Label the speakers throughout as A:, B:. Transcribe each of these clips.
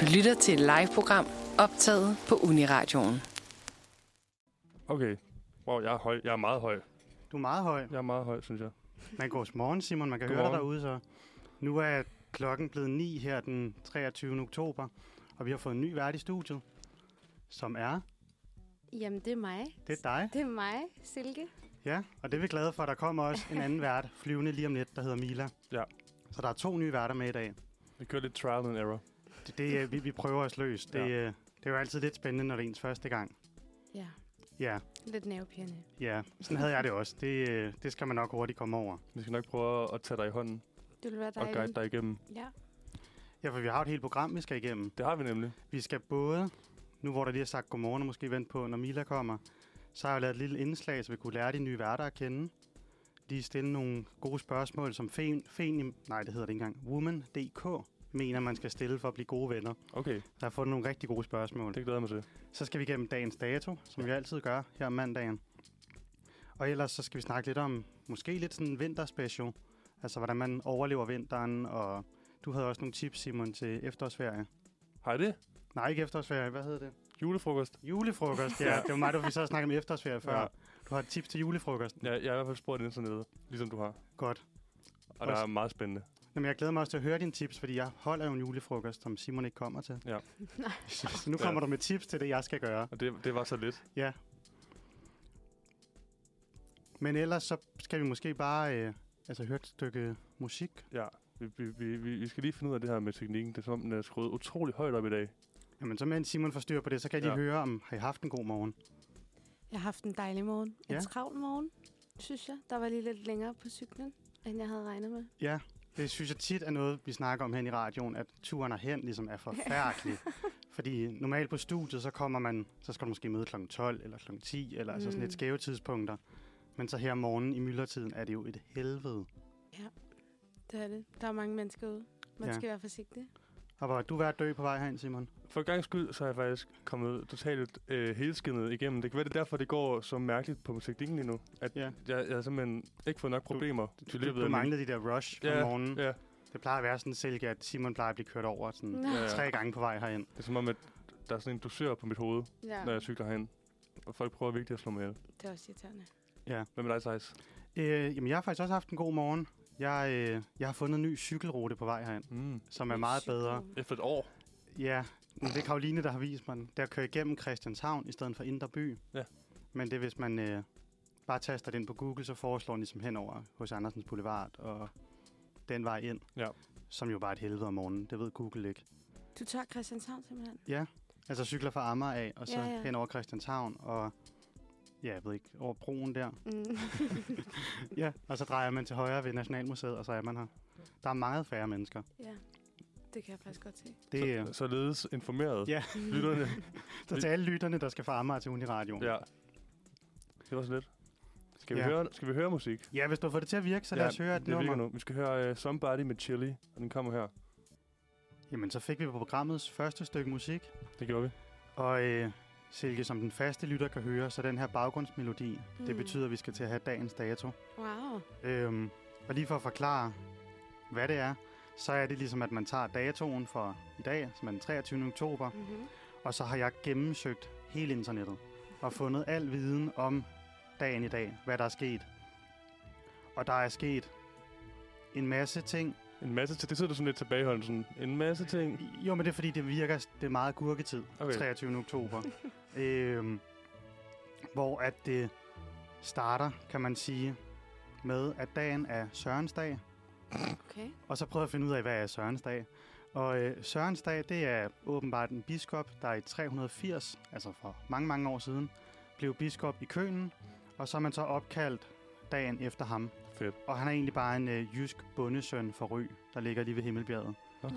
A: Du lytter til et live-program optaget på Uniradioen.
B: Okay. Wow, jeg er høj. Jeg er meget høj.
C: Du er meget høj.
B: Jeg er meget høj, synes jeg.
C: Man går morgen, Simon. Man kan høre dig
B: Godmorgen.
C: derude, så. Nu er klokken blevet 9 her den 23. oktober, og vi har fået en ny vært i studiet, som er,
D: Jamen, det er mig.
C: det er dig.
D: Det er mig, Silke.
C: Ja, og det er vi glade for. Der kommer også en anden vært flyvende lige om lidt, der hedder Mila.
B: Ja.
C: Så der er to nye værter med i dag.
B: Vi kører lidt trial and error.
C: Det, det øh, vi, vi prøver os løs. Det,
B: Ja.
C: ja. det er jo altid lidt spændende, når det er ens første gang.
D: Ja,
C: Ja,
D: lidt nervepirrende.
C: ja. Sådan havde jeg det også. Det, øh, det skal man nok hurtigt komme over.
B: Vi skal nok prøve at tage dig i hånden
D: Det vil være
B: og
D: dejligt.
B: guide dig igennem.
D: Ja.
C: Ja, for vi har jo et helt program, vi skal igennem.
B: Det har vi nemlig.
C: Vi skal både, nu hvor der lige er sagt godmorgen, og måske vente på, når Mila kommer, så har jeg lavet et lille indslag, så vi kunne lære de nye værter at kende. Lige stille nogle gode spørgsmål, som Fen, Fen, nej, det hedder det ikke engang, Woman.dk mener, man skal stille for at blive gode venner.
B: Okay,
C: Der har fundet nogle rigtig gode spørgsmål.
B: det glæder jeg mig til.
C: Så skal vi gennem dagens dato, som vi altid gør her om mandagen. Og ellers så skal vi snakke lidt om, måske lidt sådan en vinterspecial. Altså, hvordan man overlever vinteren, og du havde også nogle tips, Simon, til efterårsferie.
B: Har I det?
C: Nej, ikke efterårsferie, hvad hedder det?
B: Julefrokost?
C: Julefrokost, ja. Det var mig, der vi så snakke om efterårsferie før.
B: Ja.
C: Du har et tip til julefrokost.
B: Ja, jeg har i hvert fald spurgt internettet, ligesom du har.
C: Godt.
B: Og der
C: Også-
B: er meget spændende.
C: Jamen, jeg glæder mig også til at høre dine tips, fordi jeg holder jo en julefrokost, som Simon ikke kommer til.
B: Ja.
C: Så nu kommer
B: Ja.
C: du med tips til det, jeg skal gøre.
B: Og det, det var så lidt.
C: Ja. Men ellers så skal vi måske bare øh, altså, høre et stykke musik.
B: Ja, vi, vi, vi, vi vi skal lige finde ud af det her med teknikken. Det er som om, den er skruet utrolig højt op i dag.
C: Jamen, så mens Simon får styr på det, så kan jeg lige
B: Ja.
C: høre, om har I haft en god morgen?
D: Jeg har haft en dejlig morgen. En
C: Ja.
D: travl morgen, synes jeg. Der var lige lidt længere på cyklen, end jeg havde regnet med.
C: Ja, det synes jeg tit er noget, vi snakker om hen i radioen, at turen herhen ligesom er forfærdelig. Fordi normalt på studiet, så kommer man, så skal du måske møde kl. 12 eller kl. 10, eller mm. altså sådan lidt
D: Mm.
C: skæve tidspunkter. Men så her om morgenen i myldretiden er det jo et helvede.
D: Det er det. Der er mange mennesker ude. Man
C: Ja.
D: ja. skal være forsigtig.
C: Og var du ved at dø på vej herind, Simon?
B: For en gang skyld, så er jeg faktisk kommet totalt øh, helskindet igennem. Det kan være, det er derfor, det går så mærkeligt på teknikken lige nu. At
C: Ja.
B: ja. jeg, jeg har simpelthen ikke fået nok problemer
C: Du, du, du manglede de der rush ja.
B: Ja,
C: om morgenen. Ja.
B: ja.
C: Det plejer at være sådan selv, at Simon plejer at blive kørt over sådan
D: Ja.
B: Ja.
C: tre gange på vej herind.
B: Det er som om, at der er sådan en dusør på mit hoved,
D: ja.
B: ja. når jeg cykler herhen. Og folk prøver virkelig at slå mig ihjel.
D: Det er også irriterende.
B: Hvad med dig, Thijs?
C: Øh, jamen, jeg har faktisk også haft en god morgen. Jeg, øh, jeg har fundet en ny cykelrute på vej herind,
B: Mm.
C: som er meget bedre.
B: Efter et år?
C: Ja, men det er Karoline, der har vist mig den. Det er at køre igennem Christianshavn i stedet for Indre By.
B: Ja.
C: Men det er, hvis man øh, bare taster det ind på Google, så foreslår den ligesom henover hos Andersens Boulevard og den vej ind.
B: Ja.
C: Som jo bare er et helvede om morgenen. Det ved Google ikke.
D: Du tager Christianshavn simpelthen.
C: Altså cykler fra Amager af, og så ja,
D: Ja,
C: ja.
D: ja.
C: hen over Christianshavn, og ja, jeg ved ikke, over broen der.
D: Mm.
C: Ja. Og så drejer man til højre ved Nationalmuseet, og så er man her. Der er meget færre mennesker.
D: ja. Det kan jeg faktisk godt se.
C: Det, er,
B: Så, således informeret.
C: Ja.
B: Lytterne.
C: så til alle lytterne, der skal fra Amager til Uniradioen.
B: ja. Det var så lidt. Skal vi,
C: Ja.
B: ja. høre, skal vi høre musik?
C: ja, hvis du har fået det til at virke, så lad os høre et
B: det virker
C: nummer.
B: nu. Vi skal høre uh, Somebody med Chili, og den kommer her.
C: Jamen, så fik vi på programmets første stykke musik.
B: Det gjorde vi.
C: Og øh, Silke, som den faste lytter kan høre, så den her baggrundsmelodi, mm. det
D: Mm.
C: betyder, at vi skal til at have dagens dato.
D: Wow.
C: Øhm, og lige for at forklare, hvad det er, så er det ligesom, at man tager datoen for i dag, som er den 23. oktober,
D: Mm-hmm.
C: og så har jeg gennemsøgt hele internettet og fundet al viden om dagen i dag, hvad der er sket. Og der er sket en masse ting.
B: En masse til, det sidder du sådan lidt tilbageholden, sådan en masse ting.
C: Jo, men det er fordi, det virker, det er meget gurketid. okay.
B: Okay.
C: 23. oktober. øhm, hvor at det starter, kan man sige, med, at dagen er Sørens dag.
D: Okay.
C: Og så prøver jeg at finde ud af, hvad er Sørens dag. Og øh, Sørens dag, det er åbenbart en biskop, der i 380, altså for mange, mange år siden, blev biskop i Kønen. Og så er man så opkaldt dagen efter ham.
B: Fedt.
C: Og han er egentlig bare en øh, jysk bondesøn fra Ry, der ligger lige ved Himmelbjerget.
B: Nå.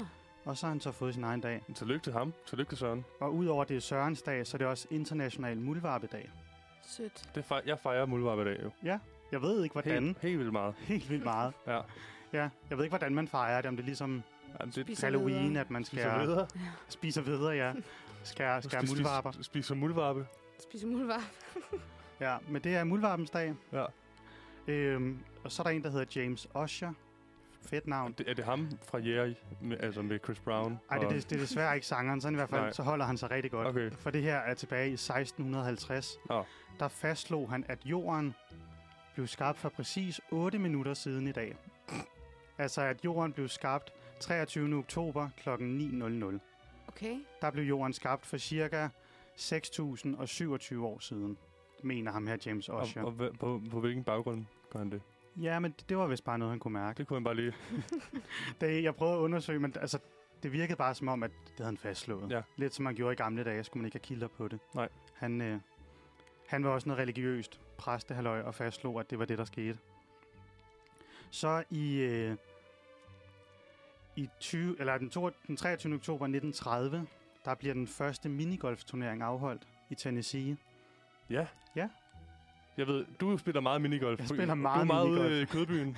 C: Og så har han så fået sin egen dag.
B: Men Tillykke til ham. Tillykke til Søren.
C: Og udover det er Sørens dag, så er det også International Muldvarpedag.
D: Sødt.
B: Det fej- jeg fejrer Muldvarp i dag jo.
C: Jeg ved ikke, hvordan.
B: Helt,
C: Helt,
B: helt vildt meget.
C: helt vildt meget.
B: Ja.
C: ja. Jeg ved ikke, hvordan man fejrer det. Om det er ligesom
B: Jamen, det,
D: Spiser
C: Halloween,
D: videre.
C: at man
B: spiser
C: skærer,
B: videre.
C: spiser videre, ja. Skærer, skærer
B: Spis-
C: muldvarper.
B: spis- Spiser muldvarpe.
D: Spise muldvarp.
C: Ja, men det er muldvarpens dag.
B: Ja.
C: Øhm, og så er der en, der hedder James Osher, Fedt navn.
B: Det, er det ham fra Jerry, med, altså med Chris Brown?
C: Ej, det,
B: og-
C: det, det er desværre ikke sangeren, sådan i hvert fald,
B: Nej.
C: så holder han sig rigtig godt.
B: Okay.
C: For det her er tilbage i 1650.
B: Nå.
C: Der fastslog han, at jorden blev skabt for præcis 8 minutter siden i dag. Altså, at jorden blev skabt 23. oktober kl. 9.00.
D: Okay.
C: Der blev jorden skabt for cirka 6.027 år siden, mener ham her James
B: Og,
C: Osher.
B: og hva, på, på hvilken baggrund gør han det?
C: Ja, men det var vist bare noget, han kunne mærke.
B: Det kunne han bare lige...
C: Det, jeg prøvede at undersøge, men altså, det virkede bare som om, at det havde han fastslået.
B: Ja.
C: Lidt som man gjorde i gamle dage, skulle man ikke have kilder på det.
B: Nej.
C: Han, øh, han var også noget religiøst præstehalløj og fastslog, at det var det, der skete. Så i, øh, i 20, eller den, to, den 23. oktober 1930, der bliver den første minigolfturnering afholdt i Tennessee.
B: Ja.
C: Ja.
B: Jeg ved, du spiller meget minigolf.
C: Jeg
B: Du-
C: spiller
B: Du
C: meget
B: er meget ude i
C: minigolf.
B: kødbyen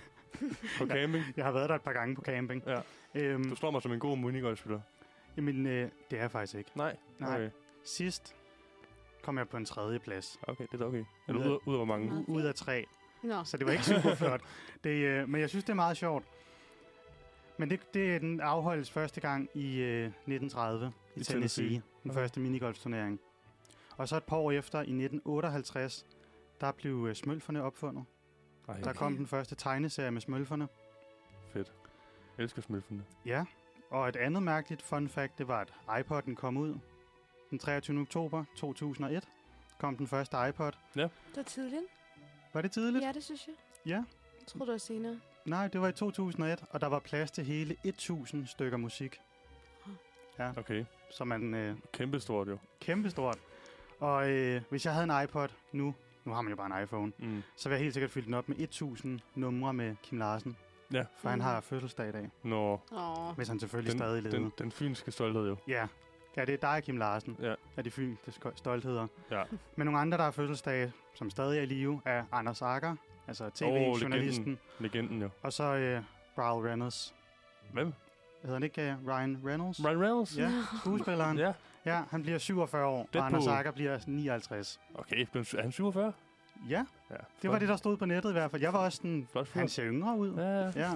B: på camping.
C: Jeg har været der et par gange på camping.
B: Ja.
C: Øhm,
B: Du slår mig som en god minigolfspiller.
C: jamen, øh, det er jeg faktisk ikke.
B: Nej.
C: Nej.
B: Okay,
C: Sidst kom jeg på en tredje plads.
B: okay det er da okay. Er du
C: Ud af-
B: ud, ud af hvor mange?
D: Meget
C: U- ud af tre.
D: Nå,
C: Så det var ikke super flot. Det, øh, men jeg synes, det er meget sjovt. Men det, det den afholdes første gang i øh, 1930 i,
B: I
C: Tennessee.
B: Tennessee.
C: Tennessee. Den
B: Okay.
C: første minigolfturnering. Og så et par år efter, i 1958, der blev øh, smølferne opfundet.
B: Ej,
C: Der kom den første tegneserie med smølferne.
B: fedt. Jeg elsker smølfene.
C: Ja, og et andet mærkeligt fun fact, det var, at iPod'en kom ud. Den 23. oktober 2001 kom den første iPod.
D: det var tidligt.
C: Var det tidligt?
D: Ja, det synes jeg.
C: Ja.
D: Jeg tror, det var senere.
C: Nej, det var i 2001, og der var plads til hele 1000 stykker musik,
B: Okay.
C: så man øh,
B: Kæmpestort jo.
C: kæmpestort. Og øh, hvis jeg havde en iPod nu, nu har man jo bare en iPhone,
B: Mm.
C: så ville jeg helt sikkert fylde den op med 1000 numre med Kim Larsen,
B: Ja.
C: for han har fødselsdag i dag,
B: Nå,
D: Åh,
C: hvis han selvfølgelig den, stadig
B: den,
C: leder.
B: den, den fynske stolthed jo.
C: Ja. ja, det er dig, Kim Larsen,
B: Ja.
C: af de fynske sko- stoltheder.
B: Ja.
C: Men nogle andre, der har fødselsdage, som stadig er i live, er Anders Akker, altså tv-journalisten,
B: legenden. Legenden jo.
C: og så øh, Raul Reynolds.
B: Hvem?
C: Hedder han ikke øh, Ryan Reynolds?
B: Ryan Reynolds?
C: Ja, skuespilleren.
B: Ja.
C: Ja, han bliver 47 år, Deadpool.
B: Deadpool.
C: og Anders Akker bliver 59.
B: Okay, blev han- er han 47?
C: Ja,
B: Ja.
C: det var det, der stod på nettet i hvert fald. Jeg var også sådan,
B: Flot fyr.
C: han ser yngre ud.
B: Ja, ja.
C: Ja,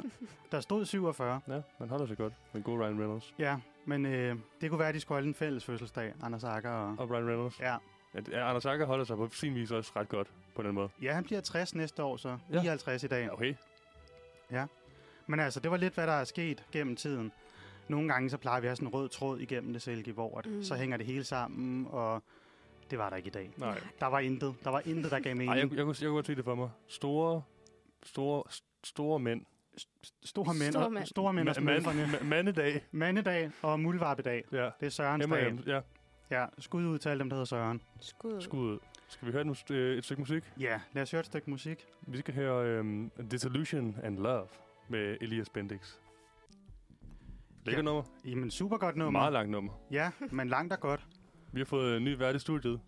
C: der stod 47.
B: ja, man holder sig godt. Men god Ryan Reynolds.
C: Ja, men øh, det kunne være, at de skulle holde en fælles fødselsdag, Anders Akker og...
B: Og Ryan Reynolds.
C: Ja.
B: Ja, det- ja, Anders Akker holder sig på sin vis også ret godt på den måde.
C: ja, han bliver 60 næste år, så
B: Ja.
C: 59 i dag.
B: Ja, okay.
C: Men altså, det var lidt, hvad der er sket gennem tiden. Nogle gange, så plejer vi at have sådan en rød tråd igennem det silke, hvor at,
D: Mm.
C: mm. så hænger det hele sammen, og det var der ikke i dag.
B: Nej.
C: Der var intet. Der var intet, der gav
B: Ej,
C: mening.
B: jeg, jeg, kunne, jeg kunne godt se det for mig. Store, store, st- store mænd.
C: Store mænd,
D: Store
C: store
D: mænd.
C: mænd. Store mænd og
B: Ma- man-
C: smølferne.
B: ma- mandedag.
C: Mandedag og muldvarpedag.
B: Ja.
C: Det er Sørens
B: Emma
C: dag.
B: Adams, ja.
C: Ja, skud ud til alle dem, der hedder Søren.
D: skud.
B: Skud. ud. Skal vi høre et, mus- øh, et stykke musik?
C: Ja, lad os høre et stykke musik.
B: Vi skal høre øhm, Disillusion and Love med Elias Bendix. Lækker
C: Ja.
B: nummer.
C: Jamen, super godt
B: nummer.
C: nummer.
B: Meget langt nummer.
C: Ja, men langt og godt.
B: Vi har fået en ny vært i studiet.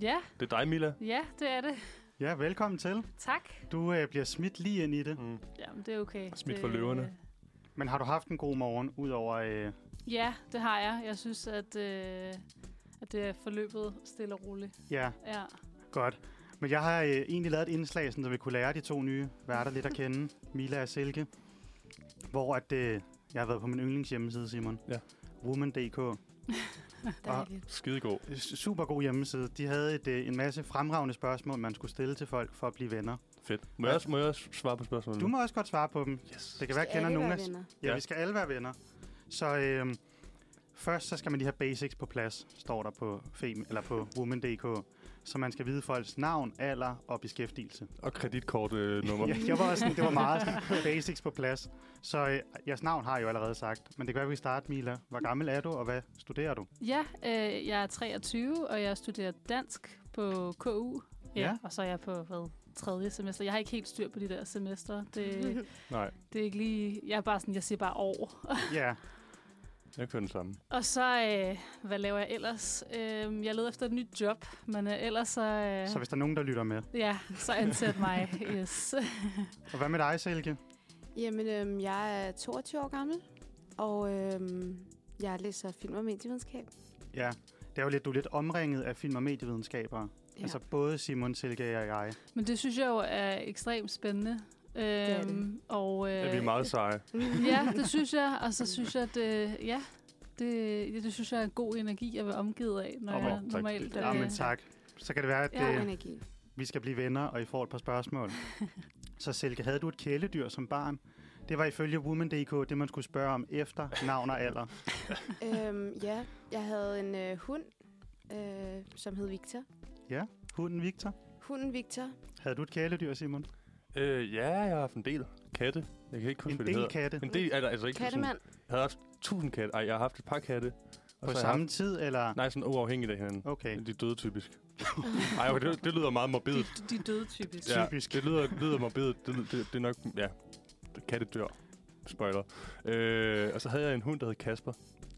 E: Ja,
B: Det er dig, Mila.
E: ja, det er det.
C: Ja, velkommen til.
E: Tak.
C: Du øh, bliver smidt lige ind i det.
B: Mm.
E: Jamen, det er okay.
B: Smidt
E: Det- øh,
B: for løverne.
C: Men har du haft en god morgen, udover... Øh,
E: Ja, det har jeg. Jeg synes, at, øh, at det er forløbet stille og roligt.
C: ja,
E: Ja.
C: godt. Men jeg har øh, egentlig lavet et indslag, sådan, så vi kunne lære de to nye værter lidt at kende. Mila og Silke. Hvor at, øh, jeg har været på min yndlingshjemmeside, Simon.
B: Ja.
C: Woman.dk.
D: Dejligt.
B: Skidegod.
C: Super god hjemmeside. De havde et, øh, en masse fremragende spørgsmål, man skulle stille til folk for at blive venner.
B: Fedt. Må jeg, også, må jeg også svare på spørgsmålet?
C: Du må også godt svare på dem.
B: Yes.
C: Det kan være, jeg
D: Skal
C: kender
D: alle
C: nogen
D: være
C: af...
D: venner?
C: Ja,
B: Ja.
C: vi skal alle være venner. Så øhm, først så skal man lige have basics på plads, står der på, fem, eller på woman.dk. Så man skal vide folks navn, alder og beskæftigelse.
B: Og kreditkortnummer. Øh,
C: Jeg, jeg var også sådan, det var meget sådan, basics på plads. Så øh, jeres navn har jeg jo allerede sagt. Men det kan være, vi kan starte, Mila. Hvor gammel er du, og hvad studerer du?
E: Ja, øh, jeg er 23, og jeg studerer dansk på KU. Ja,
C: Ja.
E: ja. Og så er jeg på, hvad, tredje semester. Jeg har ikke helt styr på de der semester.
B: Mhm.
E: Det,
B: Nej,
E: det er ikke lige... Jeg er bare sådan, jeg siger bare år.
C: Ja,
B: jeg kører den samme.
E: Og så, øh, hvad laver jeg ellers? Øh, jeg leder efter et nyt job, men øh, ellers så... Øh,
C: så hvis der er nogen, der lytter med.
E: Ja, så ansæt mig. Yes.
C: Og hvad med dig, Silke?
D: Jamen, øhm, jeg er 22 år gammel, og øhm, jeg læser film og medievidenskab.
C: Ja, det er jo lidt, du er lidt omringet af film- og medievidenskaber. Ja.
D: Ja.
C: Altså både Simon, Silke og jeg.
E: Men det synes jeg jo er ekstremt spændende.
D: er det.
E: Øhm, og, øh,
B: at vi er meget seje.
E: Ja, det synes jeg. Og så synes jeg, at øh, ja, det, ja, det synes jeg er en god energi at være omgivet af, når
B: Åh,
E: oh, jeg
B: tak.
E: normalt...
C: Ja,
E: øh,
C: men tak. Så kan det være, at
E: Ja,
D: God
C: ja, øh,
D: energi.
C: vi skal blive venner, og I får et par spørgsmål. så Silke, havde du et kæledyr som barn? Det var ifølge Woman.dk det, man skulle spørge om efter navn og alder.
D: øhm, ja, jeg havde en øh, hund, øh, som hed Victor.
C: Hunden Victor.
D: Hunden Victor.
C: Havde du et kæledyr, Simon?
B: Øh, ja, jeg har haft en del katte. Jeg kan ikke huske,
C: En
B: hvad det
C: del
B: hedder.
C: katte.
B: En del, altså, altså ikke sådan,
D: Kattemand.
B: jeg havde haft tusind katte. Ej, jeg har haft et par katte.
C: På
B: har jeg
C: samme tid, eller?
B: Haft, nej, sådan uafhængigt af hinanden.
C: Okay.
B: De døde typisk. Ej, okay, det, det lyder meget
E: de,
B: morbidt.
E: de døde typisk.
B: Ja,
C: Typisk.
B: det lyder, lyder morbidt. Det, det, det, er nok, ja, katte dør. Spoiler. Øh, og så havde jeg en hund, der hed Kasper.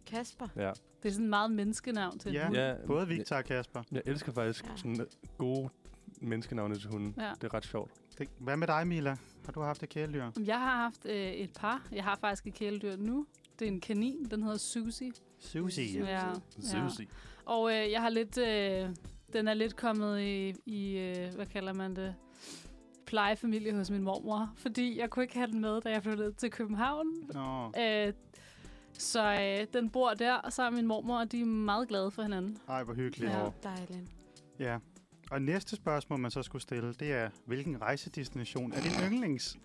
D: Kasper.
B: Ja.
E: Det er sådan et meget menneskenavn til
C: Ja.
E: den.
B: ja
C: Både Victor og Kasper.
B: Jeg elsker faktisk
D: Ja.
B: ja. sådan gode menneskenavne til hunden.
E: Ja.
B: Det er ret sjovt.
C: Det, hvad med dig, Mila? Har du haft et kæledyr?
E: Jeg har haft øh, et par. Jeg har faktisk et kæledyr nu. Det er en kanin. Den hedder Susie.
C: Susie.
D: Susie.
E: Ja. ja.
B: Susie.
E: Og øh, jeg har lidt... Øh, den er lidt kommet i... i øh, hvad kalder man det? plejefamilie hos min mormor, fordi jeg kunne ikke have den med, da jeg flyttede til København.
C: Nå,
E: Øh, så øh, den bor der, og så er min mormor, og de er meget glade for hinanden.
C: ej, hvor hyggeligt.
E: Ja.
C: Ja.
D: Åh, Dejligt.
C: ja. Og næste spørgsmål, man så skulle stille, det er, hvilken rejsedestination er din yndlings?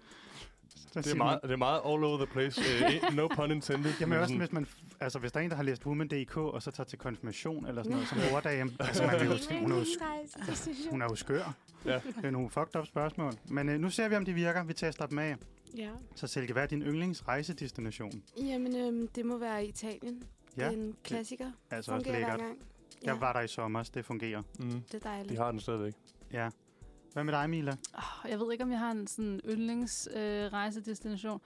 B: Det er, meget, det er meget all over the place. uh, no pun intended.
C: Jamen
B: men
C: også,
B: sådan-
C: hvis, man, f- altså, hvis der er en, der har læst Woman.dk, og så tager til konfirmation eller sådan noget, som overdame. Altså, man vil jo sige, hun er jo, sk- hun er jo skør.
B: Ja.
C: Det er nogle fucked up spørgsmål. Men øh, nu ser vi, om de virker. Vi tester dem af.
D: Ja.
C: Så Silke, hvad er din yndlingsrejsedestination?
D: Jamen, øhm, det må være Italien.
C: Ja,
D: Det er en klassiker.
C: altså også
D: Fungerer hver
C: lækkert.
D: gang. Ja,
C: Jeg var der i sommer, så det fungerer.
B: Mm,
D: det er dejligt.
B: de har den stadigvæk.
C: Ja. Hvad med dig, Mila?
E: Oh, jeg ved ikke, om jeg har en sådan yndlingsrejsedestination. Øh, rejsedestination.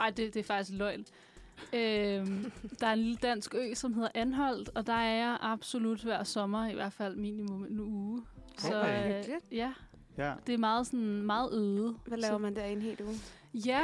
E: Ej, det, det er faktisk løgn. øhm, der er en lille dansk ø, som hedder Anholdt, og der er jeg absolut hver sommer, i hvert fald minimum en uge. øh,
C: Okay.
D: Hyggeligt.
E: ja,
C: Ja.
E: det er meget, sådan, meget øde.
D: Hvad laver
E: så,
D: man der i en hel uge?
E: Ja,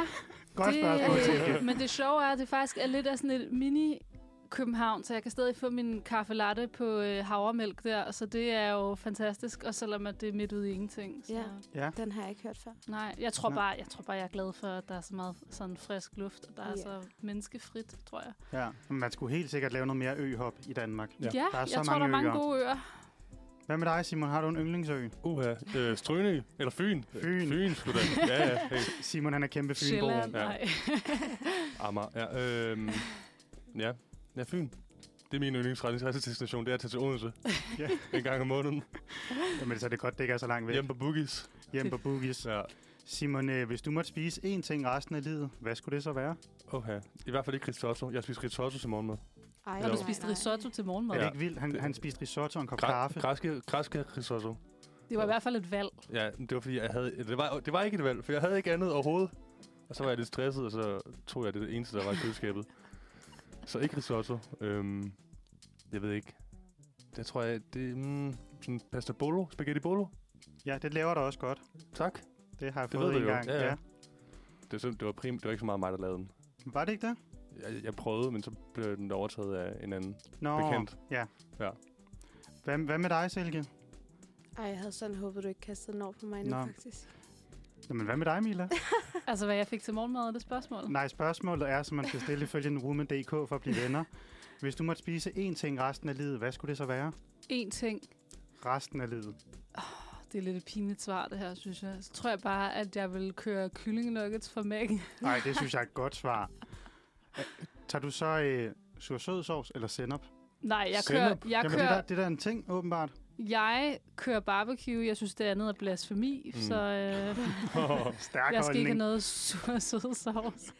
C: Godt spørgsmål, Silke.
E: det, øh, men det sjove er, at det faktisk er lidt af sådan et mini København, så jeg kan stadig få min kaffe latte på øh, havremælk der, så det er jo fantastisk, og selvom at det er midt ude i ingenting. Så.
D: Ja.
C: Ja.
D: Den har jeg ikke hørt før.
E: Nej, jeg tror,
C: Nej.
E: bare, jeg tror bare, jeg er glad for, at der er så meget sådan frisk luft, og der er
D: Ja.
E: så menneskefrit, tror jeg.
C: Ja, men man skulle helt sikkert lave noget mere øhop i Danmark.
E: Ja,
B: Ja.
E: ja
C: Der er
E: jeg
C: så
E: tror,
C: mange
E: der er mange
C: øer.
E: gode øer.
C: Hvad med dig, Simon? Har du en yndlingsø?
B: Uha. Uh, Strønø. Eller Fyn.
C: Fyn.
B: Fyn, sgu da. Ja, ja. Hey.
C: Simon, han er kæmpe fynbo.
E: Sjælland,
B: Ja.
E: nej.
B: Amager. Ja, øhm, ja. ja, Fyn. Det er min yndlingsretningsrejsedestination. Det er at tage til Odense.
C: Ja.
B: En gang om måneden.
C: Jamen, så er det godt, det ikke er så langt væk.
B: Hjemme på Boogies.
C: Hjem på Boogies.
B: Ja.
C: Simon, øh, hvis du måtte spise én ting resten af livet, hvad skulle det så være?
B: Okay. I hvert fald ikke risotto. Jeg spiser risotto til morgenmad.
D: Ej,
E: Har du
B: Jo.
E: spist risotto til
C: Ja.
E: morgenmad?
C: Er det
E: Ja.
C: ikke vildt? Han,
B: Det-
C: han spiste risotto og en kop kaffe.
B: Græ- græske, græske risotto.
E: Det var i hvert fald et valg.
B: Ja, men det var fordi, jeg havde... Det var, det var ikke et valg, for jeg havde ikke andet overhovedet. Og så var jeg lidt stresset, og så tog jeg det eneste, der var i køleskabet. Så ikke risotto. Øhm, jeg ved ikke. Det tror jeg, det mm, sådan pasta bolo, spaghetti bolo.
C: ja, det laver du også godt.
B: Tak.
C: Det har jeg
B: Det
C: fået
B: ved
C: en
B: du jo.
C: gang.
B: Ja, ja. Det, var sim- det var prim, det var ikke så meget mig, der lavede den.
C: Var det ikke det?
B: Jeg, jeg prøvede, men så blev den overtaget af en anden
C: Nå,
B: bekendt.
C: ja.
B: Ja.
C: Hvad, hvad med dig, Silke?
D: Ej, jeg havde sådan håbet, du ikke kastede den over på mig nu,
C: Nå.
D: faktisk.
C: Jamen, hvad med dig, Mila?
E: Altså, hvad jeg fik til morgenmad, er det spørgsmål?
C: Nej, spørgsmålet er, som man skal stille ifølge en woman.dk for at blive venner. Hvis du måtte spise én ting resten af livet, hvad skulle det så være?
E: En ting,
C: Resten af livet.
E: det er lidt et pinligt svar, det her, synes jeg. Så tror jeg bare, at jeg vil køre kyllingenuggets fra Mækken.
C: Nej, det synes jeg er et godt svar. Øh, Tager du så øh, sur sød sovs eller sennep?
E: Nej, jeg kører,
B: Sennep?
E: jeg,
C: Jamen, det, der,
E: kører,
C: det der er en ting, åbenbart.
E: jeg kører barbecue. Jeg synes, det andet er blasfemi, mm.
B: Mm.
E: så øh,
C: Stærk
E: jeg skal ikke have
C: holdning.
E: noget sur sød sovs.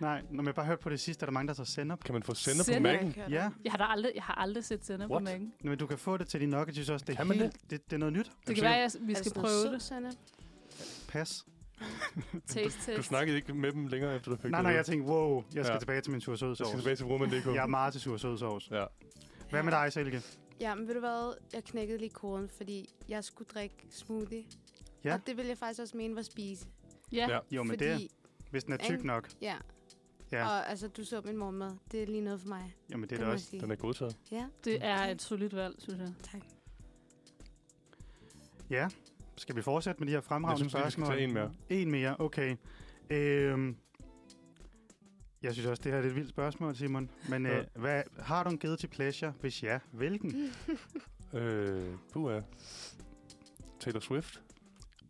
C: Nej, når man bare hørte på det sidste, er der mange, der tager sennep.
B: Kan man få sender på
E: Sennep?
B: mærken?
C: Ja,
E: Jeg har, da aldrig, jeg har aldrig set sender på
B: What?
E: mækken.
C: men du kan få det til din nuggets, jeg synes også. Det er,
B: Kan man
C: helt, det? Det, det er noget nyt.
E: Det kan være, at vi
D: Altså,
E: skal prøve det.
D: Susanne?
C: Pas.
E: Taste test.
B: Du snakkede ikke med dem længere, efter du fik
C: Nej,
B: det.
C: nej,
B: ud.
C: jeg tænkte, wow, jeg skal ja.
B: Ja.
C: tilbage til min sur sød
B: jeg skal
C: sovs.
B: tilbage til Roman.dk.
C: Jeg er meget til sur sød sovs.
B: Ja.
C: Hvad med dig, Silke?
D: Ja, men ved du hvad? Jeg knækkede lige koden, fordi jeg skulle drikke smoothie.
C: Ja.
D: Og det ville jeg faktisk også mene var spise.
E: Ja.
B: Ja.
C: Jo, men
D: fordi,
C: det, hvis den er tyk
D: Ikke?
C: nok.
D: Ja.
C: Ja.
D: ja. Og altså, du så min morgenmad. Det er lige noget for mig.
C: Jo, men det er
D: kan
C: det
D: man
C: også.
D: sige.
B: Den er godtaget.
D: Ja,
E: det er et solidt valg, synes jeg.
D: tak.
C: Ja, Skal vi fortsætte med de her fremragende
B: Jeg synes lige, vi skal
C: spørgsmål?
B: tage en mere.
C: En mere, okay. Øhm, jeg synes også, det her er et vildt spørgsmål, Simon. Men
B: Ja.
C: øh, hvad, har du en givet til pleasure? Hvis ja, hvilken?
B: Øh, puha. Taylor Swift.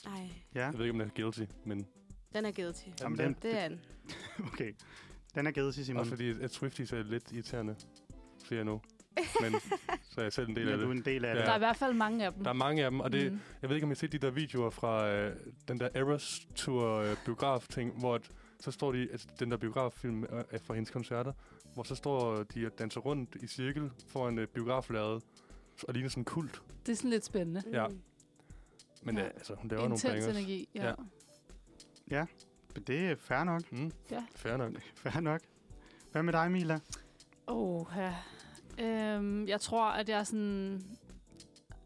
D: Nej,
C: Ja,
B: Jeg ved ikke, om den er guilty, men...
D: den er givet til.
C: Jamen,
B: den,
C: den-
D: Det er den.
C: okay. Den er givet til Simon.
B: Også fordi, at Swifties er lidt irriterende, siger jeg nu. Men så er jeg selv en del
C: Ja,
B: af
C: du er
B: det.
C: en del af
B: Ja.
E: Ja.
C: det.
E: Der er i hvert fald mange af dem.
B: Der er mange af dem, og det,
E: Mm.
B: Jeg ved ikke, om I har set de der videoer fra øh, den der Eras Tour øh, biograf-ting, hvor at, så står de, altså, den der biograffilm øh, er fra hendes koncerter, hvor så står de og danser rundt i cirkel foran øh, biograflaget, og ligner sådan en kult.
E: Det er sådan lidt spændende.
B: Ja.
D: Mm.
B: Men
E: Ja.
B: ja. altså, hun laver
E: Intens
B: nogle bangers. Energi.
E: energi, ja.
B: Ja.
E: ja.
C: Men Det er fair nok.
B: Mm,
E: Ja.
B: fair nok.
C: Fair nok. Hvad med dig, Mila?
E: Oh, ja. Øhm, jeg tror, at jeg sådan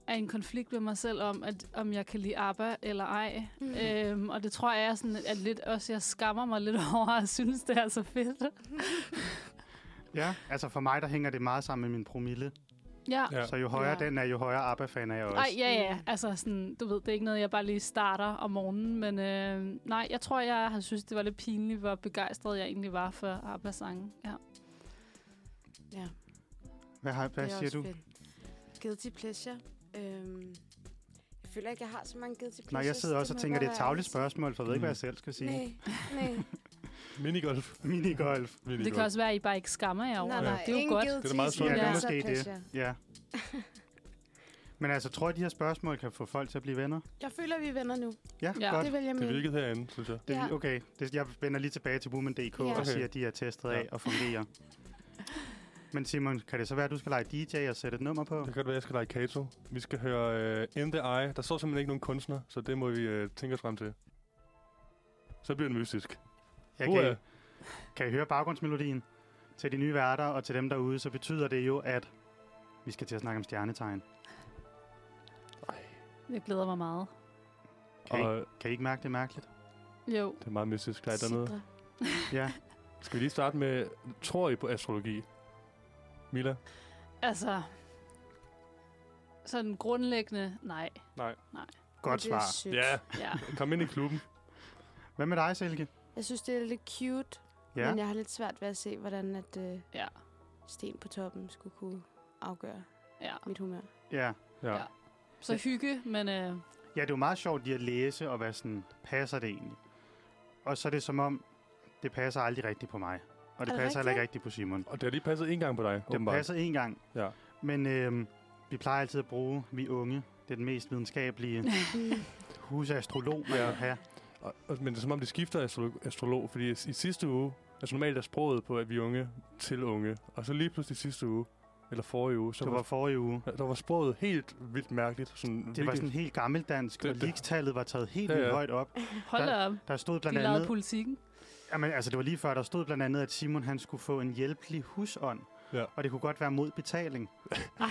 E: er i en konflikt med mig selv om, at, om jeg kan lide ABBA eller ej.
D: Mm.
E: Øhm, og det tror jeg er sådan, at lidt også jeg skammer mig lidt over, at synes, det er så fedt.
C: Ja, altså for mig, der hænger det meget sammen med min promille.
E: Ja.
B: Ja.
C: Ja. Så jo højere
D: Ja.
C: den er, jo højere ABBA-fan er jeg også.
E: Ej, ja, ja.
D: Mm.
E: Altså, sådan, du ved, det er ikke noget, jeg bare lige starter om morgenen, men øh, nej, jeg tror, jeg har synes, det var lidt pinligt, hvor begejstret jeg egentlig var for ABBA-sangen. Ja.
D: ja.
C: Hvad, har, hvad
D: det er
C: siger
D: også
C: du?
D: Fedt. Guilty pleasure. Øhm, jeg føler ikke, jeg har så mange guilty pleasures.
C: Nej, jeg sidder også og tænker, det er et tagligt spørgsmål, for jeg ved ikke, hvad
B: Mm.
C: jeg selv skal sige.
D: Nej, nej.
B: Minigolf.
C: Minigolf.
B: Minigolf.
E: Det kan også være, at I bare ikke skammer jer over
D: nej,
E: det.
D: nej.
E: Det er jo
D: ingen
E: godt.
D: Guilty
B: Det er da meget sundt.
C: Ja,
B: Ja.
C: det er
D: pleasure,
C: måske
D: pleasure.
C: det. Ja. Men altså, tror I, de her spørgsmål kan få folk til at blive venner?
D: Jeg føler, vi er venner nu.
C: Ja,
E: Ja.
C: ja. godt.
D: Det vil jeg
B: Det
D: mene.
B: virkede herinde, synes jeg.
C: Det,
D: Ja.
C: ja. Okay, det, jeg vender lige tilbage til Woman.dk ja.
D: Ja.
C: og
B: Okay.
C: siger, at de er testet
B: Ja.
C: af og fungerer. Men Simon, kan det så være, at du skal lege DJ og sætte et nummer på?
B: Det kan godt være, jeg skal lege Kato. Vi skal høre uh, In The Eye. Der står simpelthen ikke nogen kunstner, så det må vi uh, tænke os frem til. Så bliver det mystisk.
C: Jeg
B: Uha.
C: kan, kan I høre baggrundsmelodien? Til de nye værter og til dem derude, så betyder det jo, at vi skal til at snakke om stjernetegn.
E: Jeg glæder mig meget.
C: Kan, okay. I,
B: Og
C: kan I ikke mærke det er mærkeligt?
E: Jo.
B: det er meget mystisk. Der er dernede.
D: Sidre.
C: Ja,
B: Skal vi lige starte med, tror I på astrologi? Mila?
E: Altså, sådan grundlæggende, nej.
C: godt
D: Men det er
C: svar.
D: sødt.
E: Ja.
B: kom ind i klubben.
C: Hvad med dig, Silke?
D: Jeg synes, det er lidt cute, ja.
C: Ja,
D: men øh, jeg har lidt svært ved at se, hvordan at øh,
E: Ja.
D: sten på toppen skulle kunne afgøre
E: Ja.
D: mit humør.
C: ja.
B: Ja.
E: Ja. Så hygge, men øh,
C: Ja, det er jo meget sjovt lige at læse og være sådan, passer det egentlig? Og så er det som om, det passer aldrig rigtigt på mig. Og det,
D: det
C: det passer heller ikke
D: rigtigt?
C: rigtigt på Simon.
B: Og det har lige passet en gang på dig,
C: Det passer én gang.
B: Ja.
C: Men øhm, vi plejer altid at bruge, vi er unge, det er den mest videnskabelige
E: Mm.
C: husastrolog, man
B: Ja.
C: kan have.
B: Og, og, men det er som om, det skifter astrolog, astrolog fordi i s- i sidste uge, altså normalt er sproget på, at vi er unge til unge. Og så lige pludselig sidste uge, eller forrige uge, så
C: Det var forrige uge.
B: der var sproget helt vildt mærkeligt. Sådan
C: Det var
B: virkelig-
C: sådan helt gammeldansk,
B: Det-
C: og
B: det-
C: ligstallet var taget helt
B: Ja,
C: ja,
B: ja.
C: højt op.
E: hold da op.
C: Der stod
E: De
C: blandt
E: lavede
C: andet,
E: politikken.
C: jamen, altså det var lige før, der stod blandt andet, at Simon han skulle få en hjælpelig husånd.
B: Ja.
C: Og det kunne godt være mod betaling.
E: Nej,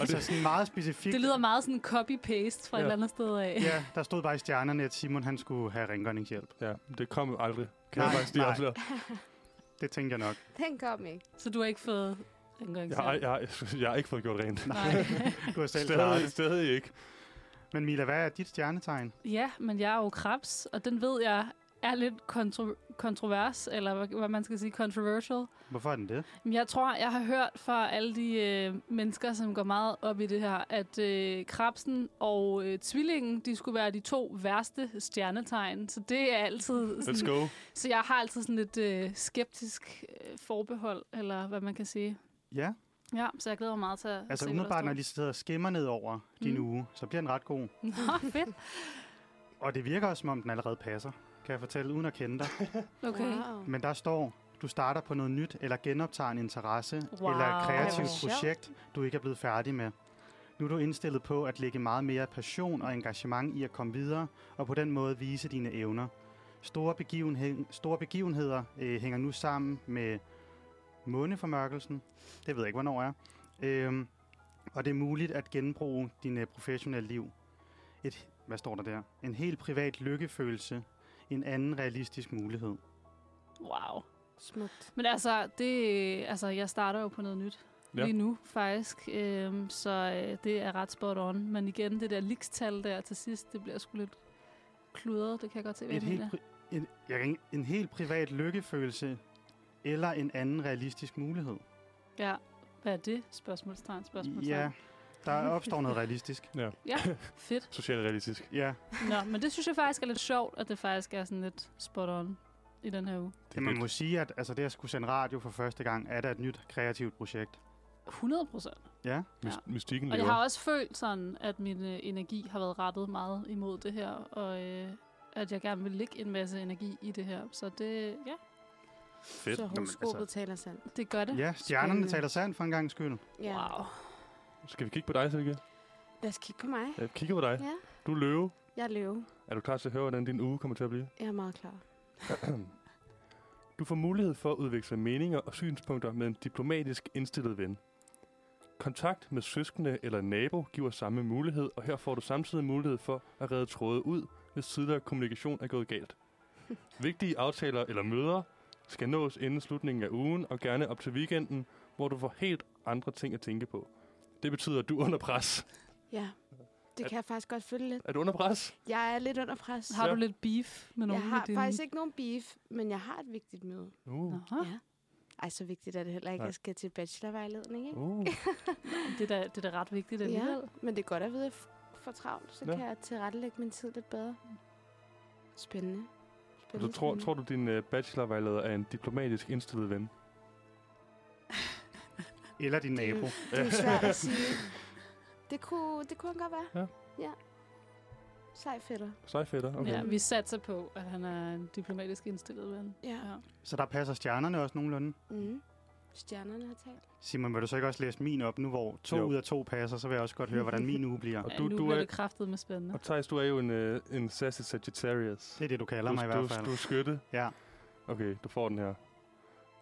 B: Og
C: Så
B: det,
C: sådan meget specifikt.
E: det lyder meget sådan copy-paste fra ja.
B: Ja.
E: et eller andet sted af.
C: Ja, der stod bare i stjernerne, at Simon han skulle have rengøringshjælp.
B: ja, det kom aldrig. Kan
C: Nej,
B: jeg faktisk lige
C: nej.
B: afsløre?
C: Det tænkte jeg nok.
D: Den kom ikke.
E: Så du har ikke fået en gang
B: Jeg har, jeg, har, jeg har ikke fået gjort rent.
E: Nej.
C: Du har selv klaret
B: Stadig,
C: det.
B: stadig ikke.
C: Men Mila, hvad er dit stjernetegn?
E: ja, men jeg er jo krebs, og den ved jeg er lidt kontro- kontrovers, eller hvad, hvad man skal sige, controversial.
C: Hvorfor er den det?
E: Men Jeg tror, jeg har hørt fra alle de øh, mennesker, som går meget op i det her, at øh, krabsen og øh, tvillingen, de skulle være de to værste stjernetegn. Så det er altid
B: Let's
E: sådan,
B: go.
E: Så jeg har altid sådan lidt øh, skeptisk øh, forbehold, eller hvad man kan sige.
C: Ja,
E: Ja, så jeg glæder mig meget til at
C: altså
E: se,
C: umiddelbart, når
E: hvad
C: de
E: der
C: sidder og skimmer ned over din
E: Mm.
C: uge, så bliver den ret god.
E: står. Nå, fedt.
C: Og det virker også, som om den allerede passer, kan jeg fortælle, uden at kende dig.
E: Okay.
D: Wow.
C: Men der står, du starter på noget nyt, eller genoptager en interesse,
E: Wow.
C: eller et kreativt
D: Ej, hvor
C: projekt, du ikke er blevet færdig med. Nu er du indstillet på at lægge meget mere passion og engagement i at komme videre, og på den måde vise dine evner. Store, begivenhed, store begivenheder øh, hænger nu sammen med måneformørkelsen. Det ved jeg ikke, hvornår er. Øhm, og det er muligt at genbruge din øh, professionelle liv. Et, hvad står der der? En helt privat lykkefølelse. En anden realistisk mulighed.
E: Wow.
D: Smukt.
E: Men altså, det, altså, jeg starter jo på noget nyt.
B: Ja.
E: ja. lige nu, faktisk. Øhm, så øh, det er ret spot on. Men igen, det der likstal der til sidst, det bliver sgu lidt kludret. Det kan jeg godt se, hvad
C: Et
E: jeg
C: helt
E: mener.
C: pri- en, jeg kan ikke- en helt privat lykkefølelse eller en anden realistisk mulighed.
E: Ja. Hvad er det? Spørgsmålstegn, spørgsmålstegn.
C: Ja, der opstår noget realistisk.
E: Fedt.
B: Socialt realistisk.
C: Ja,
E: Nå, men det synes jeg faktisk er lidt sjovt, at det faktisk er sådan lidt spot on i den her uge.
B: Det er
C: det man
B: fedt.
C: må sige, at altså, det at skulle sende radio for første gang, er da et nyt kreativt projekt.
E: 100 procent.
C: Ja,
B: Myst- mystikken
E: Og jeg har
B: lever.
E: også følt sådan, at min øh, energi har været rettet meget imod det her, og øh, at jeg gerne vil lægge en masse energi i det her. Så det, ja,
B: Fedt.
D: Så
C: Nå, men
D: horoskopet
C: altså-
D: taler sandt.
E: det gør det.
C: ja stjernerne
D: Spændende.
C: taler sandt for en gang skyld.
D: Ja. Wow.
E: Wow.
B: Skal vi kigge på dig, Silke?
D: Lad os kigge på mig.
B: Jeg kigger på dig.
D: Ja.
B: Du er løve.
D: Jeg er løve.
B: Er du klar til at høre, hvordan din uge kommer til at blive?
D: Jeg er meget klar.
B: Du får mulighed for at udveksle meninger og synspunkter med en diplomatisk indstillet ven. Kontakt med søskende eller nabo giver samme mulighed, og her får du samtidig mulighed for at redde tråde ud, hvis tidligere kommunikation er gået galt. Vigtige aftaler eller møder skal nås inden slutningen af ugen, og gerne op til weekenden, hvor du får helt andre ting at tænke på. Det betyder, at du er under pres.
D: Ja. Det
B: Er-
D: kan jeg faktisk godt følge lidt.
B: Er du under pres?
D: Jeg er lidt under pres.
E: Har
B: Ja.
E: du lidt beef med nogen
D: Jeg har
E: i din...
D: faktisk ikke nogen beef, men jeg har et vigtigt møde.
B: Uh,
E: Nå,
D: Ja. Ej, så vigtigt er det heller ikke.
B: Nej.
D: Jeg skal til bachelorvejledning, ikke?
B: uh.
E: det, er da, det er da ret vigtigt
D: Ja,
E: alligevel.
D: men det er godt at vide, at jeg f- får travlt, så
B: Ja.
D: ja. kan jeg tilrettelægge min tid lidt bedre. Spændende.
B: Og
D: Spændende,
B: så tror,
D: spændende.
B: tror du, din øh, bachelorvejleder er en diplomatisk indstillet ven?
C: Eller din
D: Det er jo-
C: nabo.
D: Det er jo svært at sige. Det kunne, det kunne han godt være.
B: Ja.
D: ja. Sej fætter.
B: Sej fætter, okay.
E: Okay. Ja,
B: Ja.
E: vi satser på, at han er en diplomatisk indstillet ven.
D: Ja.
E: Ja.
C: Så der passer stjernerne også nogenlunde.
D: Mm. Stjernerne har talt.
C: Simon, vil du så ikke også læse min op nu, hvor to
B: Jo.
C: ud af to passer, så vil jeg også godt høre, hvordan min uge bliver.
B: Og
E: Ja,
B: du-
E: nu
B: du
E: bliver
B: er-
E: det kraftet med spændende.
B: Og Thijs, du er jo en, øh, en sassy Sagittarius.
C: Det er det, du kalder
B: du,
C: mig i
B: du,
C: hvert fald.
B: Du er skytte.
C: Ja.
B: Okay, du får den her.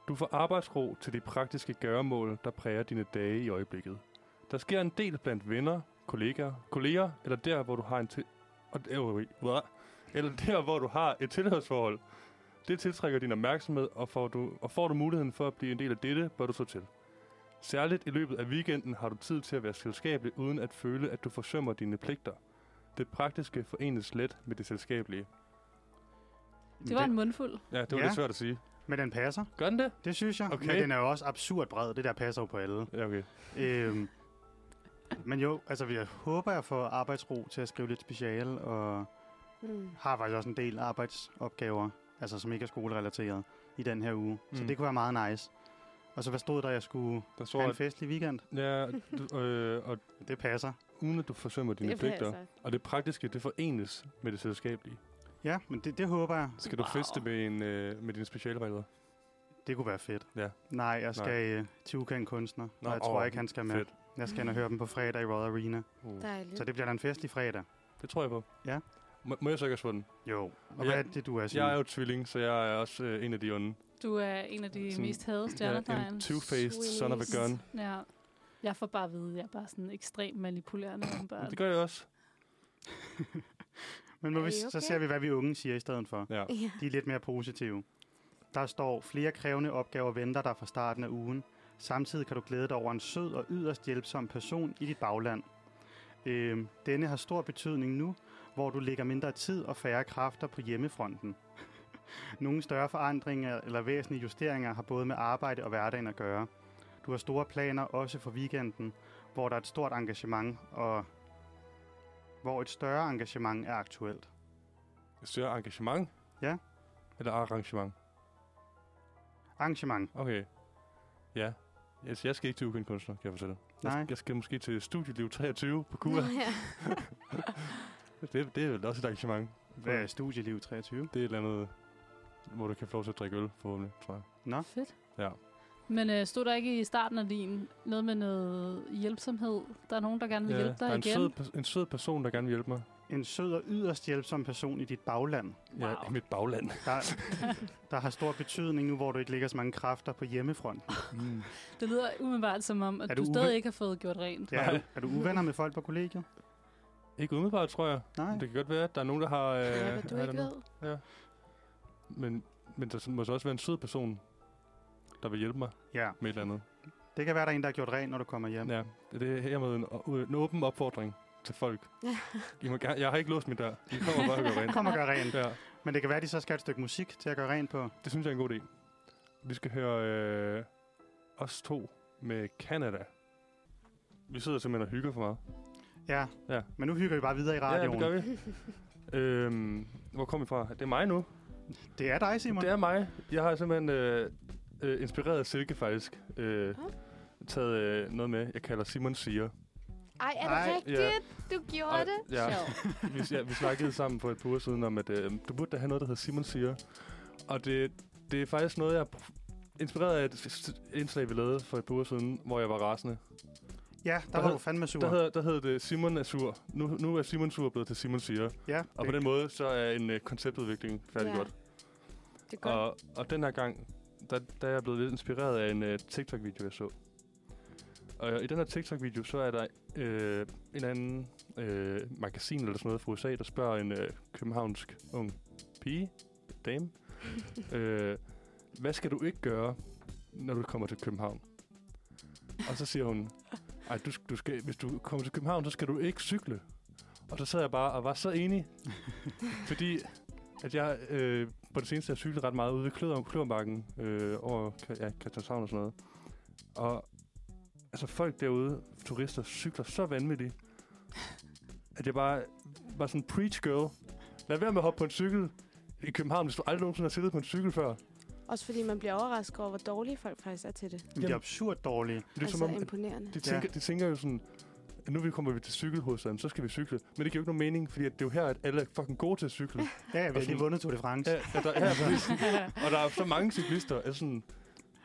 B: Du får arbejdsro til de praktiske gøremål, der præger dine dage i øjeblikket. Der sker en del blandt venner, kollegaer, kolleger, eller der, hvor du har en til... og- øh, øh, hva? Eller der, hvor du har et tilhørsforhold. Det tiltrækker din opmærksomhed, og får, du, og får du muligheden for at blive en del af dette, bør du så til. Særligt i løbet af weekenden har du tid til at være selskabelig, uden at føle, at du forsømmer dine pligter. Det praktiske forenes let med det selskabelige.
E: Det var
C: Den-
E: en mundfuld.
B: Ja, det var ja.
C: Ja.
B: lidt svært at sige.
C: Men den passer,
B: Gør den det?
C: det synes jeg.
B: Okay.
C: Okay. Men den er jo også absurd bred, det der passer jo på alle.
B: Ja, okay.
C: øhm, men jo, altså jeg håber, jeg får arbejdsro til at skrive lidt speciale, og
D: Mm.
C: har faktisk også en del arbejdsopgaver, altså som ikke er skolerelateret i den her uge. Mm. Så
B: Mm.
C: det kunne være meget nice. Og så hvad stod der, jeg skulle
B: Der står,
C: have en
B: at,
C: festlig weekend?
B: ja, du, øh, og
C: Det passer.
B: uden at du forsømmer dine
D: Det altså
B: pligter,
D: passer.
B: og det praktiske, det forenes med det selskabelige.
C: Ja, men det, det håber jeg.
B: Skal du
E: Wow.
B: feste med, en, øh, med dine specialregler?
C: Det kunne være fedt.
B: Ja.
C: Nej, jeg skal øh, til ukendt kunstner,
B: Nå,
C: og jeg tror
B: åh,
C: ikke, han skal med. Fedt.
B: Fedt.
C: Jeg skal ind og høre dem på fredag i Royal Arena.
B: Uh.
D: Dejligt.
C: Så det bliver da en festlig fredag.
B: Det tror jeg på.
C: Ja.
B: Må, må jeg så ikke også få den?
C: Jo. Og
B: Ja.
C: ja. hvad er det, du er, Simon?
B: Jeg er jo tvilling, så jeg er også øh, en af de onde.
E: Du er en af de
B: Sådan-
E: mest hadede
B: Jeg er
E: stjernetegn.
B: en two-faced son of a gun.
E: Ja. Jeg får bare at vide, at jeg er bare sådan ekstremt manipulerende.
B: Men
E: åbenbart.
B: det gør jeg også.
C: Men må
D: Er
C: vi,
D: I
C: så
D: okay?
C: ser vi, hvad vi unge siger i stedet for.
B: Ja.
D: Ja.
C: De er lidt mere positive. Der står, flere krævende opgaver venter dig fra starten af ugen. Samtidig kan du glæde dig over en sød og yderst hjælpsom person i dit bagland. Øhm, denne har stor betydning nu, hvor du lægger mindre tid og færre kræfter på hjemmefronten. Nogle større forandringer eller væsentlige justeringer har både med arbejde og hverdagen at gøre. Du har store planer også for weekenden, hvor der er et stort engagement, og hvor et større engagement er aktuelt.
B: Et større engagement?
C: Ja.
B: Eller arrangement?
C: Engagement.
B: Okay. Ja. Yes, jeg skal ikke til Ukendt Kunstner, kan jeg fortælle.
C: Nej.
B: Jeg, jeg skal måske til Studieliv 23 på Kura.
D: Nå, ja.
B: Det, det er vel også et arrangement.
C: Hvad er studieliv 23?
B: Det er et eller andet, hvor du kan få lov til at drikke øl, forhåbentlig, tror jeg.
C: Nå,
E: Fedt.
B: Ja.
E: Men øh, stod der ikke i starten af din noget med noget hjælpsomhed? Der er nogen, der gerne vil hjælpe
B: der er
E: dig
B: en
E: igen.
B: sød, pers- en sød person, der gerne vil hjælpe mig.
C: en sød og yderst hjælpsom person i dit bagland,
B: Wow. Ja, i mit bagland.
C: der, der har stor betydning nu, hvor du ikke lægger så mange kræfter på hjemmefronten.
B: Mm.
E: Det lyder umiddelbart som om, at
C: Er
E: du,
C: du
E: stadig
C: uven-
E: ikke har fået gjort rent.
C: Ja, er, du, er du uvenner med folk på kollegiet?
B: Ikke umiddelbart, tror jeg.
C: Nej.
B: Men Det kan godt være, at der er nogen, der har... Øh,
D: ja, hvad du
B: har
D: ikke
B: noget.
D: ved.
B: Men, men der så- må så også være en sød person, der vil hjælpe mig
C: Ja,
B: med et eller andet.
C: Det kan være, der er en, der har gjort rent, når du kommer hjem. Ja.
B: Ja, det er hermed en, o- en åben opfordring til folk. I må gerne, jeg har ikke låst min dør. I kommer bare og gør rent.
C: Kom og gør rent.
B: Ja,
C: Men det kan være, at de så skal have et stykke musik til at gøre rent på.
B: det synes jeg er en god idé. Vi skal høre øh, os to med Canada. Vi sidder simpelthen og hygger for meget.
C: Ja.
B: Ja.
C: Men nu hygger vi bare videre i
B: Ja, det
C: radioen.
B: gør vi. øhm, hvor kom vi fra? Det er mig nu.
C: det er dig, Simon.
B: Det er mig. Jeg har simpelthen øh, øh, inspireret af Silke faktisk. Øh,
D: Ah.
B: taget øh, noget med, jeg kalder Simon Siger.
D: Ej, er det
C: Ej, ja.
D: rigtigt? Du gjorde
B: Ej,
D: det?
B: ja.
D: Sjovt.
B: vi, ja, vi snakkede sammen for et par uger siden om, at øh, du burde da have noget, der hedder Simon Siger. Og det, det er faktisk noget, jeg er pr- inspireret af et s- indslag, vi lavede for et par uger siden, hvor jeg var rasende.
C: Ja, der
B: Der
C: var
B: hed-
C: du fandme sur.
B: Der hed, der hed det Simon er sur. Nu, nu er Simon sur blevet til Simon Siger.
C: ja,
B: Og
C: det-
B: på den måde, så er en øh, konceptudvikling færdiggjort.
D: Det er godt.
B: Og, og den her gang, der, der er jeg blevet lidt inspireret af en uh, TikTok-video, jeg så. Og øh, i den her TikTok-video, så er der øh, en anden øh, magasin eller sådan noget fra USA, der spørger en øh, københavnsk ung pige, dame, øh, hvad skal du ikke gøre, når du kommer til København? Og så siger hun, Ej, du, sk- du skal, hvis du kommer til København, så skal du ikke cykle. Og så sad jeg bare og var så enig, fordi at jeg øh, på det seneste har cyklet ret meget ude ved Kløder, Kløderbakken, øh, over Ka- ja, Christianshavn og sådan noget. Og altså folk derude, turister, cykler så vanvittigt, at jeg bare var sådan preach girl. Lad være med at hoppe på en cykel i København, hvis du aldrig nogensinde har siddet på en cykel før. Det
D: Også fordi man bliver overrasket over, hvor dårlige folk faktisk er til det.
C: Men de er absurd dårlige.
B: er altså, som om, at
D: imponerende.
B: de tænker,
C: Ja.
B: de tænker jo sådan, at nu vi kommer vi til cykelhovedstaden, så skal vi cykle. Men det giver jo ikke nogen mening, fordi at det er jo her, at alle er fucking gode til at cykle.
C: Ja, ja, vi har lige
B: sådan-
C: vundet Tour de France.
B: Ja, ja, der, ja, præcis. og der er så mange cyklister. Altså sådan,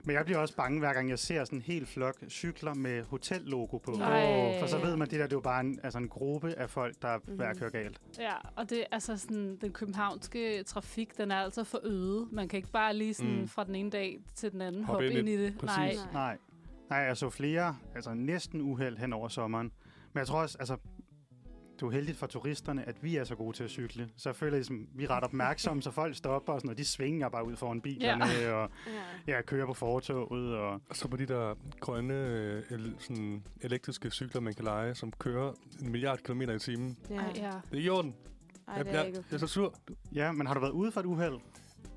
C: Men jeg bliver også bange, hver gang jeg ser sådan en hel flok cykler med hotellogo på.
E: Nej. Ej.
C: For så ved man, det der det er jo bare en, altså en gruppe af folk, der mm.
D: Mhm.
C: hver kører galt.
E: Ja, og det er altså sådan, den københavnske trafik, den er altså for øde. Man kan ikke bare lige sådan
B: Mm.
E: mm. fra den ene dag til den anden
B: Hoppe
E: hoppe,
B: ind
E: ind,
B: i-
E: i det.
B: præcis.
E: Nej,
D: Nej.
C: Nej. Nej, jeg så flere, altså næsten uheld hen over sommeren. Men jeg tror også, altså, du er heldigt for turisterne, at vi er så gode til at cykle. Så jeg føler, ligesom, vi er ret opmærksomme, så folk stopper og sådan noget. De svinger bare ud foran bilerne ja. og
D: Ja.
C: ja, kører på fortoget. Og,
B: Og så på de der grønne øh, el- sådan elektriske cykler, man kan lege, som kører en milliard kilometer i timen.
D: Ja.
E: Ej, ja.
B: Det er i orden.
D: Ej,
B: jeg,
D: det er
B: jeg,
D: ikke
B: jeg er så sur.
C: ja, men har du været ude for et uheld?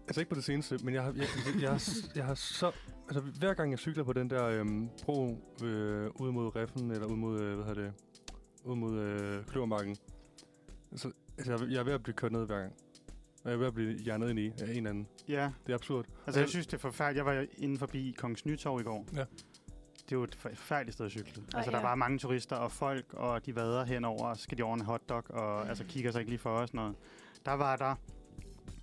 B: Altså ikke på det seneste, men jeg har, jeg, jeg, jeg, har, s- jeg har så... Altså hver gang jeg cykler på den der øhm, bro øh, ud mod Reffen, eller ud mod, øh, hvad hedder det, ud mod øh, Kløvermarken, så altså, jeg, er- jeg er ved at blive kørt ned hver gang. Og jeg er ved at blive hjernet ind i af en eller anden.
C: Ja,
B: Det er absurd.
C: altså jeg synes, det er forfærdeligt. Jeg var inde forbi Kongens Nytorv i går.
B: Ja.
C: Det er jo et forfærdeligt sted at cykle.
E: Åh,
C: altså, der
E: ja.
C: var mange turister og folk, og de vader henover, og så skal de ordne hotdog,
E: Mm.
C: og altså kigger sig ikke lige for os noget. Der var der...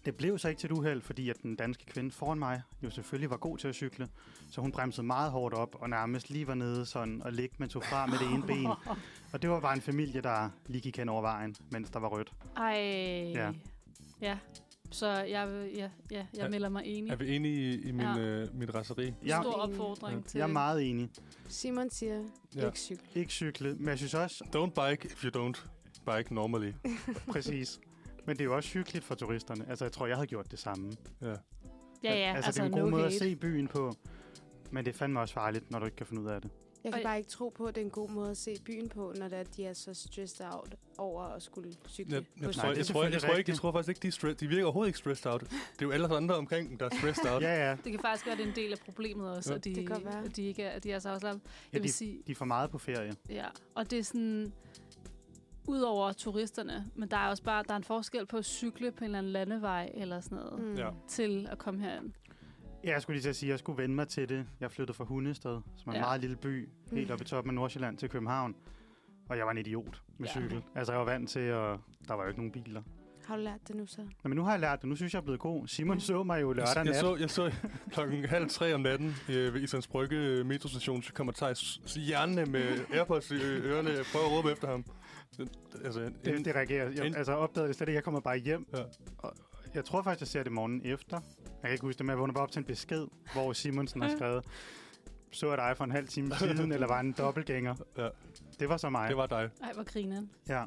C: Det blev så ikke til et uheld, fordi at den danske kvinde foran mig jo selvfølgelig var god til at cykle, så hun bremsede meget hårdt op og nærmest lige var nede sådan og ligge med tog fra med det ene ben. Og det var bare en familie, der lige gik hen over vejen, mens der var rødt.
E: Ej.
C: Ja.
E: Ja. ja. Så jeg, vil- ja, ja, jeg
B: Er-
E: melder mig enig.
B: Er vi enige i, i min,
E: Ja.
B: øh, mit raseri?
C: Jeg,
E: Stor
D: Enig.
E: opfordring
B: Ja.
E: til...
C: jeg er meget enig.
D: Simon siger,
B: Ja.
D: ja. ikke cykel.
C: Ikke cykle, men jeg synes også,
B: Don't bike if you don't bike normally.
C: Præcis. Men det er jo også hyggeligt for turisterne. Altså, jeg tror, jeg havde gjort det samme.
B: Ja.
E: Ja, ja,
C: altså,
E: altså,
C: det er en god
E: no
C: måde
E: hate.
C: at se byen på. Men det er fandme også farligt, når du ikke kan finde ud af det.
D: Jeg kan
E: Og-
D: bare ikke tro på, at det er en god måde at se byen på, når det er, at de er så stressed out over at skulle cykle.
B: Jeg,
D: på
B: jeg, tror,
C: Nej,
B: jeg,
C: det er
B: jeg, tror, jeg, jeg,
C: selvfølgelig
B: tror ikke, jeg
C: rigtigt.
B: tror faktisk ikke, de, er stress, de virker overhovedet ikke stressed out. Det er jo alle os andre omkring dem, der er stressed out.
C: Ja, ja.
E: Det kan faktisk være, det er en del af problemet også,
B: Ja.
E: at, de,
D: Det kan godt være.
E: at de ikke er, at de er så afslappet. Jeg
C: ja
E: vil
C: de,
E: sige,
C: de er for meget på ferie.
E: ja. Og det er sådan, udover turisterne, men der er også bare, der er en forskel på at cykle på en eller anden landevej eller sådan noget, mm.
B: Ja.
E: til at komme herind.
C: Ja, jeg skulle lige til at sige, at jeg skulle vende mig til det. Jeg flyttede fra Hundested, som er en
E: Ja. Mm.
C: meget lille by, helt oppe i toppen af Nordsjælland til København. Og jeg var en idiot med
E: Ja.
C: cykel. Altså, jeg var vant til, at der var jo ikke nogen biler.
D: Har du lært det nu så?
C: Nå, men nu har jeg lært det. Nu synes jeg, jeg er blevet god. Simon så mig jo
B: Jeg,
C: lørdag nat.
B: jeg, så, jeg så klokken halv tre om natten øh, ved Islands Brygge øh, metrostation, så kommer Thijs hjernene med Airpods i ø- ørerne og prøver at råbe efter ham. Det- Altså,
C: Det, det reagerer.
B: en-
C: Jeg, altså, jeg opdagede det slet ikke. Jeg kommer bare hjem.
B: Ja.
C: Ja. Og jeg tror faktisk, jeg ser det morgenen efter. Jeg kan ikke huske det, men jeg vågner bare op til en besked, hvor Simonsen har skrevet, så jeg dig for en halv time siden, eller var en dobbeltgænger.
B: Ja.
C: Det var så mig.
B: det var dig,
E: Ej, hvor grineren.
C: Ja.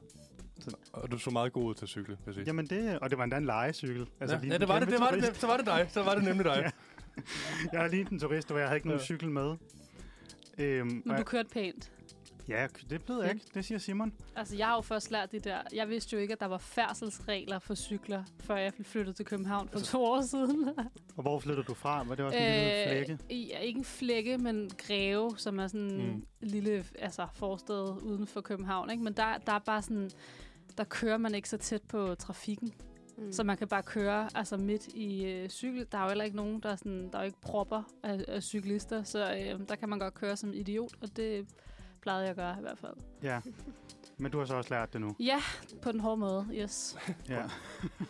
B: og du så meget god ud til at cykle, vil jeg sige.
C: Jamen det, og det var endda en legecykel. Altså,
B: ja,
C: lige
B: ja,
C: en
B: det var det,
C: kæmpe
B: det var det,
C: turist.
B: det, så var det dig, så var det nemlig dig.
C: Ja. Jeg er lige en turist, hvor jeg havde ikke nogen
B: Ja.
C: cykel med. Øhm,
E: Men
C: og
E: du
C: jeg,
E: kørte pænt.
C: ja, det ved jeg ikke. Det siger Simon.
E: Altså, jeg har jo først lært det der. Jeg vidste jo ikke, at der var færdselsregler for cykler, før jeg flyttede til København for to år siden.
C: Og hvor flytter du fra? Var det også Altså, en lille
E: Øh.
C: flække?
E: i- ja, ikke en flække, men Greve, som er sådan
B: Mm.
E: mm. lille altså, forsted uden for København. Ikke? Men der, der er bare sådan, der kører man ikke så tæt på trafikken.
D: Mm.
E: Så man kan bare køre altså midt i øh, cykel. Der er jo heller ikke nogen, der er, sådan, der er jo ikke propper af, af cyklister, så øh, der kan man godt køre som idiot, og det plejede jeg at gøre i hvert fald.
C: Ja. Men du har så også lært det nu.
E: Ja, på den hårde måde, yes.
C: Ja.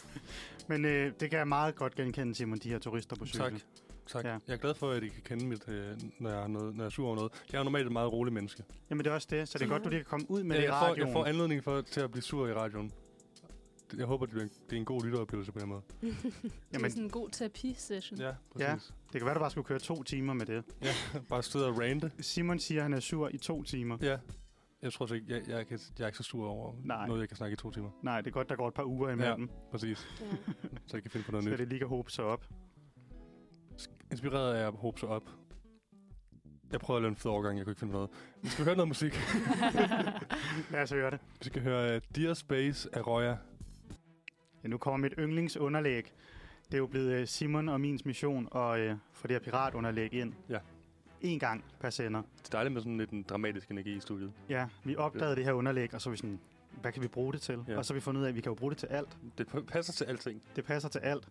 C: Men øh, det kan jeg meget godt genkende, Simon, de her turister på cykel.
B: Tak. Tak.
C: Ja.
B: Ja. Jeg er glad for, at I kan kende mit, øh, når, jeg er noget, når jeg er sur over noget. Jeg er jo normalt et meget roligt menneske.
C: Jamen det er også det, så det er godt, du lige kan komme ud med det i
B: jeg, får,
C: radioen.
B: jeg får anledning for, til at blive sur i radioen. Jeg håber, det bliver en- det er en god lytteoplevelse på den måde.
E: Jamen. Det er
C: Jamen,
E: sådan en god terapi-session.
B: Ja,
C: Ja.
B: præcis.
C: det kan være, du bare skulle køre to timer med det.
B: Ja. Bare sidde og rante.
C: Simon siger, at han er sur i to timer.
B: Ja. Jeg tror så ikke, jeg, jeg, kan, jeg er ikke så sur over
C: Nej.
B: Nej. noget, jeg kan snakke i to timer.
C: Nej, det er godt, der går et par uger imellem, ja.
B: Præcis.
D: Ja.
B: Så jeg kan finde på noget
C: så
B: nyt.
C: det lige kan hobe sig op.
B: Inspireret af at håbe sig op. Jeg prøvede at lave en fed overgang, jeg kunne ikke finde på noget. Vi skal høre noget musik.
C: Lad os høre det.
B: Vi skal høre øh, Dear Space af Roya.
C: Ja, nu kommer mit yndlingsunderlæg. Det er jo blevet øh, Simon og mins mission at øh, få det her piratunderlæg ind.
B: Ja.
C: En gang per sender.
B: Det er dejligt med sådan lidt en dramatisk energi i studiet.
C: Ja, vi opdagede det her underlæg, og så er vi sådan, hvad kan vi bruge det til? Ja.
B: Ja.
C: Og så har vi fundet ud af, at vi kan jo bruge det til alt.
B: Det p- passer til alting.
C: Det passer til alt.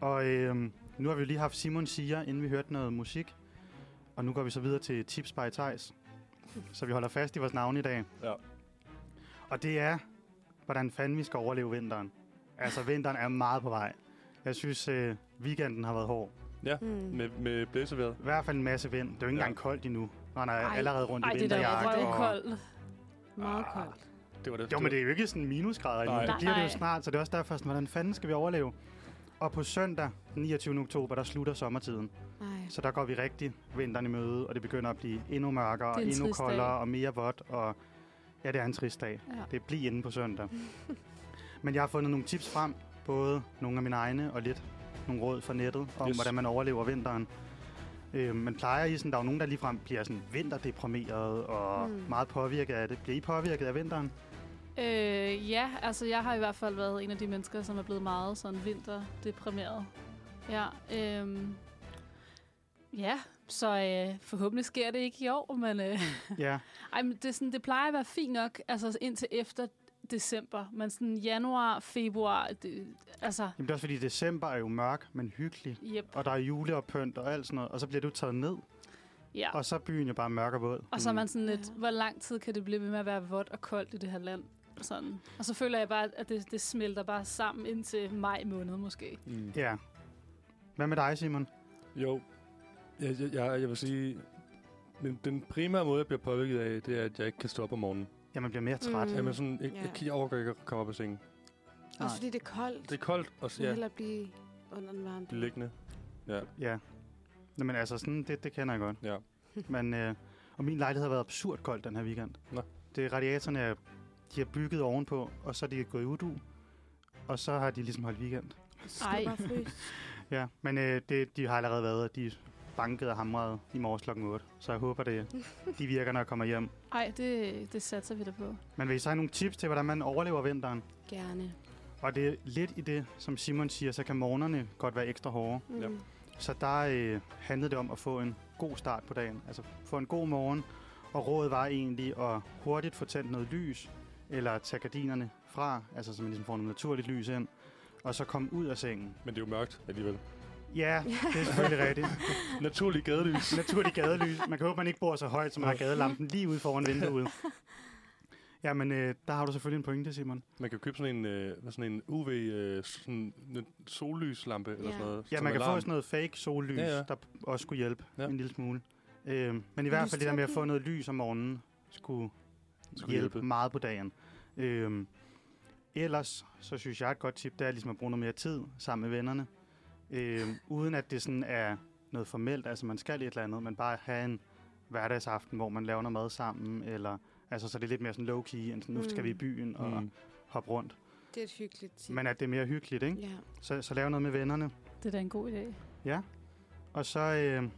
C: Og øhm, nu har vi jo lige haft Simon Siger, inden vi hørte noget musik. Og nu går vi så videre til Tips by Thijs. Så vi holder fast i vores navn i dag.
B: Ja.
C: Og det er, hvordan fanden vi skal overleve vinteren. Altså, vinteren er meget på vej. Jeg synes, øh, weekenden har været hård.
D: Mm.
B: Med, med blæseværet.
C: I hvert fald en masse vind. Det er jo ikke
B: Ja.
C: engang koldt endnu. Og han er
E: Ej,
C: allerede rundt
E: Ej,
C: i
E: det der
C: vinterjagt.
E: var
C: og-
E: røvkoldt.
D: Meget
C: Ah.
D: koldt.
B: Det var det.
C: Jo, men det er jo ikke sådan minusgrader endnu.
B: Nej.
C: Det bliver det jo
E: Nej.
C: snart, så det er også derfor, sådan, hvordan fanden skal vi overleve? Og på søndag, den 29. oktober, der slutter sommertiden.
D: Nej.
C: Så der går vi rigtig vinteren i møde, og det begynder at blive endnu mørkere,
E: Det er en
C: endnu
E: trist dag.
C: koldere og mere vådt. Og ja, det er en trist dag.
E: Ja.
C: Det bliver inde på søndag. Men jeg har fundet nogle tips frem, både nogle af mine egne og lidt nogle råd fra nettet om, yes.
B: Yes.
C: hvordan man overlever vinteren. Øh, men plejer I sådan, der er jo nogen, der ligefrem bliver sådan vinterdeprimeret og
E: Hmm.
C: mm.
D: Mm.
C: meget påvirket af det. Bliver I påvirket af vinteren?
E: Øh, ja, altså jeg har i hvert fald været en af de mennesker, som er blevet meget sådan vinterdeprimeret. Ja, øhm, ja så øh, forhåbentlig sker det ikke i år, men, øh,
C: ja,
E: ej, men det, er sådan, det plejer at være fint nok, altså indtil efter december, men sådan januar, februar, det, altså,
C: Jamen, det er også fordi, december er jo mørk, men hyggelig.
E: yep,
C: Og der er juleoppynt og alt sådan noget, og så bliver du taget ned,
E: ja.
C: og så er byen jo bare mørk og våd.
E: Og så er man sådan lidt,
D: Ja.
E: hvor lang tid kan det blive ved med at være vådt og koldt i det her land? Sådan. Og så føler jeg bare, at det, det smelter bare sammen indtil maj måned måske.
B: Mm.
C: Ja. Hvad med dig, Simon?
B: Jo. Jeg, jeg, jeg, jeg vil sige, den, den primære måde, jeg bliver påvirket af, det er, at jeg ikke kan stå op om morgenen. Mm.
C: Ja, man bliver mere træt.
D: Mm.
B: Jamen sådan, jeg,
D: Ja.
B: jeg, jeg overgår ikke at komme op af sengen.
D: Også
C: Nej.
D: fordi det er koldt.
B: Det er koldt, og så
D: Jeg vil
B: ja,
D: hellere blive under den varme.
B: blive liggende.
C: Ja. Nå, men altså, sådan, det, det kender jeg godt.
B: Ja.
C: Men, øh, og min lejlighed har været absurd kold den her weekend.
B: Nå.
C: Det er radiatorerne, er- de har bygget ovenpå, og så er de gået i udu, og så har de ligesom holdt weekend.
E: Ej.
D: Ej. Bare fryse.
C: Ja, men øh, det, de har allerede været, de er banket og hamret i morges klokken 8, så jeg håber, det, de virker, når jeg kommer hjem.
E: Ej, det, det satser vi da på.
C: Men vil I så have nogle tips til, hvordan man overlever vinteren?
D: Gerne.
C: Og det er lidt i det, som Simon siger, så kan morgenerne godt være ekstra hårde.
D: Mm.
B: Ja.
C: Så der øh, handlede det om at få en god start på dagen, altså få en god morgen. Og rådet var egentlig at hurtigt få tændt noget lys, eller tage gardinerne fra, altså så man ligesom får noget naturligt lys ind, og så komme ud af sengen.
B: Men det er jo mørkt alligevel.
C: Ja, det er selvfølgelig rigtigt.
B: Naturlig gadelys.
C: Naturligt gadelys. Man kan håbe, man ikke bor så højt, som man har gadelampen lige ude foran vinduet. Jamen, øh, der har du selvfølgelig en pointe, Simon.
B: Man kan købe sådan en, øh, hvad sådan en UV øh, sådan en sollyslampe eller
D: Ja.
B: sådan noget.
C: Ja,
B: som
C: man kan få
B: alarm.
C: sådan noget fake sollys,
B: Ja, ja.
C: der også skulle hjælpe
B: Ja.
C: en lille smule. Øh, men i hvert fald det der med at få noget lys om morgenen, skulle, skulle
B: Skulle
C: hjælpe, hjælpe
B: hjælpe.
C: meget på dagen. Øh, ellers, så synes jeg et godt tip, det er ligesom at bruge noget mere tid sammen med vennerne. Øh, uden at det sådan er noget formelt, altså man skal et eller andet, men bare have en hverdagsaften, hvor man laver noget mad sammen, eller altså så det er lidt mere sådan low-key, end sådan, nu skal vi i
D: Mm.
C: byen og
B: Mm.
C: hoppe rundt.
D: Det er et hyggeligt tip.
C: Men at det er mere hyggeligt, ikke?
D: Ja.
C: Så, så lave noget med vennerne.
E: Det er da en god idé.
C: Og så øh,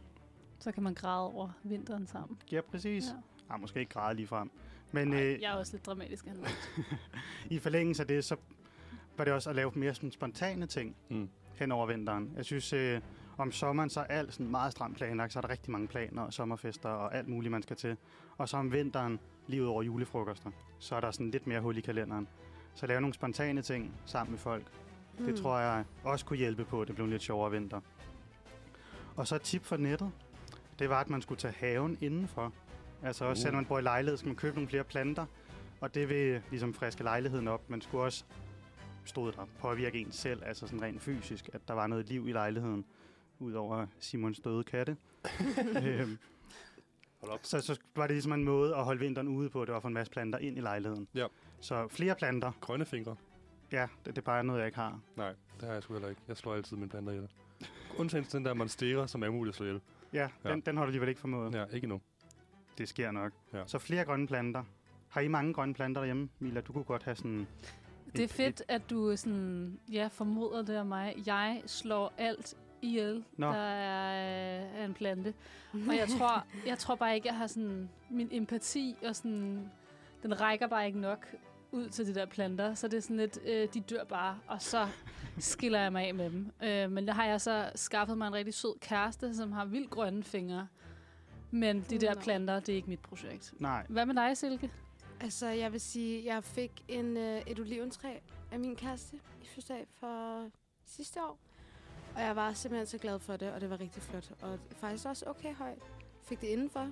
E: Så kan man græde over vinteren sammen.
C: Ja, præcis.
E: Ja.
C: Ja. Ej, måske ikke græde lige frem. Men
E: Ej,
C: øh,
E: jeg er også lidt dramatisk. Han.
C: i forlængelse af det, så var det også at lave mere sådan spontane ting
B: Mm.
C: hen over vinteren. Jeg synes, øh, om sommeren så er alt sådan meget stramt planlagt, så er der rigtig mange planer og sommerfester og alt muligt, man skal til. Og så om vinteren, lige ud over julefrokoster, så er der sådan lidt mere hul i kalenderen. Så lave nogle spontane ting sammen med folk. Mm. Det tror jeg også kunne hjælpe på, at det blev en lidt sjovere vinter. Og så et tip for nettet, det var, at man skulle tage haven indenfor. Altså også
B: Uh.
C: uh. selvom man bor i lejlighed, skal man købe nogle flere planter, og det vil ligesom friske lejligheden op. Man skulle også, stod der, påvirke en selv, altså sådan rent fysisk, at der var noget liv i lejligheden, udover Simons døde katte. øhm,
B: Hold op.
C: så, så var det ligesom en måde at holde vinteren ude på, det var at få en masse planter ind i lejligheden.
B: Ja.
C: Så flere planter,
B: Grønne fingre.
C: ja, det, det er bare noget, jeg ikke har.
B: Nej, det har jeg sgu heller ikke. Jeg slår altid mine planter ihjel. Undtagen til den der monstera, som er umulig at slå ihjel.
C: Ja,
B: Ja.
C: ja. Den, den har du alligevel ikke formået.
B: Ja, ikke endnu.
C: Det sker nok.
B: Ja.
C: Ja. Så flere grønne planter. Har I mange grønne planter derhjemme, Mila? Du kunne godt have sådan...
E: Det er fedt, at du sådan, ja, formoder det af mig. Jeg slår alt ihjel,
C: Nå.
E: der er, øh, er en plante. Og jeg tror, jeg tror bare ikke, jeg har sådan, min empati og sådan, den rækker bare ikke nok ud til de der planter. Så det er sådan lidt, øh, de dør bare, og så skiller jeg mig af med dem. Øh, men der har jeg så skaffet mig en rigtig sød kæreste, som har vildt grønne fingre. Men de der
D: Nå.
E: planter, det er ikke mit projekt.
C: Nej,
E: Hvad med dig, Silke?
D: Altså, jeg vil sige, jeg fik en, øh, et oliventræ af min kæreste i fødselsdag for sidste år. Og jeg var simpelthen så glad for det, og det var rigtig flot. Og faktisk også okay højt. Fik det indenfor.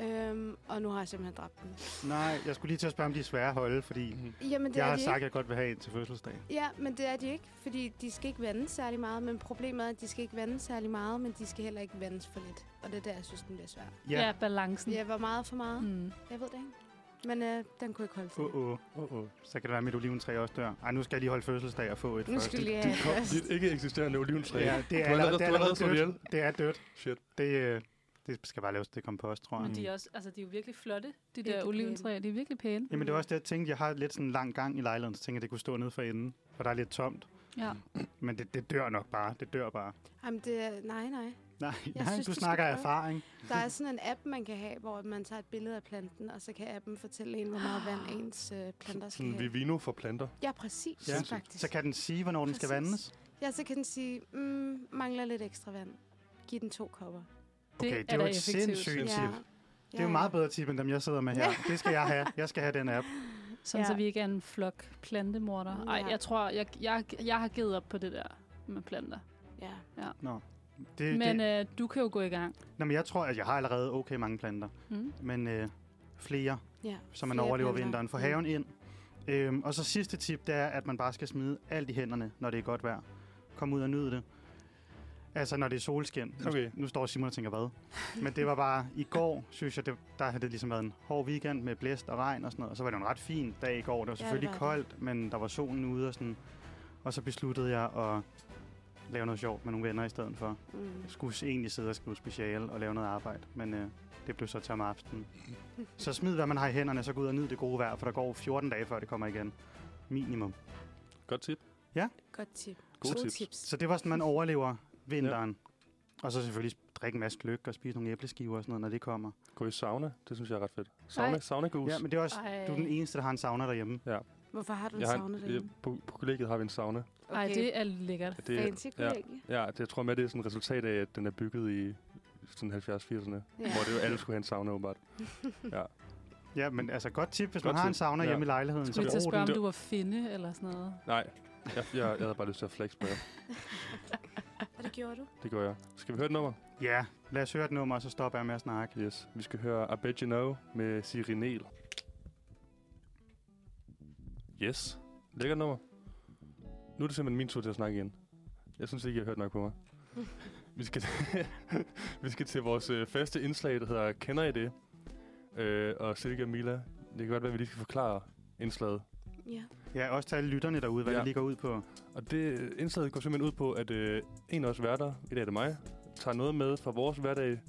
D: Øhm, og nu har jeg simpelthen dræbt den.
C: nej. Jeg skulle lige til at spørge, om de er svære at holde, fordi
D: Jamen, det
C: jeg
D: er
C: har
D: de
C: sagt, at
D: ikke.
C: jeg godt vil have en til fødselsdag.
D: Ja, men det er de ikke, fordi de skal ikke vande særlig meget. Men problemet er, at de skal ikke vande særlig meget, men de skal heller ikke vandes for lidt. Og det er der, jeg synes, den bliver svær.
C: Ja.
E: ja balancen.
D: Jeg var meget for meget.
E: Mm.
D: Jeg ved det ikke. Men øh, den kunne ikke holde til.
C: Åh, åh.
B: Åh, åh.
C: Så kan det være, at mit oliventræ også dør. Ej, nu skal jeg lige holde fødselsdag og få et
D: Nu
C: først.
D: skal vi lige
B: Du
D: have
B: kom
D: først.
B: dit ikke eksisterende oliventræ.
C: Ja, det er
B: du har allerede, du
C: allerede, det er
B: har allerede slået
C: allerede
B: ihjel.
C: dødt. Det er dødt.
B: Shit.
C: Det, øh, det skal bare laves til kompost, tror jeg.
E: Men de er, også, altså, de er jo virkelig flotte, de
D: Virkelig
E: der
D: pæne.
E: oliventræer. De er virkelig pæne.
C: Jamen, det var også det, jeg tænkte. Jeg har lidt sådan en lang gang i lejligheden, så tænkte jeg, at det kunne stå nede for enden. For der er lidt tomt.
E: Ja.
C: Men det, det dør nok bare. Det dør bare.
D: Jamen, det er, nej, nej.
C: Nej,
D: Jeg
C: nej
D: synes,
C: du
D: du skal
C: snakker af
D: prøve.
C: erfaring.
D: Der er sådan en app, man kan have, hvor man tager et billede af planten, og så kan appen fortælle en, hvor meget
C: Ah.
D: vand ens øh, planter skal
B: Sådan
D: have.
B: Vivino for planter.
D: Ja, præcis,
C: Ja.
D: ja. faktisk.
C: Så kan den sige, hvornår den skal
D: Præcis.
C: vandes.
D: Ja, så kan den sige, mm, mangler lidt ekstra vand. Giv den to kopper.
C: Okay, det er
E: er
C: jo
E: da
C: et
E: effektivt.
C: sindssygt
D: Ja.
C: tip. Det er jo
D: Ja,
C: meget
D: ja.
C: bedre tip, end dem, jeg sidder med her. Det skal jeg have. Jeg skal have den app.
E: Sådan, så
D: Ja.
E: vi ikke er en flok plantemorder. Ej,
D: Ja.
E: jeg tror, jeg, jeg, jeg har givet op på det der med planter.
D: Ja.
C: Det, men,
E: Men
C: det.
E: øh, du kan jo gå i gang.
C: Nå, men jeg tror, at jeg har allerede okay mange planter.
E: Mm.
C: Men øh, flere,
D: ja.
C: så man
D: Flere
C: overlever
D: planter.
C: vinteren. Få
D: Mm.
C: haven ind. Øhm, og så sidste tip, det er, at man bare skal smide alt i hænderne, når det er godt vejr. Kom ud og nyd det. Altså, når det er solskin. Nu,
B: Okay.
C: nu står Simon og tænker, hvad? Men det var bare, i går, synes jeg, det, der havde det ligesom været en hård weekend med blæst og regn og sådan noget. Og så var det jo en ret fin dag i går. Det var
D: det
C: selvfølgelig
D: var det.
C: koldt, men der var solen ude og sådan. Og så besluttede jeg at lave noget sjovt med nogle venner i stedet for.
D: Mm.
C: Jeg skulle egentlig sidde og skrive speciale og lave noget arbejde, men øh, det blev så til om aftenen. Så smid, hvad man har i hænderne, så gå ud og nyd det gode vejr, for der går 14 dage, før det kommer igen. Minimum.
B: Godt tip.
D: Godt tip.
B: God tips.
C: Så det var sådan, man overlever vinteren. Ja. Og så selvfølgelig drikke en masse gløk og spise nogle æbleskiver og sådan noget, når det kommer.
B: Gå i sauna. Det synes jeg er ret fedt. Sauna,
E: Ej.
B: sauna goose.
C: Ja, men det er også,
E: Ej.
C: du er den eneste, der har en sauna derhjemme.
D: Hvorfor har du en
B: jeg har en,
D: sauna
B: jeg,
D: derhjemme?
B: på, på kollegiet har vi en sauna.
D: Okay.
E: Ej, det er lækkert.
B: Det,
D: fancy
B: ja,
D: kollegie.
B: ja, det, jeg tror med, det er sådan et resultat af, at den er bygget i sådan 70-80'erne. Ja.
D: Ja.
B: Hvor det jo alle skulle have en sauna, åbenbart.
C: Ja, men altså godt tip, hvis
B: Godt
C: man har en
B: tip.
C: sauna
B: Ja.
C: hjemme i lejligheden.
E: Skulle jeg til at
C: brug
E: spørge, om
C: den.
E: du var finde eller sådan noget?
B: Nej, jeg, jeg, jeg havde bare lyst til at flex på jer.
D: Og det gjorde du?
B: Det gør jeg. Skal vi høre et nummer?
C: Ja, lad os høre et nummer, og så stopper jeg med at snakke.
B: Yes. Vi skal høre I Bet You Know med Sirinel. Yes. Lækkert nummer. Nu er det simpelthen min tur til at snakke igen. Jeg synes ikke, jeg har hørt nok på mig. vi, skal vi skal til vores øh, faste indslag, der hedder Kender I det? Øh, og Silke og Mila, det kan godt være, at vi lige skal forklare indslaget.
D: Ja.
C: Ja, også til alle lytterne derude, hvad
B: Ja.
C: ja. det lige går ud på.
B: Og det indslaget går simpelthen ud på, at øh, en af os værter, i dag er det mig, tager noget med fra vores hverdag,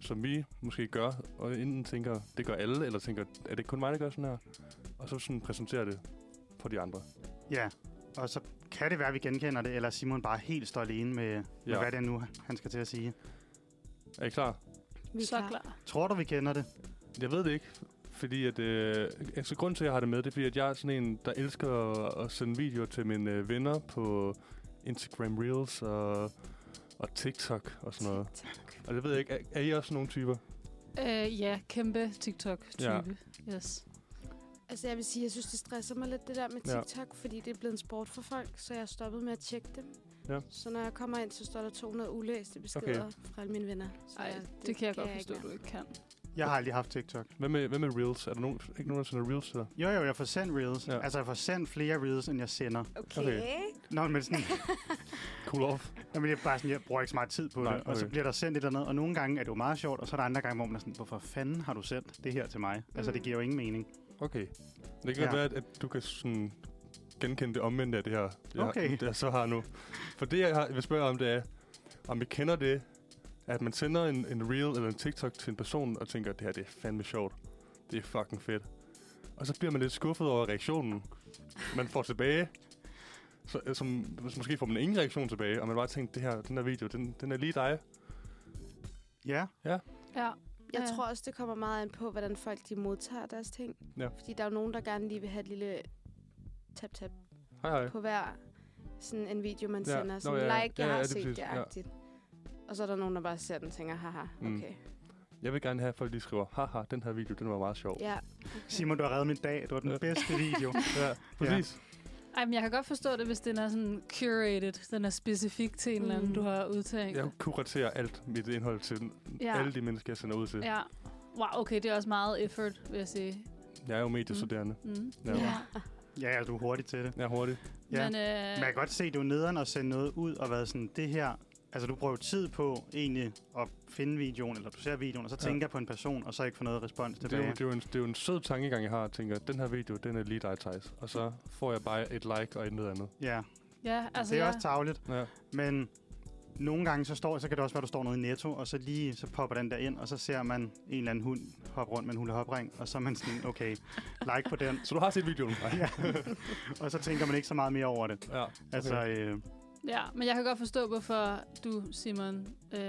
B: som vi måske gør, og enten tænker, det gør alle, eller tænker, er det kun mig, der gør sådan her? Og så sådan præsenterer det for de andre.
C: Ja, og så kan det være, at vi genkender det, eller er Simon bare helt står alene med, ja. med
B: Ja.
C: hvad det er nu, han skal til at sige.
B: Er I klar?
D: Vi er
E: så
D: klar.
E: klar.
C: Tror du, vi kender det?
B: Jeg ved det ikke, fordi at, øh, altså, grunden til, at jeg har det med, det er, fordi at jeg er sådan en, der elsker at, at sende videoer til mine øh, venner på Instagram Reels og, og TikTok og sådan noget. Og det ved jeg ikke, er, er I også nogle typer?
E: Øh, ja, kæmpe TikTok-type. Ja. Yes.
D: Altså jeg vil sige, jeg synes, det stresser mig lidt det der med
B: Ja.
D: TikTok, ja. fordi det er blevet en sport for folk, så jeg er stoppet med at tjekke dem.
B: Ja.
D: Så når jeg kommer ind, så står der 200 ulæste beskeder okay. fra alle mine venner. Så
E: Ej,
D: jeg-
E: det, det kan jeg godt forstå,
D: ikke
E: du
D: mere.
E: ikke kan.
C: Jeg har aldrig haft TikTok.
B: Hvad med, hvad med Reels? Er der nogen, ikke nogen, der sender Reels til dig?
C: Jo, jo, jeg får sendt reels.
B: Ja.
C: Ja. Altså, jeg får sendt flere reels, end jeg sender.
D: Okay.
B: Okay.
D: okay.
C: Nå, men sådan,
B: Cool off.
C: jamen, det er bare sådan, jeg bruger ikke så meget tid på
B: Nej,
C: Nej, det. Og så
B: okay.
C: bliver der sendt et eller andet, og nogle gange er det jo meget sjovt, og så er der andre gange, hvor man er sådan, hvorfor fanden har du sendt det her til mig? Altså, det
D: Mm.
C: giver jo ingen mening.
B: Okay. Det kan
C: Ja.
B: ja. være, at, at du kan sådan genkende det omvendte af det her, jeg,
C: Okay.
B: det jeg så har nu. For det, jeg har, vil spørge om, det er, om I kender det, at man sender en, en reel eller en TikTok til en person og tænker, det her det er fandme sjovt. Det er fucking fedt. Og så bliver man lidt skuffet over reaktionen, man får tilbage. Så, øh, som, så måske får man ingen reaktion tilbage, og man bare tænker, det her, den her video, den, den er lige dig.
C: Ja,
E: Ja.
D: Jeg
E: Ja.
D: tror også, det kommer meget an på, hvordan folk de modtager deres ting.
B: Ja.
D: Fordi der er jo nogen, der gerne lige vil have et lille tap-tap
B: Hej hej.
D: på hver sådan en video, man
B: Ja,
D: ja. sender.
B: nå,
D: Sådan,
B: ja,
D: ja,
B: ja.
D: like, jeg
B: Ja,
D: har
B: ja, det er
D: set
B: præcis,
D: det,
B: ja.
D: agtigt. Og så er der nogen, der bare ser den og tænker, haha,
B: Mm.
D: okay.
B: Jeg vil gerne have, at folk lige skriver, haha, den her video, den var meget sjov.
D: Ja,
C: Simon, du har reddet min dag. Det var den
B: Ja.
C: bedste video.
B: Ja, præcis.
E: Ej, men jeg kan godt forstå det, hvis den er sådan curated. Den er specifik til en eller anden,
D: Mm.
E: du har udtænkt.
B: Jeg kuraterer alt mit indhold til ja.
E: Ja.
B: alle de mennesker, jeg sender ud til. Ja.
E: Ja. Wow, okay, det er også meget effort, vil jeg sige.
B: Jeg er jo mediestuderende.
E: Mm.
B: Ja.
C: ja, ja, du er hurtig til det.
B: Jeg er hurtig.
C: Ja.
E: Men, øh,
C: Men jeg kan godt se, det er jo nederen at sende noget ud og være sådan, det her... Altså, du bruger jo tid på egentlig at finde videoen, eller du ser videoen, og så
B: Ja.
C: tænker på en person, og så ikke får noget respons
B: Det er, jo,
C: tilbage.
B: det, er jo en, det er jo en sød tankegang, jeg har. Jeg tænker, den her video, den er lige dig, Thijs. Og så får jeg bare et like og et noget andet.
C: Ja,
E: ja,
C: altså,
E: altså,
C: det er
E: jeg,
C: også tageligt.
B: Ja.
C: Men nogle gange, så, står, så kan det også være, at du står nede i Netto, og så lige så popper den der ind, og så ser man en eller anden hund hoppe rundt med en hula hopring, og så er man sådan, okay, like på den.
B: Så du har set videoen? Nej.
C: Ja. og så tænker man ikke så meget mere over det.
B: ja.
C: Altså, øh,
E: ja, men jeg kan godt forstå, hvorfor du, Simon, øh,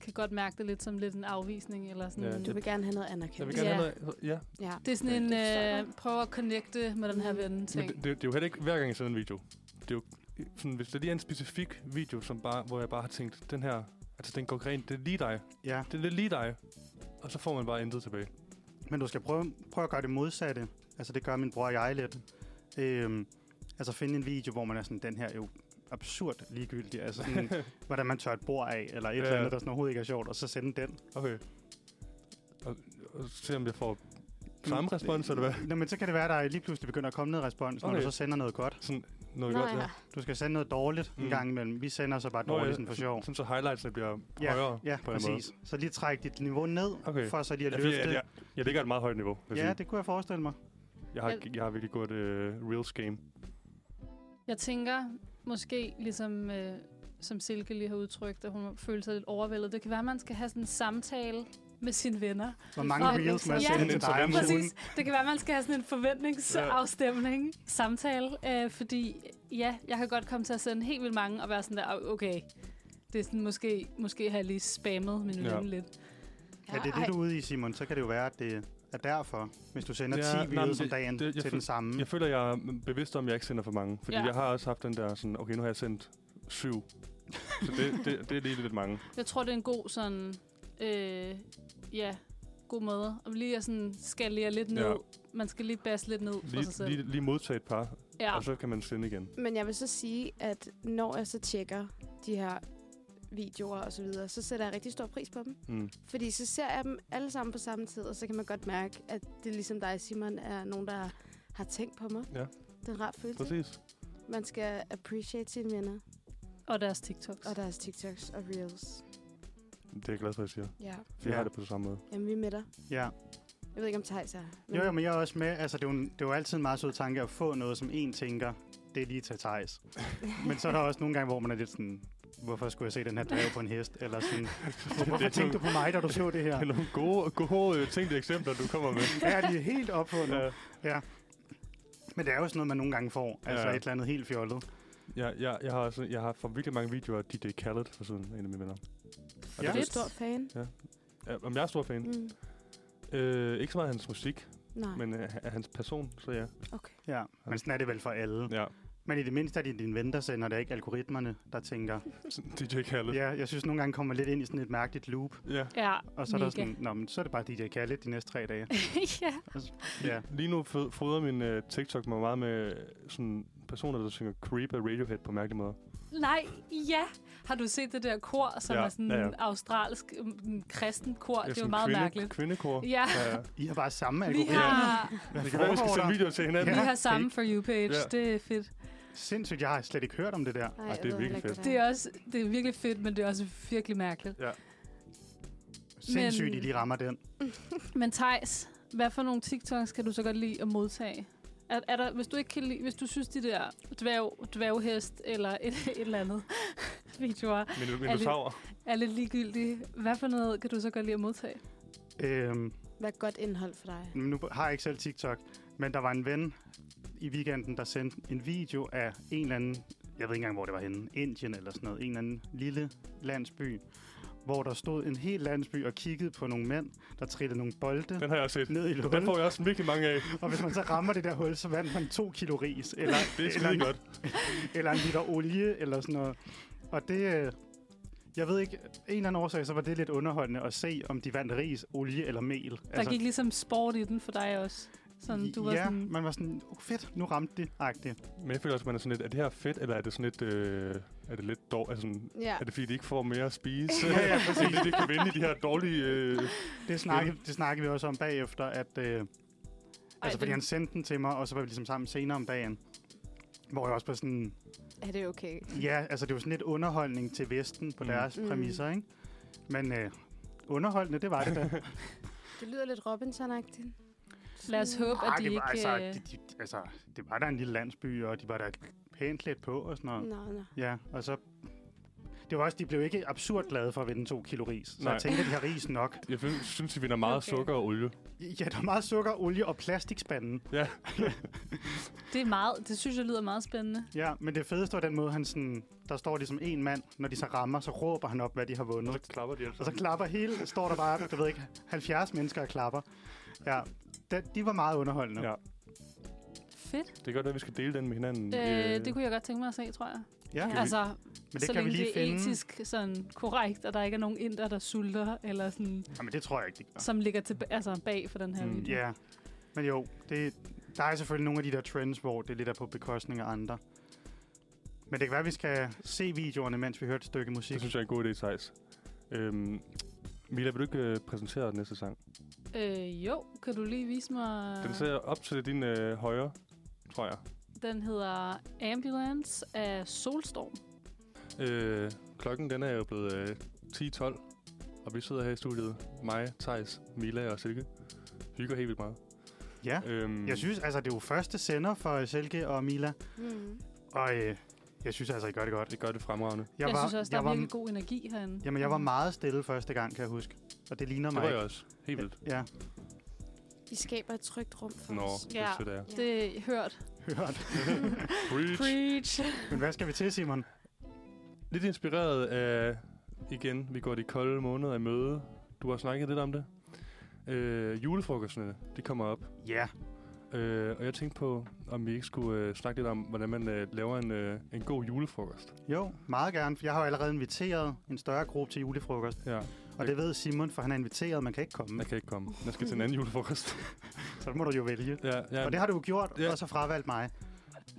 E: kan godt mærke det lidt som lidt en afvisning. Eller sådan.
B: Ja,
E: Ja,
D: du
E: det,
D: vil gerne have noget
B: Jeg vil
D: anerkendelse.
B: gerne
E: Ja.
B: have noget. Ja.
D: Ja.
E: det er sådan en,
D: Det forstår jeg
E: øh, prøv at connecte med den her ven
B: Men
E: ting.
B: det, det, det, er jo heller ikke hver gang, jeg sender en video. Det er jo sådan, hvis det lige er en specifik video, som bare, hvor jeg bare har tænkt, den her, altså den går rent, det er lige dig.
C: ja.
B: Det er lidt lige dig. Og så får man bare intet tilbage.
C: Men du skal prøve, prøve at gøre det modsatte. Altså, det gør min bror og jeg lidt. Øhm, altså, finde en video, hvor man er sådan, den her er jo absurd ligegyldig. Altså, sådan, hvordan man tør et bord af, eller et ja.
B: Ja.
C: eller andet, der sådan overhovedet ikke er sjovt, og så sende den.
B: Okay. Og, og se om jeg får samme
C: Mm.
B: respons, eller hvad?
C: Nå, men så kan det være, at der lige pludselig begynder at komme noget respons, når
B: Okay.
C: du så sender noget godt.
B: Sådan noget
D: Nå,
B: godt,
D: ja.
C: Du skal sende noget dårligt mm.
B: Mm.
C: en gang imellem. Vi sender så bare
B: Nå,
C: dårligt
B: ja,
C: sådan for sjov.
B: Sådan så highlightsene bliver
C: Ja,
B: højere
C: Ja,
B: på en måde.
C: præcis. Så lige træk dit niveau ned,
B: Okay.
C: okay. for så lige at
B: Jeg,
C: løfte.
B: jeg, jeg, jeg ligger et meget højt niveau. vil jeg
C: ja,
B: sige.
C: det kunne jeg forestille mig.
B: jeg, har,
E: Jeg-
B: jeg har virkelig godt uh, reels game.
E: Jeg tænker måske, ligesom øh, som Silke lige har udtrykt, at hun føler sig lidt overvældet. Det kan være, at man skal have sådan en samtale med sine venner.
C: Hvor mange
E: Og-
C: reels man
E: Ja,
C: sender til dig om
B: Instagram.
C: ugen.
E: Præcis. Det kan være, at man skal have sådan en forventningsafstemning, samtale, øh, fordi ja, jeg kan godt komme til at sende helt vildt mange og være sådan der, "Au, okay, det er sådan, måske, måske har jeg lige spammet min
B: Ja.
E: ja. ven lidt.
C: Ja, det er det, du er ude i, Simon. Så kan det jo være, at det er derfor, hvis du sender
B: Ja,
C: 10
B: nej, men
C: videoer om
B: det-
C: dagen
B: det- jeg
C: til
B: føl-
C: den samme.
B: Jeg føler, jeg er mm, bevidst om, at jeg ikke sender for mange. Fordi
E: Ja.
B: jeg har også haft den der sådan, okay, nu har jeg sendt syv. så det, det, det er lige lidt mange.
E: Jeg tror, det er en god sådan, øh, ja, god måde. Og lige at sådan skalere lidt ned.
B: Ja.
E: Man skal lige basse lidt ned for sig
B: Lige,
E: selv.
B: lige, lige modtage et par,
E: ja.
B: og så kan man sende igen.
D: Men jeg vil så sige, at når jeg så tjekker de her videoer og så videre, så sætter jeg rigtig stor pris på dem.
B: Mm.
D: Fordi så ser jeg dem alle sammen på samme tid, og så kan man godt mærke, at det er ligesom dig, Simon, er nogen, der har tænkt på mig.
B: Ja.
D: Det er en rar følelse.
B: Præcis.
D: Man skal appreciate sine venner
E: Og deres TikToks.
D: og deres TikToks og Reels.
B: Det er jeg glad for, at jeg siger. For
D: Ja.
B: ja. jeg
C: Ja.
B: har det på samme måde.
D: Jamen, vi er med dig.
C: Ja.
D: Jeg ved ikke, om Thijs er.
C: Jo, jo, men jeg er også med. Altså, det er, jo, en- det er jo altid en meget sød tanke at få noget, som en tænker, det er lige til Thijs. men så er der også nogle gange, hvor man er lidt sådan, hvorfor skulle jeg se den her drage på en hest? Eller sådan, hvorfor tænkte du på mig, da du så det her?
B: Det er nogle gode, gode øh, tænkte eksempler, du kommer med.
C: Ja, de er helt opfundet.
B: Ja.
C: Men det er jo sådan noget, man nogle gange får. Altså
B: Ja.
C: et eller andet helt fjollet.
B: Jeg, jeg, jeg, har, også, jeg har fået virkelig mange videoer af DJ Khaled for siden, en af mine venner. Og det,
C: Ja.
D: Du er
E: Fedt.
D: stor fan.
B: Ja, om jeg er stor fan. Mm.
D: Mm.
B: Øh, ikke så meget hans musik,
D: Nej, Men,
B: men øh, h- hans person, så ja.
D: okay.
C: Ja, men sådan er det vel for alle.
B: ja.
C: Men i det mindste er det din ven, der sender det, ikke algoritmerne, der tænker.
B: Sådan DJ Khaled.
C: Ja, jeg synes nogle gange kommer lidt ind i sådan et mærkeligt loop,
B: ja.
E: Ja,
C: og så er der
E: mega.
C: sådan, Nå, men så er det bare DJ Khaled de næste tre dage.
E: ja.
C: Og så- ja.
B: Lige nu fød- fodrer min øh, TikTok mig meget med øh, sådan personer, der synger Creep af Radiohead på mærkelige måder.
E: Nej, ja. Har du set det der kor, som
B: Ja,
E: ja, er sådan
B: ja,
E: ja,
B: ja.
E: ja. australsk mm, kristen
B: Ja,
E: kor? Det er jo
B: sådan
E: meget
B: kvinde,
E: mærkeligt.
B: Kvindekor.
E: Ja,
B: ja.
C: I har bare samme
E: vi
C: algoritme.
E: har,
B: Det kan være, vi skal
C: foregår
B: sende
C: der?
B: videoer til
E: vi
B: hinanden.
C: Ja.
E: har samme for you page.
B: Ja.
E: Ja. Det er fedt.
C: Sindssygt, jeg har slet ikke hørt om det der.
D: Nej,
B: Ej,
D: jeg
B: det er
D: ved
B: virkelig
D: heller ikke,
E: Det
D: hvad
E: er, også, det er virkelig fedt, men det er også virkelig mærkeligt.
C: Sindssygt,
E: Men-
C: I lige rammer den.
E: Men Tejs, hvad for nogle TikToks kan du så godt lide at modtage? Er, er der, hvis, du ikke kan lide, hvis du synes, de der dværg, dværghest eller et, et eller andet videoer
B: Men, men
E: Er
B: du
E: det-
B: tager
E: er lidt ligegyldige, hvad for noget kan du så godt lide at modtage?
C: Øhm,
D: Hvad er godt indhold for dig?
C: nu har jeg ikke selv TikTok, men der var en ven i weekenden, der sendte en video af en eller anden, jeg ved ikke engang, hvor det var henne, Indien eller sådan noget, en eller anden lille landsby, hvor der stod en hel landsby og kiggede på nogle mænd, der trillede nogle bolde
B: Den har jeg også set.
C: ned i
B: Den får
C: hullet.
B: jeg også virkelig mange af.
C: Og hvis man så rammer det der hul, så vandt man to kilo ris, eller,
B: Det er
C: eller,
B: skide
C: en,
B: godt.
C: eller en liter olie, eller sådan noget. Og det, øh, jeg ved ikke, en eller anden årsag, så var det lidt underholdende at se, om de vandt ris, olie eller mel.
E: Der altså, gik ligesom sport i den for dig også. Sådan, du var
C: ja,
E: sådan,
C: man var sådan, oh, fedt, nu ramte det, agtigt.
B: Men jeg føler også, at man er sådan lidt, er det her fedt, eller er det sådan lidt, øh, er det lidt dårligt? Altså, sådan,
D: Ja,
B: er det fordi, de ikke får mere at spise?
C: Ja, ja,
B: præcis. de ikke kan vinde i de her dårlige... Øh,
C: Det snakkede, det snakkede vi også om bagefter, at øh, altså,
E: Ej,
C: fordi
E: den-
C: han sendte den til mig, og så var vi ligesom sammen senere om dagen. Hvor jeg også var sådan,
D: er det okay?
C: ja, altså det var sådan lidt underholdning til Vesten på
B: Mm.
C: mm. deres
D: Mm.
C: præmisser, ikke? Men øh, underholdende, det var det da.
D: Det lyder lidt Robinson-agtigt.
E: lad os håbe, at
C: Arh,
E: de
C: det,
E: ikke...
C: var, altså,
E: øh,
C: de, de, altså, det var der en lille landsby, og de var der pænt klædt på og sådan
E: Mm.
C: noget.
D: Nå, nå.
C: Ja, og så... Det var også, de blev ikke absurd glade for at vinde to kilo ris. Så
B: Nej.
C: Nej. jeg tænkte, at de har ris nok.
B: jeg synes- synes, de vinder meget okay.
E: Okay.
B: sukker og olie.
C: Ja, der var meget sukker, olie og plastikspanden.
B: Ja,
E: Det er meget, det synes jeg lyder meget spændende.
C: Ja, men det fedeste var den måde, han sådan, der står ligesom en mand, når de så rammer, så råber han op, hvad de har
B: og så
C: vundet.
B: klapper de altså.
C: Og så klapper hele, står der bare, du ved ikke, 70 mennesker og klapper. Ja, de, de var meget underholdende.
B: Ja.
C: Ja.
E: Fedt.
B: Det er godt, at vi skal dele den med hinanden.
E: Øh, det kunne jeg godt tænke mig at se, tror jeg.
C: ja.
B: Kan vi-
E: Altså,
C: Men
E: så
C: det kan vi
E: længe
C: lige
E: det er
C: finde.
E: etisk sådan, korrekt, og der ikke er nogen inder, der sulter, eller sådan,
C: Jamen, det tror jeg ikke, det gør.
E: som ligger til, altså, bag for den her
B: Mm.
E: mm, video.
C: Ja, men jo, det, der er selvfølgelig nogle af de der trends, hvor det lidt er på bekostning af andre. Men det kan være, at vi skal se videoerne, mens vi hører et stykke musik.
B: det synes jeg er en god idé, Thijs. Øhm, Mila, vil du ikke øh, præsentere den næste sang?
E: Øh, jo, kan du lige vise mig...
B: Den ser op til din øh, højre, tror jeg.
E: den hedder Ambulance af Solstorm.
B: Øh, klokken den er jo blevet øh, 10.12, og vi sidder her i studiet. Mig, Tejs, Mila og Silke. Hygger helt vildt meget.
C: Ja,
B: Øhm,
C: jeg synes, altså, det er jo første sender for Selke og Mila,
D: Mm.
C: og øh, jeg synes altså, I gør det godt.
B: det gør det fremragende.
E: Jeg, jeg
C: var,
E: synes også, der
C: jeg
E: er
C: var,
E: virkelig god energi herinde.
C: Jamen, jeg var meget stille første gang, kan jeg huske. Og det ligner
B: Det
C: mig
B: var jeg
C: ikke.
B: også. Helt vildt.
C: Ja,
D: I skaber et trygt rum for
B: Nå,
D: os.
B: det
E: Ja.
B: er sødt af jer.
E: Det er hørt.
C: hørt.
B: Preach.
E: Preach.
C: Men hvad skal vi til, Simon?
B: Lidt inspireret af, igen, vi går de kolde måneder i møde. Du har snakket lidt om det. Øh, julefrokosterne, de kommer op.
C: Ja,
B: Øh, og jeg tænkte på, om vi ikke skulle øh, snakke lidt om, hvordan man øh, laver en, øh, en god julefrokost.
C: jo, meget gerne. For jeg har jo allerede inviteret en større gruppe til julefrokost.
B: Ja,
C: Og det ved Simon, for han er inviteret, man kan ikke komme.
B: jeg kan ikke komme. Jeg skal til en anden julefrokost.
C: Så det må du jo vælge.
B: ja, ja,
C: Og det har du jo gjort,
B: Ja.
C: og så fravalgt mig.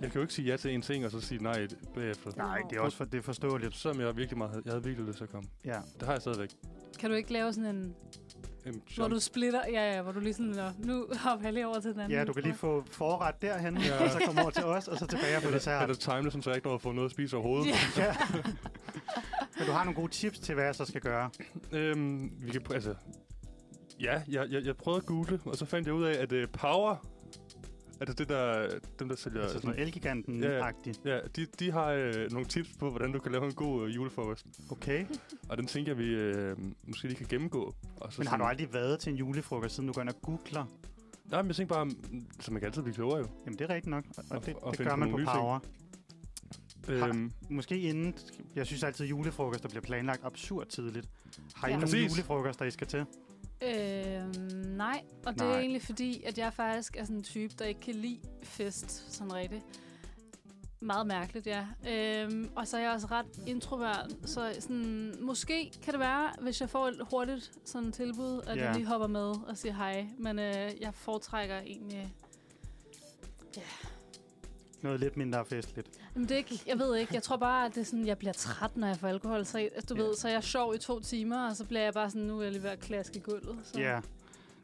B: Jeg kan jo ikke sige ja til en ting, og så sige nej bagefter.
C: Nej, det er også for, det er forståeligt.
B: Selvom jeg virkelig meget havde, jeg havde virkelig lyst til at komme.
C: Ja.
B: Det har jeg stadigvæk. Øhm,
E: Kan du ikke lave sådan en,
B: En
E: hvor
B: jump.
E: du splitter? Ja, ja, hvor du lige sådan, "Nå, nu hopper jeg lige over til den anden.
C: Ja, du kan lige få forret derhen,
B: Ja.
C: ja. og så komme over til os, og så tilbage på
B: eller,
C: dessert.
B: eller time det, sådan, så jeg ikke når at få noget at spise overhovedet.
E: Ja.
C: Ja. Men du har nogle gode tips til, hvad jeg så skal gøre.
B: Øhm, vi kan pr- altså... Ja, jeg, jeg, jeg prøvede at google, og så fandt jeg ud af, at uh, Power... Altså det der... Dem, der sælger...
C: Altså sådan noget elgiganten-agtigt.
B: ja, de, de har øh, nogle tips på, hvordan du kan lave en god øh, julefrokost.
C: Okay.
B: Og den tænker jeg, vi øh, måske lige kan gennemgå. Og så
C: Men har
B: sådan-
C: du aldrig været til en julefrokost, siden du går ind og googler?
B: Nej, men jeg tænker bare, mm, så man kan altid blive klogere jo.
C: Jamen, det er rigtigt nok. Og,
B: Og-
C: og det,
B: og
C: og det
B: finde
C: gør
B: på
C: man på
B: nogle nye ting.
C: power.
B: Øhm,
C: Måske inden... Jeg synes altid, at julefrokoster bliver planlagt absurd tidligt. Har I ja.
D: Ja.
C: nogle
B: Præcis.
C: julefrokoster, I skal til?
E: Øhm, nej, og det er
C: Nej.
E: egentlig fordi, at jeg faktisk er sådan en type, der ikke kan lide fest sådan rigtigt. Meget mærkeligt, ja. Øhm, og så er jeg også ret introvert, så sådan, måske kan det være, hvis jeg får et hurtigt sådan tilbud, at
C: Ja.
E: jeg lige hopper med og siger hej. Men øh, jeg foretrækker egentlig...
C: Noget lidt mindre festligt.
E: Jamen, det er ikke, jeg ved ikke, jeg tror bare, at det er sådan, jeg bliver træt, når jeg får alkohol. Så, jeg- du
C: Ja.
E: ved, så jeg sov i to timer, og så bliver jeg bare sådan, nu er jeg lige ved at klaske i gulvet. Så.
C: Ja. Yeah.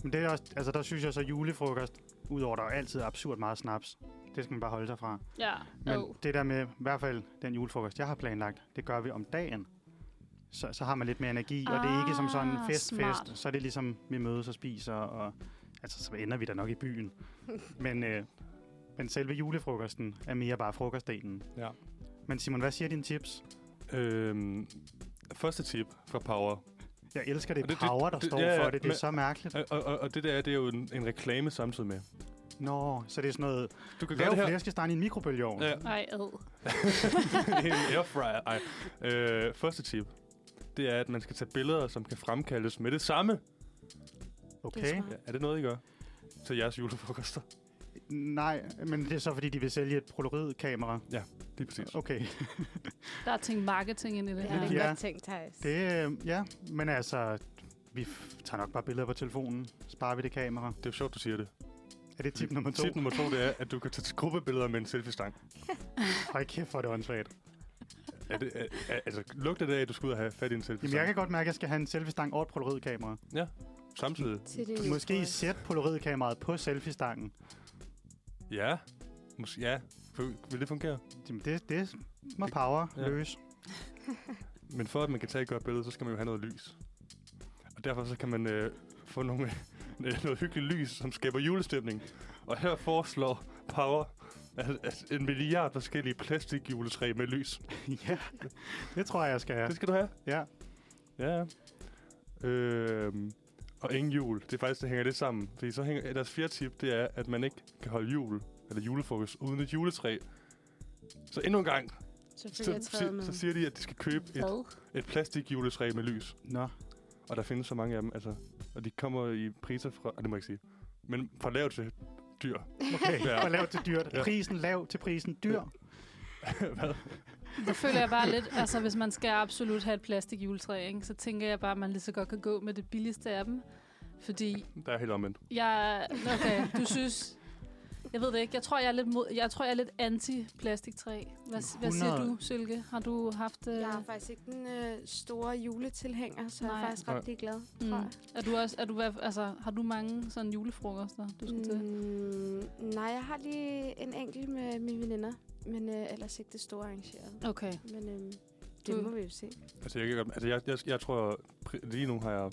C: Men det er også... Altså, der synes jeg så julefrokost, udover der er altid absurd meget snaps. Det skal man bare holde sig fra.
E: Ja,
C: Men
E: oh.
C: det der med, i hvert fald den julefrokost, jeg har planlagt, det gør vi om dagen. Så, så har man lidt mere energi, ah, og det er ikke som sådan en
E: Ah,
C: fest-fest.
E: smart.
C: Så er det ligesom, vi mødes og spiser, og altså, så ender vi da nok i byen. men, øh, men selve julefrokosten er mere bare frokostdelen.
B: Ja.
C: Men Simon, hvad siger dine tips?
B: øhm, første tip fra Power.
C: Jeg elsker det,
B: Og det-
C: det
B: det-
C: power, der
B: det-
C: står
B: ja, ja,
C: for det. Det er
B: men-
C: så mærkeligt.
B: Og, Øh, og, og, og det der det er jo en, en reklame samtidig med.
C: Nå, så det er sådan noget,
B: Du kan gøre
C: lav
B: det her.
C: flæskesteg i en mikrobølgeovn.
B: Ja,
E: Ej, ad.
B: en airfryer. Ej. Øh, første tip, det er, at man skal tage billeder, som kan fremkaldes med det samme.
D: Det er
C: Okay.
D: smart.
B: Ja, er det noget, I gør? Til jeres julefrokoster.
C: Nej, men det er så, fordi de vil sælge et polaroid-kamera.
B: Lige præcis.
C: Okay.
E: Der er tænkt marketing ind i det
D: Det
E: her.
D: er
E: Ja.
D: lidt
C: Ja.
D: godt tænkt, Thijs.
C: Det, øh, ja, men altså, vi f- tager nok bare billeder på telefonen. Sparer vi det kamera.
B: Det er jo sjovt, du siger det.
C: Er det tip nummer to?
B: Mm. Tip nummer to, det er, at du kan tage gruppebilleder med en selfie-stang.
C: Hold kæft, hvor er det åndssvagt.
B: Er det, er, er, altså, lugter det af, at du skal ud og have fat i en
C: Jamen,
B: selfie-stang?
C: jeg kan godt mærke, at jeg skal have en selfie-stang over et polaroid-kamera.
B: Samtidig.
D: Til din
C: Måske
D: julefrokost.
C: sæt polaroid-kameraet på selfie-stangen.
B: Ja. Mås- ja. F- Vil det fungere?
C: Jamen, det, det må power
B: Ja.
C: ja. løse.
B: Men for at man kan tage et godt billede, så skal man jo have noget lys. Og derfor så kan man øh, få nogle, øh, noget hyggeligt lys, som skaber julestemning. Og her foreslår Power at, at en milliard forskellige plastikjuletræ med lys.
C: ja, det tror jeg, jeg skal
B: Ja.
C: have.
B: Det skal du have.
C: Ja.
B: Ja. Øhm, og ingen jul. Det er faktisk, det hænger lidt sammen. Fordi så hænger, deres fjerde tip, det er, at man ikke kan holde jul eller julefrokost uden et juletræ. Så endnu en gang,
D: Så følger
B: så,
D: jeg træet
B: så,
D: med.
B: så siger de, at de skal købe et,
E: Hvad?
B: et plastikjuletræ med lys.
C: Nå,
B: Og der findes så mange af dem, altså. Og de kommer i priser fra... ah, Det må jeg ikke sige. Men fra lav til dyr.
C: okay.
B: Ja.
C: Og lav til dyrt.
B: Ja.
C: Prisen lav til prisen dyr.
B: Hvad?
E: Det føler jeg bare lidt, altså hvis man skal absolut have et plastik juletræ, ikke, så tænker jeg bare, at man lige så godt kan gå med det billigste af dem. Fordi
B: Der er helt omvendt.
E: jeg, okay, du synes, jeg ved det ikke, jeg tror, jeg er lidt, mod, jeg tror, jeg er lidt anti-plastiktræ. Hvad, hvad siger
C: 100.
E: du, Sylke? Har du haft... Øh,
D: Jeg er faktisk ikke den øh, store juletilhænger, så jeg
E: Nej.
D: er faktisk
B: Nej.
D: ret ligeglad,
E: Mm.
D: tror jeg.
E: er du også, er du, hvad- altså, har du mange sådan julefrokoster, du skal til?
D: Mm, nej, jeg har lige en enkelt med mine veninder, men øh, ellers ikke det store arrangeret.
E: Mm, Okay.
D: Men øh, det
E: Du-
D: må vi jo se.
B: Altså, jeg, kan godt- altså, jeg, jeg, jeg tror... pri- Lige nu har jeg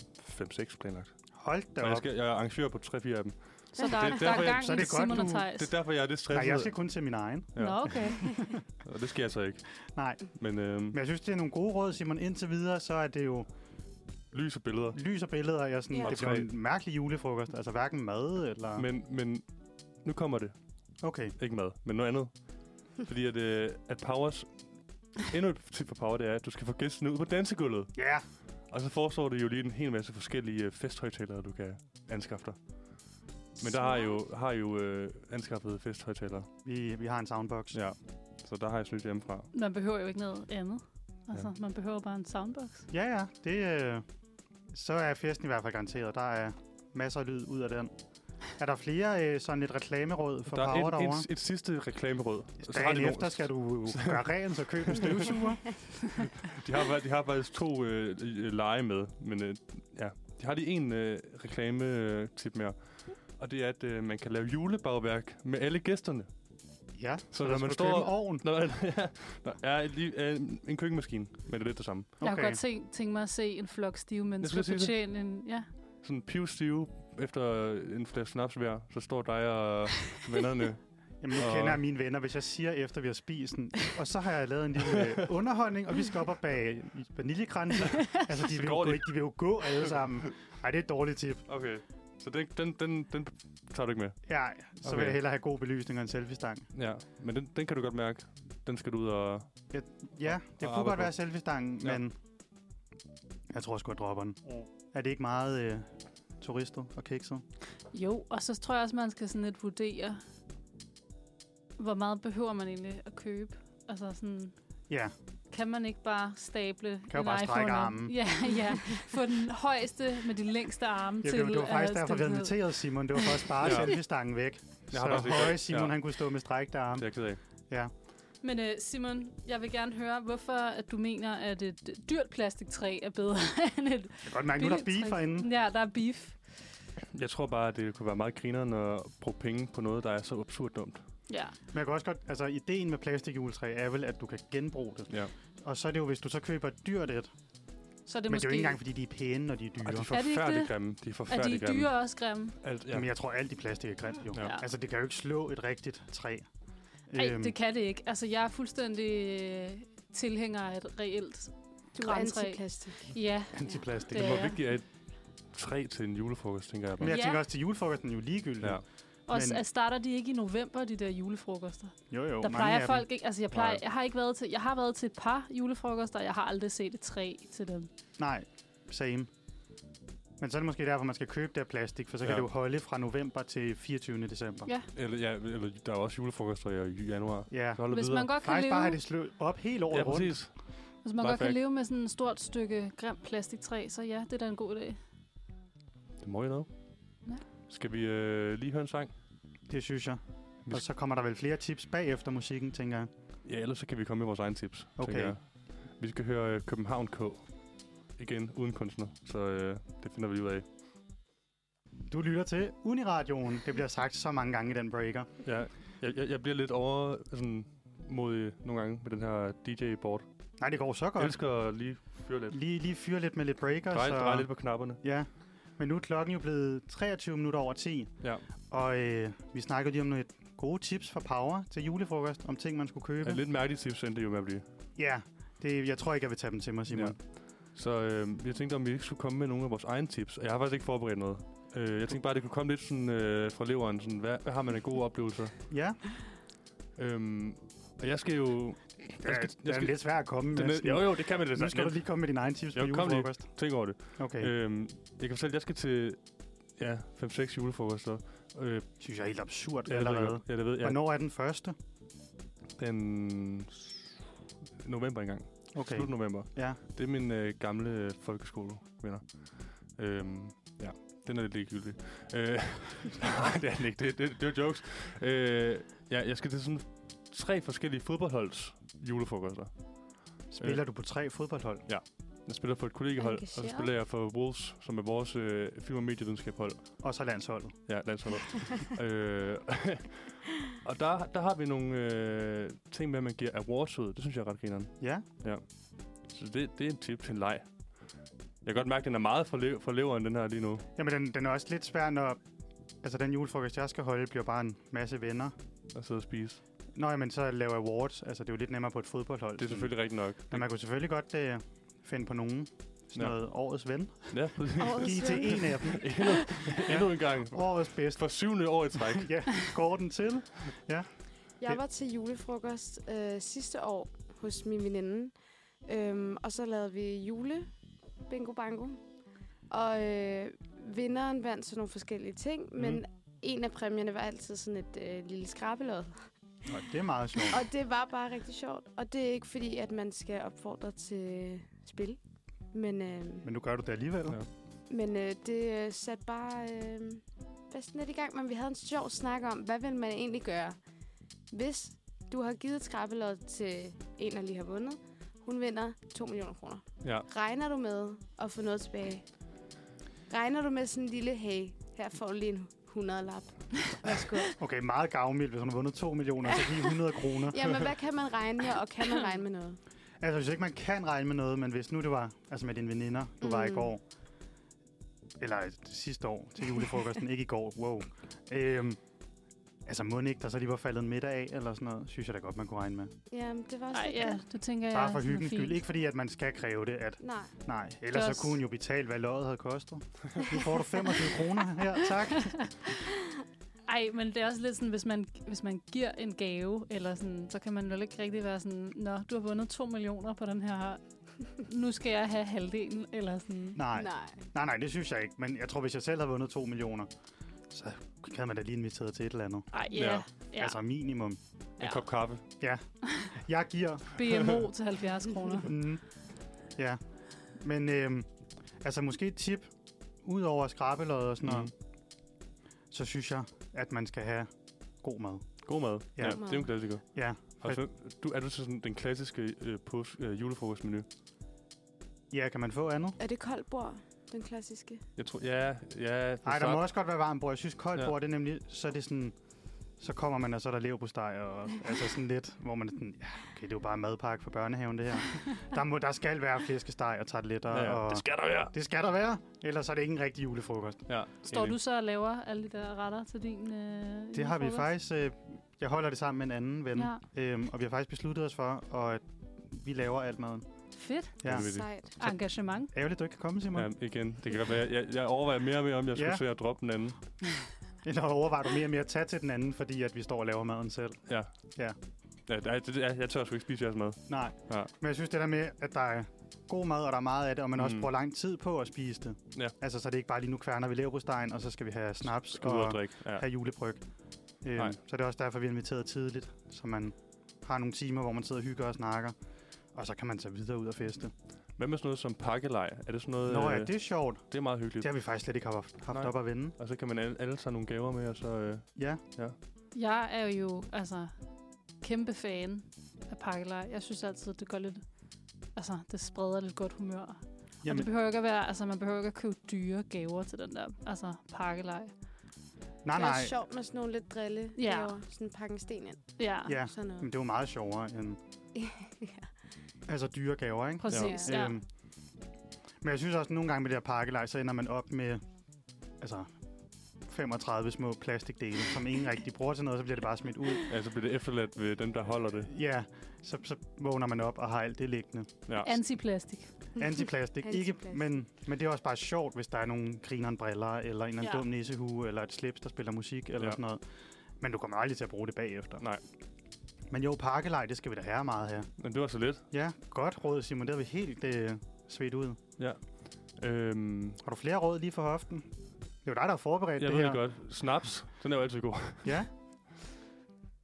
B: 5-6 planlagt.
C: Hold da
B: Og jeg,
C: op.
B: skal, jeg er arrangør på 3-4 af dem.
E: Så der,
B: Det er
E: det, der
B: derfor,
E: er
B: jeg-
E: gang
C: så er
E: i
C: det godt,
E: Simon og
C: du-
E: Thijs.
B: Det er derfor, jeg er lidt
C: Nej,
B: stresset.
C: jeg skal kun til min egen.
B: ja.
E: Nå, okay.
B: Og det skal jeg så ikke.
C: Nej,
B: Men øhm,
C: men jeg synes, det er nogle gode råd, Simon. Indtil videre, så er det jo
B: lys og billeder.
C: lys og billeder. Jeg er sådan,
D: Ja.
C: Det bliver en mærkelig julefrokost. Altså hverken mad eller...
B: Men, men nu kommer det.
C: Okay.
B: Ikke mad, men noget andet. Fordi at, øh, at Powers... Endnu et tip for Power, det er, at du skal få gæsten ud på dansegulvet.
C: Ja. Yeah.
B: Og så foreslår det jo lige en hel masse forskellige øh, festhøjtalere, du kan anskaffe dig. Men der har jeg jo, har jeg jo øh, anskaffet festhøjtalere.
C: Vi, vi har en soundbox. Ja.
B: Ja. Så der har jeg snydt hjemmefra.
E: Man behøver jo ikke noget andet. Altså,
B: Ja.
E: ja. man behøver bare en soundbox.
C: ja, ja. Det, øh, så er festen i hvert fald garanteret. Der er masser af lyd ud af den. Er der flere øh, sådan et reklameråd for
B: der
C: Power
B: er et,
C: derovre?
B: et, et sidste reklameråd. Og har de
C: Dagen
B: nogle-
C: efter skal du gøre rent og købe en støvsuger.
B: De har, fa- de har faktisk to øh, øh, lege med, men øh, ja. De har lige en øh, reklame-tip mere. Og det er, at øh, man kan lave julebagværk med alle gæsterne.
C: Ja,
B: Så
C: der
B: når
C: skal
B: man
C: du
B: står-
C: købe en ovn.
B: Nå, ja, Nå, ja, lige, øh, en køkkenmaskine, men det er lidt det samme.
E: Okay. Jeg
C: Okay.
E: kunne godt tænke, tænke mig at se en flok stive mennesker
B: skulle sige det.
E: betjene en... Ja.
B: sådan pivstive efter en flaske snaps hver, så står dig og vennerne.
C: Jamen, nu
B: Og-
C: kender jeg mine venner, hvis jeg siger, efter vi har spist den. Og så har jeg lavet en lille øh, underholdning, og vi skal op og bage vaniljekranse. Altså, de vil, jo
B: går
C: gå,
B: de.
C: de vil jo gå alle sammen. Ej, det er et dårligt tip.
B: Okay. Så den, den, den, den tager du ikke med.
C: Ja, så okay.
B: Okay.
C: vil jeg hellere have god belysning og en selfie-stang.
B: Ja, men den, den kan du godt mærke. den skal du ud og...
C: Ja, det
B: Og
C: kunne godt
B: arbejde
C: være
B: på.
C: selfie-stangen,
B: Ja. Mm.
C: ja. men jeg tror sgu, jeg dropper den. Er det ikke meget øh, turistet og kikset?
E: Jo, og så tror jeg også, man skal sådan lidt vurdere, hvor meget behøver man egentlig at købe. Altså sådan,
C: Ja,
E: kan man ikke bare stable
C: jo
E: en
C: bare
E: iPhone
C: strække
E: op?
C: armen.
E: Ja, ja. Få den højeste med de længste arme
C: ja
E: til
C: det, var- det var
E: at
C: faktisk derfor, vi
E: stikke
C: havde
E: ned.
C: inviteret Simon. Det var for at spare
B: Ja.
C: selfie-stangen væk.
B: Jeg
C: Så
B: har faktisk ikke-
C: høje Simon,
B: ja.
C: han kunne stå med strækte
B: Det
C: arme.
B: er jeg ked af.
E: Men øh, Simon, jeg vil gerne høre, hvorfor at du mener, at et dyrt plastiktræ er bedre end et
C: Jeg kan godt mærke, nu er der
E: billigt
C: beef
E: træ?
C: herinde.
E: Ja, der er beef.
B: Jeg tror bare, at det kunne være meget grineren at bruge penge på noget, der er så absurd dumt.
E: Ja.
C: Men jeg kan også godt, altså ideen med plastikjuletræ er vel, at du kan genbruge det.
B: Ja.
C: Og så er det jo, hvis du så køber et dyrt et.
E: Så er
C: Det
E: det
C: men
E: måske...
C: det er jo ikke engang, fordi de er pæne, når de er dyre.
B: Og de er
E: Er det ikke
B: forfærdeligt
E: det?
B: grimme. De er
E: er
B: forfærdeligt
E: de
B: grimme.
E: dyre også grimme?
B: Alt, ja.
C: Jamen, jeg tror, alt i plastik er grimt, jo.
B: Ja.
C: Ja.
E: Ja.
C: Altså, det kan jo ikke slå et rigtigt træ. Øhm,
E: Ej, det kan det ikke. Altså, jeg er fuldstændig øh, tilhænger af et reelt
D: Du er
E: grantræ.
D: antiplastik.
E: Ja,
C: Antiplastik.
E: Det
B: Det
E: er
B: må
E: jeg.
B: vigtigt at træ til en julefrokost, tænker jeg
C: Men
B: bare.
C: jeg
E: Ja.
C: tænker også, til julefrokosten er jo ligegyldigt.
B: Ja.
C: Ja.
E: og
C: Men-
E: men... starter de ikke i november, de der julefrokoster?
C: Jo, jo,
E: der
C: mange
E: plejer
C: af
E: folk ikke, altså jeg, plejer,
B: Nej.
E: jeg har ikke været til, jeg har været til et par julefrokoster, og jeg har aldrig set et træ til dem.
C: Dem. Nej, same. Men så er det måske derfor, man skal købe det af plastik, for så kan
B: Ja.
C: det jo holde fra november til 24. december.
E: Ja.
B: Eller, ja, eller, der er jo også julefrokoster i januar.
C: ja.
B: Så hold
E: Hvis
B: videre.
E: man godt kan
C: Faktisk bare have
E: leve,
C: det slået op hele året
B: Ja,
C: rundt.
B: præcis.
E: hvis man
B: Bare
E: godt kan
B: fact.
E: leve med sådan et stort stykke grimt plastiktræ, så ja, det er da en god idé.
B: Det må jeg noget.
E: Ja.
B: Skal vi øh, lige høre en sang?
C: Det synes jeg.
B: Vi
C: Og så kommer der vel flere tips bagefter musikken, tænker jeg.
B: Ja, ellers så kan vi komme med vores egne tips.
C: Okay.
B: tænker jeg. Vi skal høre øh, København K. Igen, uden kunstner. Så øh, det finder vi lige ud af.
C: Du lytter til Uniradioen. Det bliver sagt så mange gange i den breaker.
B: Ja, jeg, jeg, jeg bliver lidt over sådan, modig nogle gange med den her DJ-board.
C: Nej, det går så
B: Jeg
C: godt.
B: elsker at lige fyre lidt.
C: Lige, lige fyre lidt med lidt breaker.
B: Drej,
C: så...
B: drej lidt på knapperne.
C: Ja, men nu er klokken jo blevet 23 minutter over 10.
B: Ja.
C: Og øh, vi snakkede lige om nogle gode tips fra Power til julefrokost, om ting, man skulle købe.
B: Ja, lidt mærkelige tips endte det jo med at blive.
C: Ja, det, jeg tror ikke, jeg vil tage dem til mig, Simon.
B: Ja. Så øh, jeg tænkte, om vi ikke skulle komme med nogle af vores egne tips. Og jeg har faktisk ikke forberedt noget. Øh, jeg tænkte bare, at det kunne komme lidt sådan, øh, fra leveren. Sådan, hvad, hvad har man af gode oplevelser?
C: Ja,
B: Øhm, og jeg skal jo...
C: jeg skal, jeg skal... det Øh, er lidt svært at komme med.
B: Den er, jo, jo, det kan man
C: nu skal du
B: lidt.
C: lige komme med dine egne tips
B: Jo,
C: på
B: kom lige.
C: julefrokost.
B: Tænk over det.
C: Okay, øh.
B: Øhm, jeg kan fortælle, at jeg skal til ja, 5-6 julefrokoster. Øh,
C: synes jeg er helt absurd
B: ja, det ved jeg
C: allerede.
B: godt. Ja, det ved
C: Ja.
B: jeg.
C: Hvornår er den første?
B: Den s- november engang. Okay.
C: Okay,
B: Slut november.
C: ja.
B: Det er min øh, gamle øh, folkeskolevenner. Øhm, ja, den er lidt ligegyldig. Øh, nej, det er den ikke. Det, det, det var jokes. Øh, ja, jeg skal til sådan tre forskellige fodboldholds julefrokoster.
C: Spiller øh. du på tre fodboldhold?
B: Jeg spiller for et kollegehold, og så
D: Engageret.
B: spiller jeg for Wolves, som er vores øh, film- og medievidenskabhold.
C: Og så landsholdet.
B: Ja, landsholdet. øh, og der, der har vi nogle øh, ting med, at man giver awards ud. Det synes jeg er ret grineren.
C: Ja,
B: Så det, det er en tip til en leg. Jeg kan godt mærke, at den er meget for, le- for leveren, den her lige nu.
C: Jamen, den, den er også lidt svær, når... Altså, den julefrokost, jeg skal holde, bliver bare en masse venner.
B: At sidde og spise.
C: Nå, men så lave awards. Altså, det er jo lidt nemmere på et fodboldhold.
B: Det er selvfølgelig rigtigt nok.
C: Men man kunne selvfølgelig godt øh, finde på nogen. Sådan
B: Ja.
C: ja. noget årets ven.
B: Ja, præcis.
D: Årets
C: Giv til en af dem.
B: endnu, endnu en gang.
C: Årets bedste.
B: For syvende år i træk.
C: ja, går den til?
D: Jeg var til julefrokost øh, sidste år hos min veninde, øhm, og så lavede vi jule bingo bango. Og øh, vinderen vandt sådan nogle forskellige ting, mm. men en af præmierne var altid sådan et øh, lille skrabelod.
C: Nå, det er meget sjovt.
D: Og det var bare rigtig sjovt, og det er ikke fordi, at man skal opfordre til spil. Men, øh,
C: Men nu gør du det alligevel.
B: Ja.
C: Ja.
D: men øh, det øh, satte bare øh, bedst lidt i gang, men vi havde en sjov snak om, hvad vil man egentlig gøre, hvis du har givet et skrabbelod til en, der lige har vundet. Hun vinder 2 millioner kroner.
B: Ja.
D: Regner du med at få noget tilbage? Regner du med sådan en lille, hey, her får du lige en 100 lap. Værsgo.
C: Okay, meget gavmild, hvis hun har vundet 2 millioner, så lige 100 kroner.
D: Jamen, hvad kan man regne med, og kan man regne med noget?
C: Altså, hvis ikke man kan regne med noget, men hvis nu det var altså med dine veninder, du mm. var i
D: Mm.
C: går, eller øh, sidste år til julefrokosten, ikke i går, wow. Øhm, altså, må ikke, der så lige var faldet en middag af, eller sådan noget, synes jeg da godt, man kunne regne med.
D: Jamen, det var også
E: Ej,
D: lidt
E: ja,
D: det.
E: det tænker jeg.
C: Bare for
E: sådan er
C: hyggens
E: fint.
C: skyld. Ikke fordi, at man skal kræve det, at
D: Nej.
C: nej. Ellers så
E: også-
C: kunne hun jo betale, hvad løjet havde kostet. Nu får du 25 kroner her, tak.
E: Ej, Ej, men det er også lidt sådan, hvis man, hvis man giver en gave, eller sådan, så kan man vel ikke rigtig være sådan, Nå, du har vundet 2 millioner på den her, nu skal jeg have halvdelen, eller sådan.
C: Nej. nej,
D: Nej.
C: nej, nej, det synes jeg ikke. Men jeg tror, hvis jeg selv havde vundet 2 millioner, så kan man da lige inviteret til et eller andet.
E: Ej,
B: Ja.
E: ja.
C: Ja.
E: ja.
C: Altså minimum.
B: En kop kaffe.
C: Jeg giver
E: BMO til 70 kroner.
C: Mm. Ja. Men øhm, altså måske et tip, udover skrabelød og sådan noget, mm.
B: Mm-hmm.
C: så synes jeg, at man skal have god mad.
B: God mad.
C: Ja.
B: Ja, ja det er jo en klassiker.
C: Ja,
B: Og så, du, er du til sådan den klassiske øh, pås, øh, julefrokostmenu?
C: ja kan man få andet?
D: Er det koldt bord, den klassiske?
B: Jeg tror, ja, ja. det
C: Nej, der
B: start-
C: må også godt være varmt bord. Jeg synes, koldt
B: Ja.
C: bord, det er nemlig, så er det sådan, så kommer man, og så er der leverpostej, og altså sådan lidt, hvor man er sådan, ja, okay, det er jo bare en madpakke for børnehaven, det her. Der, må, der skal være flæskesteg og tarteletter,
B: Ja, ja.
C: og
B: Det skal der være.
C: det skal der være, ellers er det ikke en rigtig julefrokost.
B: Ja,
E: Står
B: enig.
E: du så og laver alle de der retter til din øh,
C: Det har vi
E: julefrokost?
C: faktisk... Øh, jeg holder det sammen med en anden ven,
E: Ja.
C: øhm, og vi har faktisk besluttet os for, og at vi laver alt maden.
E: Fedt.
C: Ja.
B: Det er vildt.
D: Sejt.
E: Engagement.
C: Ærgerligt, du ikke kan komme, Simon. Ja.
B: Ja, igen. Det kan godt være, jeg, jeg overvejer mere og mere, om jeg skulle
C: Ja.
B: ja. se at droppe den anden.
C: Eller overvejer du mere og mere at tage til den anden, fordi at vi står og laver maden selv?
B: Ja.
C: Ja.
B: Ja, der, det, jeg, jeg tør sgu ikke spise jeres mad.
C: Nej.
B: Ja.
C: Men jeg synes det der med, at der er god mad, og der er meget af det, og man mm. også
B: Mm.
C: bruger lang tid på at spise det.
B: Ja.
C: Altså, så det er ikke bare lige nu kværner vi leverpostejen, og så skal vi have snaps
B: Skal ud
C: og
B: og drikke. Ja.
C: have julebryg. Øhm,
B: Nej.
C: så det er også derfor, vi er inviteret tidligt, så man har nogle timer, hvor man sidder og hygger og snakker. Og så kan man tage videre ud og feste.
B: Hvad med sådan noget som pakkelej? Er det sådan noget...
C: Nå
B: øh,
C: ja, det er sjovt.
B: det er meget hyggeligt.
C: Det har vi faktisk slet ikke haft, haft
B: Nej.
C: op at vende.
B: Og så kan man alle, alle tage nogle gaver med, og så... Øh,
C: Ja,
E: Jeg er jo altså kæmpe fan af pakkelej. Jeg synes altid, det gør lidt... Altså, det spreder lidt godt humør. Jamen. Og
C: Jamen.
E: det behøver ikke at være, altså, man behøver ikke at købe dyre gaver til den der altså, pakkelej.
C: nej,
D: det er
C: Ah, nej.
D: også sjovt med sådan nogle lidt drille
E: Ja.
D: ja. Sådan pakke en sten ind.
E: Ja, ja.
C: Ja, Hm.
D: Sådan noget.
C: men det var meget sjovere end
D: ja.
C: altså dyre gaver, ikke?
E: præcis. Ja. Ja.
C: Øhm, men jeg synes også, at nogle gange med det her pakkelej, så ender man op med altså 35 små plastikdele, som ingen rigtig bruger til noget, så bliver det bare smidt ud.
B: ja, så bliver det efterladt ved dem, der holder det.
C: Ja, så, så vågner man op og har alt det liggende.
B: Ja.
E: Antiplastik.
C: Antiplastik, ikke,
D: Antiplastik.
C: men, men det er også bare sjovt, hvis der er nogle grineren briller, eller en eller anden
E: Ja.
C: dum nissehue, eller et slips, der spiller musik, eller ja.
B: Ja.
C: sådan noget. Men du kommer aldrig til at bruge det bagefter.
B: Nej.
C: Men jo, pakkelej, det skal vi da have meget her.
B: Men det var så lidt.
C: Ja, godt råd, Simon. Det har vi helt øh, svedt ud.
B: Øhm,
C: Har du flere råd lige for hoften? Det er jo dig, der har forberedt
B: jeg
C: det
B: ved
C: her.
B: det godt. Snaps, den er jo altid god.
C: Ja.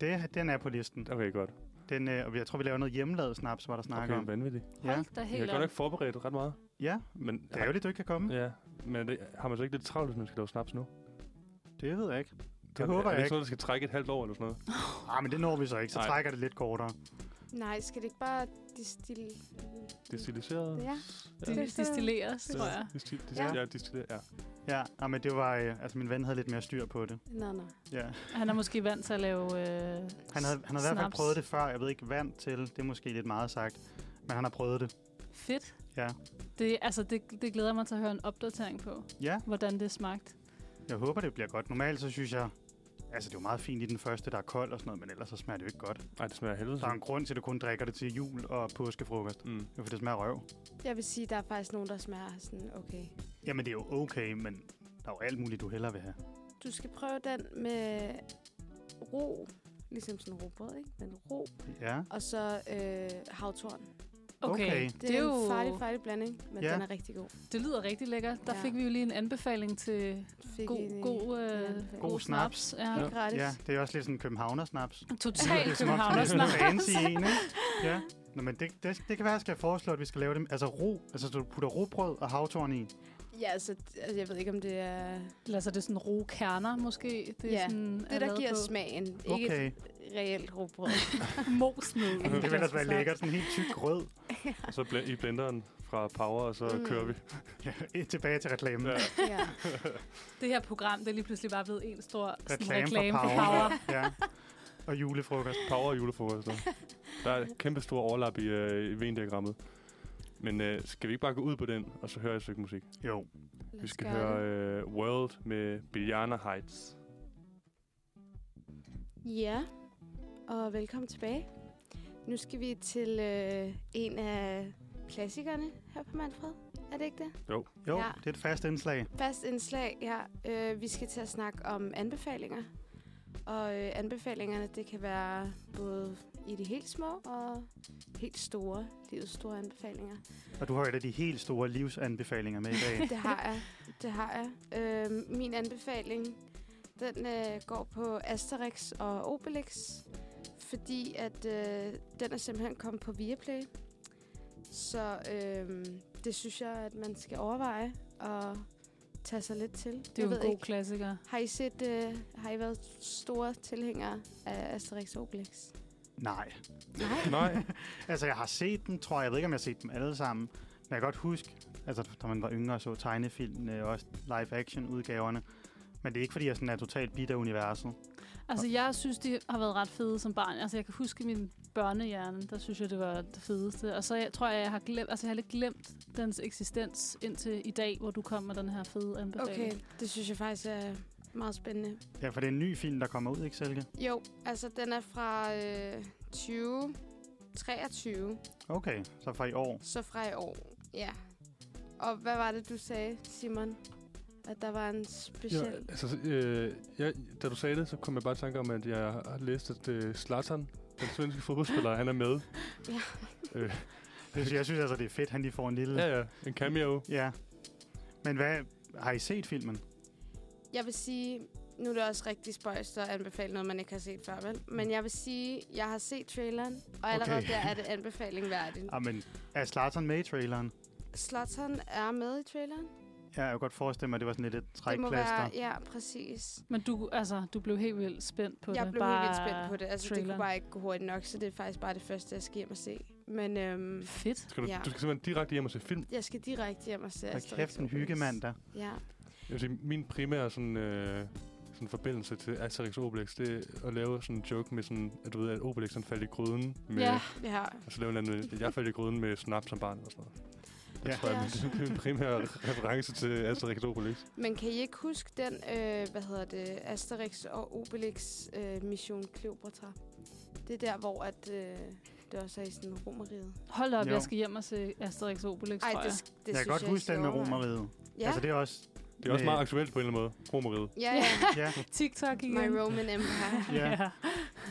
C: Det, den er på listen.
B: Okay, godt.
C: Den, øh, og jeg tror, vi laver noget hjemmelavet snaps, var der snakker
B: Okay,
C: om.
B: vanvittigt.
C: Ja.
E: Hold da
B: Jeg har
E: helt
B: godt
E: op.
B: nok forberedt ret meget.
C: ja,
B: Men,
C: det er jo det, du ikke kan komme. Ja.
B: Ja, men er det, har man så ikke lidt travlt, hvis man skal lave snaps nu?
C: Det ved jeg ikke. Det
B: Er-
C: håber
B: er
C: jeg
B: det
C: ikke.
B: sådan, der skal trække et halvt år eller sådan noget?
C: Nej, men det når vi så ikke. Så
B: Nej.
C: trækker det lidt kortere.
D: Nej, skal det ikke bare distille?
B: Destilliseret?
D: Ja.
E: De,
D: Ja.
E: distilleres, tror jeg.
B: Distil, distil,
D: Ja.
B: ja. ja, destilleret, ja.
C: Ja, nej, men det var... Øh, altså, min ven havde lidt mere styr på det.
D: Nå, nå.
C: Ja.
E: Han er måske vant til at lave øh,
C: Han havde, han havde i hvert fald prøvet det før. Jeg ved ikke, vant til. Det er måske lidt meget sagt. Men han har prøvet det.
E: Fedt.
C: Ja.
E: Det, altså, det, det glæder jeg mig til at høre en opdatering på,
C: Ja,
E: hvordan det smagte.
C: jeg håber, det bliver godt. Normalt så synes jeg... Altså, det er jo meget fint i den første, der er kold og sådan noget, men ellers så smager det jo ikke godt.
B: Ej, det smager af helvede.
C: Der er en grund til, at du kun drikker det til jul og påskefrokost.
B: Mm.
C: Jo, for det smager af røv.
D: Jeg vil sige, der er faktisk nogen, der smager sådan, okay.
C: Jamen, det er jo okay, men der er jo alt muligt, du hellere vil have.
D: Du skal prøve den med ro, ligesom sådan robrød, ikke? Men ro,
C: Ja.
D: og så øh, havtorn. Det,
E: Okay,
C: Okay.
E: okay.
D: det er, en farlig, farlig blanding, men
C: Ja.
D: ja. den er rigtig god.
E: det lyder rigtig lækkert. Der
D: Ja.
E: ja. fik vi jo lige en anbefaling til
D: Fik en,
E: god,
D: øh,
E: god,
D: en
E: øh,
D: anbefaling.
C: God snaps.
E: Ja.
D: Helt gratis.
C: Ja, det er også lidt sådan en københavner-snaps.
E: Total
C: som om det er sådan en
E: københavnersnaps.
C: fancy en, ikke? Ja. Nå, men det, det, det kan være, at jeg skal foreslå, at vi skal lave dem. Altså ro, altså så du putter robrød og havtorn i.
D: Ja, altså, d- altså, jeg ved ikke, om det er...
E: Eller så er det sådan ro kerner, måske. Det er
D: Ja,
E: sådan,
D: Det, der giver smagen. Ikke
C: Okay.
D: reelt robrød.
E: Mos ned.
C: Det vil ellers være lækkert, sådan helt tyk grød.
B: Og så bl- i blenderen fra Power, og så
D: Mm.
B: mm. kører vi.
C: Ja, tilbage til reklamen.
B: Ja.
C: Ja.
D: ja.
E: Det her program, det er lige pludselig bare blevet en stor sådan
C: Reklame for
E: reklame for
C: Power.
E: power.
C: ja. Og julefrokost.
B: Power og julefrokoster. Der er et kæmpe stor overlap i, øh, i vendiagrammet. Men øh, skal vi ikke bare gå ud på den, og så høre et stykke musik?
C: Jo.
D: Lad
B: Vi
D: os
B: skal
D: gøre
B: høre
D: det.
B: øh, World med Biljana Heights.
D: Ja, og velkommen tilbage. Nu skal vi til øh, en af klassikerne her på Manfred. Er det ikke det?
C: Jo,
D: Ja.
C: det er et fast indslag.
D: Fast indslag, ja. Øh, vi skal til at snakke om anbefalinger. Og øh, anbefalingerne, det kan være både i de helt små og helt store, livets store anbefalinger.
C: Og du har et af de helt store livsanbefalinger med i dag.
D: Det har jeg. Det har jeg. Øh, min anbefaling, den øh, går på Asterix og Obelix, fordi at øh, den er simpelthen kommet på Viaplay. Så øh, det synes jeg, at man skal overveje og tage sig lidt til.
E: Det er jo en god klassiker.
D: Har I set, øh, har I været store tilhængere af Asterix og Obelix?
C: Nej.
D: Nej.
B: Nej.
C: Altså, jeg har set dem, tror jeg. Jeg ved ikke, om jeg har set dem alle sammen. Men jeg kan godt huske, altså, da man var yngre og så tegnefilmene, og også live-action-udgaverne. Men det er ikke, fordi jeg sådan er totalt bit af universet.
E: Altså, jeg synes, de har været ret fede som barn. Altså, jeg kan huske min børnehjerne, der synes jeg, det var det fedeste. Og så jeg, tror jeg, jeg har glemt, altså, jeg har lidt glemt dens eksistens indtil i dag, hvor du kom med den her fede anbefaling.
D: Okay, det synes jeg faktisk er meget spændende.
C: Ja, for det er en ny film, der kommer ud, ikke, Silke?
D: Jo, altså den er fra øh, 2023,
C: Okay, så fra i år.
D: så fra i år. Ja. Og hvad var det, du sagde, Simon? At der var en
B: Ja,
D: speciel...
B: altså, så, øh, jeg, da du sagde det, så kom jeg bare i tanke om, at jeg har læst, at øh, Zlatan, den svenske fodboldspiller, han er med.
D: Ja.
B: Øh,
C: Jeg synes, jeg synes altså, det er fedt, han lige får en lille...
B: ja, ja, en cameo.
C: ja. Men hvad... Har I set filmen?
D: Jeg vil sige... Nu er det også rigtig spøjst at anbefale noget, man ikke har set før, vel? Men jeg vil sige, jeg har set traileren, og allerede
C: Okay.
D: der er det anbefaling værdigt.
C: Ah, men er Slatern med i traileren?
D: Slottern er med i traileren.
C: Ja, jeg kan godt forestille mig, at det var sådan lidt et
D: Det må være,
C: trækplaster.
D: ja, præcis.
E: Men du, altså, du blev helt vildt spændt på
D: jeg
E: det.
D: blev helt vildt spændt på det. Altså, det
E: traileren.
D: kunne bare ikke gå hurtigt nok, så det er faktisk bare det første, jeg skal hjem og se. Men øhm,
E: Fedt.
B: Skal du,
D: Ja.
B: du skal simpelthen direkte hjem og se film.
D: jeg skal direkte hjem og se
C: Hold kæft, en
D: Obelix.
C: hyggemand der.
D: Ja.
B: Jeg vil sige, min primære sådan, øh, sådan forbindelse til Asterix og Obelix, det er at lave sådan en joke med sådan, at du ved, at Obelix han faldt i gryden med...
E: Ja.
D: ja.
B: Og så lave en eller anden, jeg faldt i gryden med snap som barn og sådan noget. Det
C: Ja.
B: ja. tror jeg,
D: Ja.
B: det er min primære reference til Asterix og Obelix.
D: Men kan I ikke huske den, øh, hvad hedder det, Asterix og Obelix øh, Mission Kleopatra? Det er der, hvor at, øh, det også er i sådan romeriet.
E: Hold op,
C: Jo.
E: jo. jeg skal hjem og se Asterix og Obelix,
D: Ej,
E: tror
D: det,
E: jeg.
D: sk- det
C: Jeg
D: synes
C: kan godt
D: jeg, I
C: huske
D: skal
C: den med
D: overveje.
C: romeriet.
D: Ja,
C: Altså, det er også...
B: Det er også meget aktuelt på en eller anden måde. Romeriet.
D: ja, ja.
C: Ja,
E: TikTok igen.
D: My Roman Empire.
C: ja.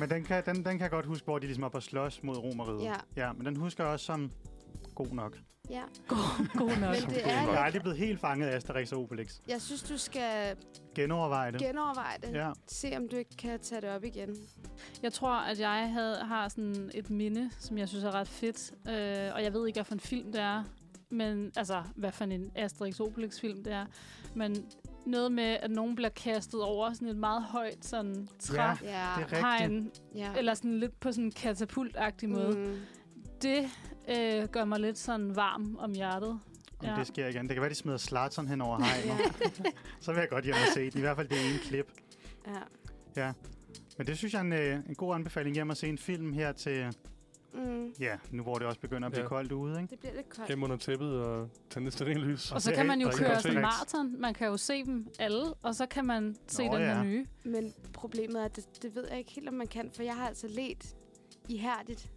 C: Men den kan, den, den kan jeg godt huske, hvor de ligesom er på slås mod romeriet.
D: Ja.
C: ja. men den husker jeg også som god nok.
D: ja.
E: God, god nok.
D: Men det
B: god nok.
D: er,
C: Jeg er
D: jeg,
C: aldrig blevet helt fanget af Asterix og Obelix.
D: jeg synes, du skal
C: Genovervej det.
D: genoverveje det.
C: Ja.
D: Se, om du ikke kan tage det op igen.
E: Jeg tror, at jeg havde, har sådan et minde, som jeg synes er ret fedt. Øh, og jeg ved ikke, hvad for en film det er. Men, altså, hvad for en Asterix Obelix-film det er. Men noget med, at nogen bliver kastet over sådan et meget højt sådan træ.
D: Ja,
C: Det er rigtigt.
E: Hegn,
D: ja.
E: eller sådan lidt på sådan en katapultagtig måde.
D: Mm.
E: Det øh, gør mig lidt sådan varm om hjertet.
C: Om
E: Ja.
C: det sker igen. Det kan være, de smider Slatern hen over hegnet.
D: Ja.
C: Så vil jeg godt hjem og se den. I hvert fald det ene klip.
D: Ja.
C: Men det synes jeg er en, øh, en god anbefaling hjem at se en film her til...
D: Mm.
C: Ja, nu hvor det også begynder at blive
B: Ja.
C: koldt ude, ikke?
D: Det bliver lidt koldt.
B: Hjem under tæppet og tage næsterinlys.
E: Og så kan man jo
B: drikke
E: køre
B: kaffe.
E: sådan en maraton. Man kan jo se dem alle, og så kan man se
C: Nå,
E: den her
C: ja.
E: nye.
D: Men problemet er, at det, det ved jeg ikke helt, om man kan, for jeg har altså let ihærdigt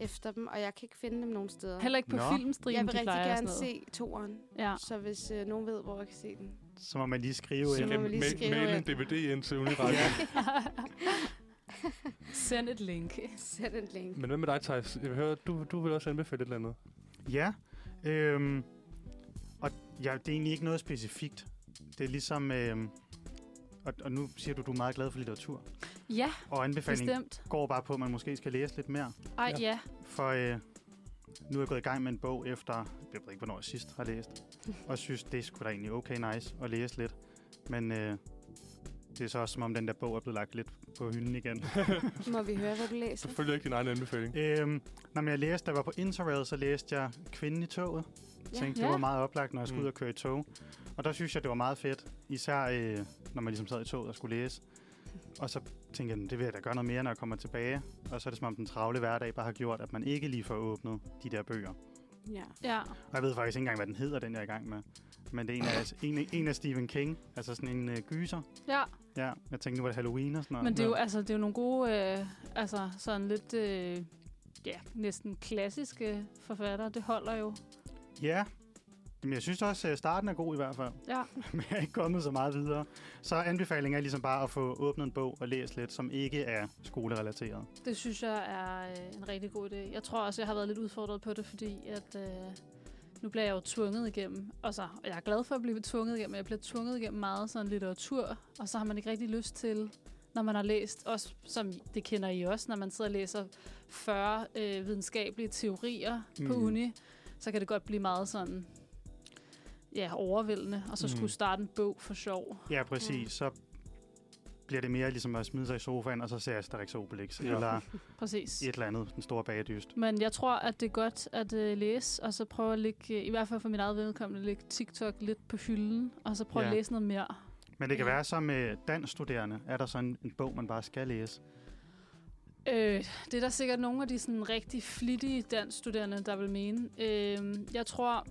D: efter dem, og jeg kan ikke finde dem nogen steder.
E: Heller ikke på
C: Nå.
E: filmstriben,
D: jeg vil
E: de
D: rigtig
E: plejer og
D: gerne
E: sådan
D: se toeren,
E: noget. Ja.
D: så hvis øh, nogen ved, hvor jeg kan se den.
C: Så må man lige skrive
B: Så
D: Så
C: ind.
D: må
B: kan
D: man lige
B: ma-
D: skrive
B: mail en
D: ind.
B: DVD ind til Uniradio.
E: Send et link.
D: Send en link.
B: Men hvad med dig, Thijs? Jeg vil høre, du, du vil også anbefale et eller andet.
C: Ja. Øhm, og ja, det er egentlig ikke noget specifikt. Det er ligesom... Øhm, og, og nu siger du, du er meget glad for litteratur.
E: Ja,
C: Og anbefalingen
E: bestemt.
C: går bare på, at man måske skal læse lidt mere.
E: Ej,
B: Ja.
E: ja.
C: For øh, nu er jeg gået i gang med en bog efter, jeg ved ikke, hvornår jeg sidst har læst, og synes, det skulle da egentlig okay nice at læse lidt. Men øh, det er så også, som om den der bog er blevet lagt lidt på hylden igen.
D: Må vi høre, hvad du læser?
B: Du følger ikke din egen anbefaling.
C: øhm, når jeg læste, da jeg var på Interrail, så læste jeg Kvinden i toget. Jeg tænkte, det
E: Ja.
C: var meget oplagt, når jeg skulle
B: Mm.
C: ud og køre i tog. Og der synes jeg, det var meget fedt, især øh, når man ligesom sad i toget og skulle læse. Og så tænkte jeg, det vil jeg da gøre noget mere, når jeg kommer tilbage. Og så er det som om den travle hverdag bare har gjort, at man ikke lige får åbnet de der bøger.
D: Ja.
E: Ja.
C: Og jeg ved faktisk ikke engang, hvad den hedder, den jeg er i gang med. Men det er en af, en, en af Stephen King, altså sådan en øh, gyser.
E: ja.
C: Ja, jeg tænkte, nu var det Halloween og sådan noget.
E: Men det er jo, altså, det er jo nogle gode, øh, altså sådan lidt, øh, ja, næsten klassiske forfattere. Det holder jo.
C: Ja, Jamen, jeg synes også, at starten er god i hvert fald.
E: Ja.
C: Men jeg er ikke kommet så meget videre. Så anbefalingen er ligesom bare at få åbnet en bog og læst lidt, som ikke er skolerelateret.
E: Det synes jeg er øh, en rigtig god idé. Jeg tror også, jeg har været lidt udfordret på det, fordi at, øh, nu bliver jeg jo tvunget igennem. Og, så, og jeg er glad for at blive tvunget igennem, men jeg bliver tvunget igennem meget sådan litteratur, og så har man ikke rigtig lyst til, når man har læst, også som det kender I også, når man sidder og læser 40 øh, videnskabelige teorier mm. på
C: Mm.
E: uni, så kan det godt blive meget sådan ja, overvældende, og så
B: Mm.
E: skulle starte en bog for sjov.
C: Ja, præcis. Så bliver det mere ligesom at smide sig i sofaen, og så ser Asterix og Obelix,
B: Ja.
C: ja. eller
E: Præcis.
C: et eller andet, den store bagedyst.
E: Men jeg tror, at det er godt at øh, læse, og så prøve at lægge, øh, i hvert fald for min eget vedkommende, lægge TikTok lidt på hylden, og så prøve ja.
C: Ja.
E: at læse noget mere.
C: Men det kan
E: Ja.
C: være som med dansstuderende, er der sådan en bog, man bare skal læse.
E: Øh, det er der sikkert nogle af de sådan rigtig flittige dansstuderende, der vil mene. Øh, jeg tror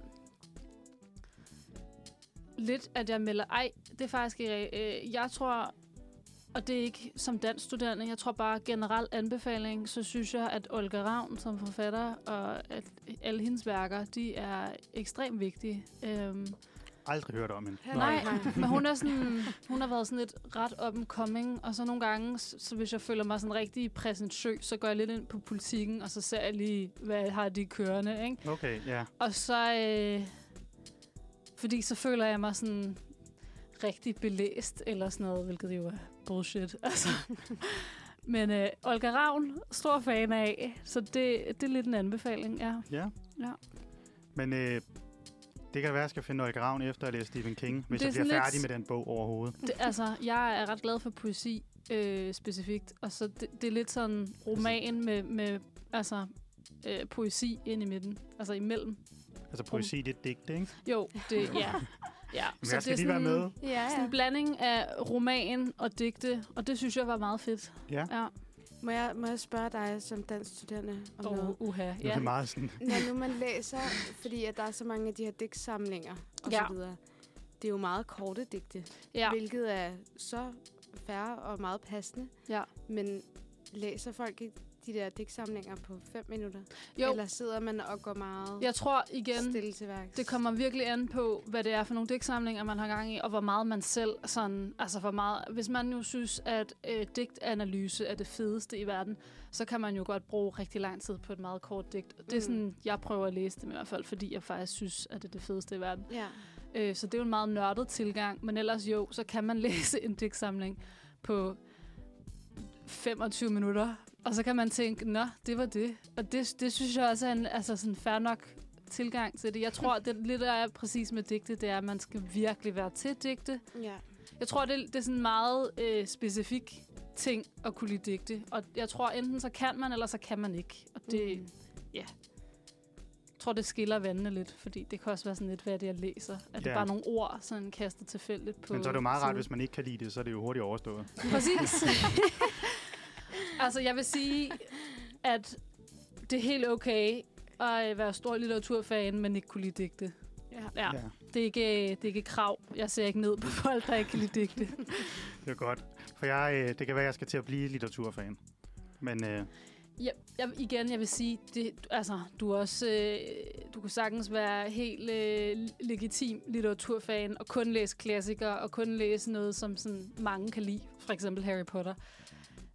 E: lidt, at jeg melder... Ej, det er faktisk ikke... rigtigt. Øh, jeg tror, og det er ikke som dansstuderende, jeg tror bare generelt anbefaling, så synes jeg, at Olga Ravn som forfatter og at alle hendes værker, de er ekstremt vigtige. Øh,
C: Aldrig hørt om hende.
E: Nej, men hun, er sådan, hun har været sådan lidt ret up and coming, og så nogle gange, så, så hvis jeg føler mig sådan rigtig præsentøs, så går jeg lidt ind på politikken, og så ser jeg lige, hvad har de kørende, ikke?
C: Okay, ja.
E: Og så, øh, fordi så føler jeg mig sådan rigtig belæst, eller sådan noget, hvilket jo er bullshit, altså. Men øh, Olga Ravn, stor fan af, så det, det er lidt en anbefaling, ja.
C: ja.
E: Ja.
C: Men øh, det kan være, at jeg skal finde Olga Ravn efter at læse Stephen King, hvis
E: Det er
C: jeg bliver
E: sådan lidt-
C: færdig med den bog overhovedet.
E: Det, altså, jeg er ret glad for poesi øh, specifikt, og så det, det er lidt sådan roman med, med altså, øh, poesi ind i midten, altså imellem.
C: Altså poesi, det er digte, ikke?
E: Jo, det Øh, ja. ja.
C: Men jeg skal
E: det er
C: lige være med.
D: Ja,
E: Sådan en blanding af roman og digte, og det synes jeg var meget fedt.
C: Ja.
E: ja.
D: Må jeg, må jeg spørge dig som dansstuderende om oh. noget?
E: Og uha,
C: Det er
E: ja.
C: meget sådan,
D: Når nu man læser, fordi at der er så mange af de her digtsamlinger og
E: Ja.
D: ja. så videre, det er jo meget korte digte,
E: ja.
D: ja. hvilket er så færre og meget passende.
E: Ja.
D: Men læser folk ikke de der digtsamlinger på fem minutter?
E: Jo,
D: Eller sidder man og går meget
E: jeg tror igen,
D: stille til værks?
E: Det kommer virkelig an på, hvad det er for nogle digtsamlinger, man har gang i, og hvor meget man selv sådan, altså hvor meget, hvis man nu synes, at øh, digtanalyse er det fedeste i verden, så kan man jo godt bruge rigtig lang tid på et meget kort digt. Det er
D: Mm.
E: sådan, jeg prøver at læse dem i hvert fald, fordi jeg faktisk synes, at det er det fedeste i verden.
D: Ja.
E: Øh, så det er jo en meget nørdet tilgang, men ellers jo, så kan man læse en digtsamling på 25 minutter, og så kan man tænke, nå, det var det. Og det, det synes jeg også er en altså sådan fair nok tilgang til det. Jeg tror, det lidt der er præcis med digte, det er, at man skal virkelig være til digte.
D: ja.
E: Jeg tror, det, det er sådan en meget øh, specifik ting at kunne lide digte. Og jeg tror, enten så kan man, eller så kan man ikke. Og det,
D: Mm.
E: jeg tror, det skiller vandene lidt, fordi det kan også være sådan lidt, hvad det er, jeg læser. At det
C: Ja.
E: er bare nogle ord, sådan kastet tilfældigt på...
C: men så er det jo meget rart,
E: siden.
C: hvis man ikke kan lide det, så er det jo hurtigt overstået.
E: Præcis. altså, jeg vil sige, at det er helt okay at øh, være stor litteraturfan, men ikke kunne lide digte.
D: Ja.
E: Ja,
C: ja.
E: det er ikke, det er ikke krav. Jeg ser ikke ned på folk, der ikke kan lide digte.
C: Det er godt. For jeg, øh, det kan være, at jeg skal til at blive litteraturfan. Men øh,
E: Jeg, jeg, igen, jeg vil sige, det, altså, du, er også, øh, du kan sagtens være helt øh, legitim litteraturfan og kun læse klassikere og kun læse noget, som sådan, mange kan lide, for eksempel Harry Potter.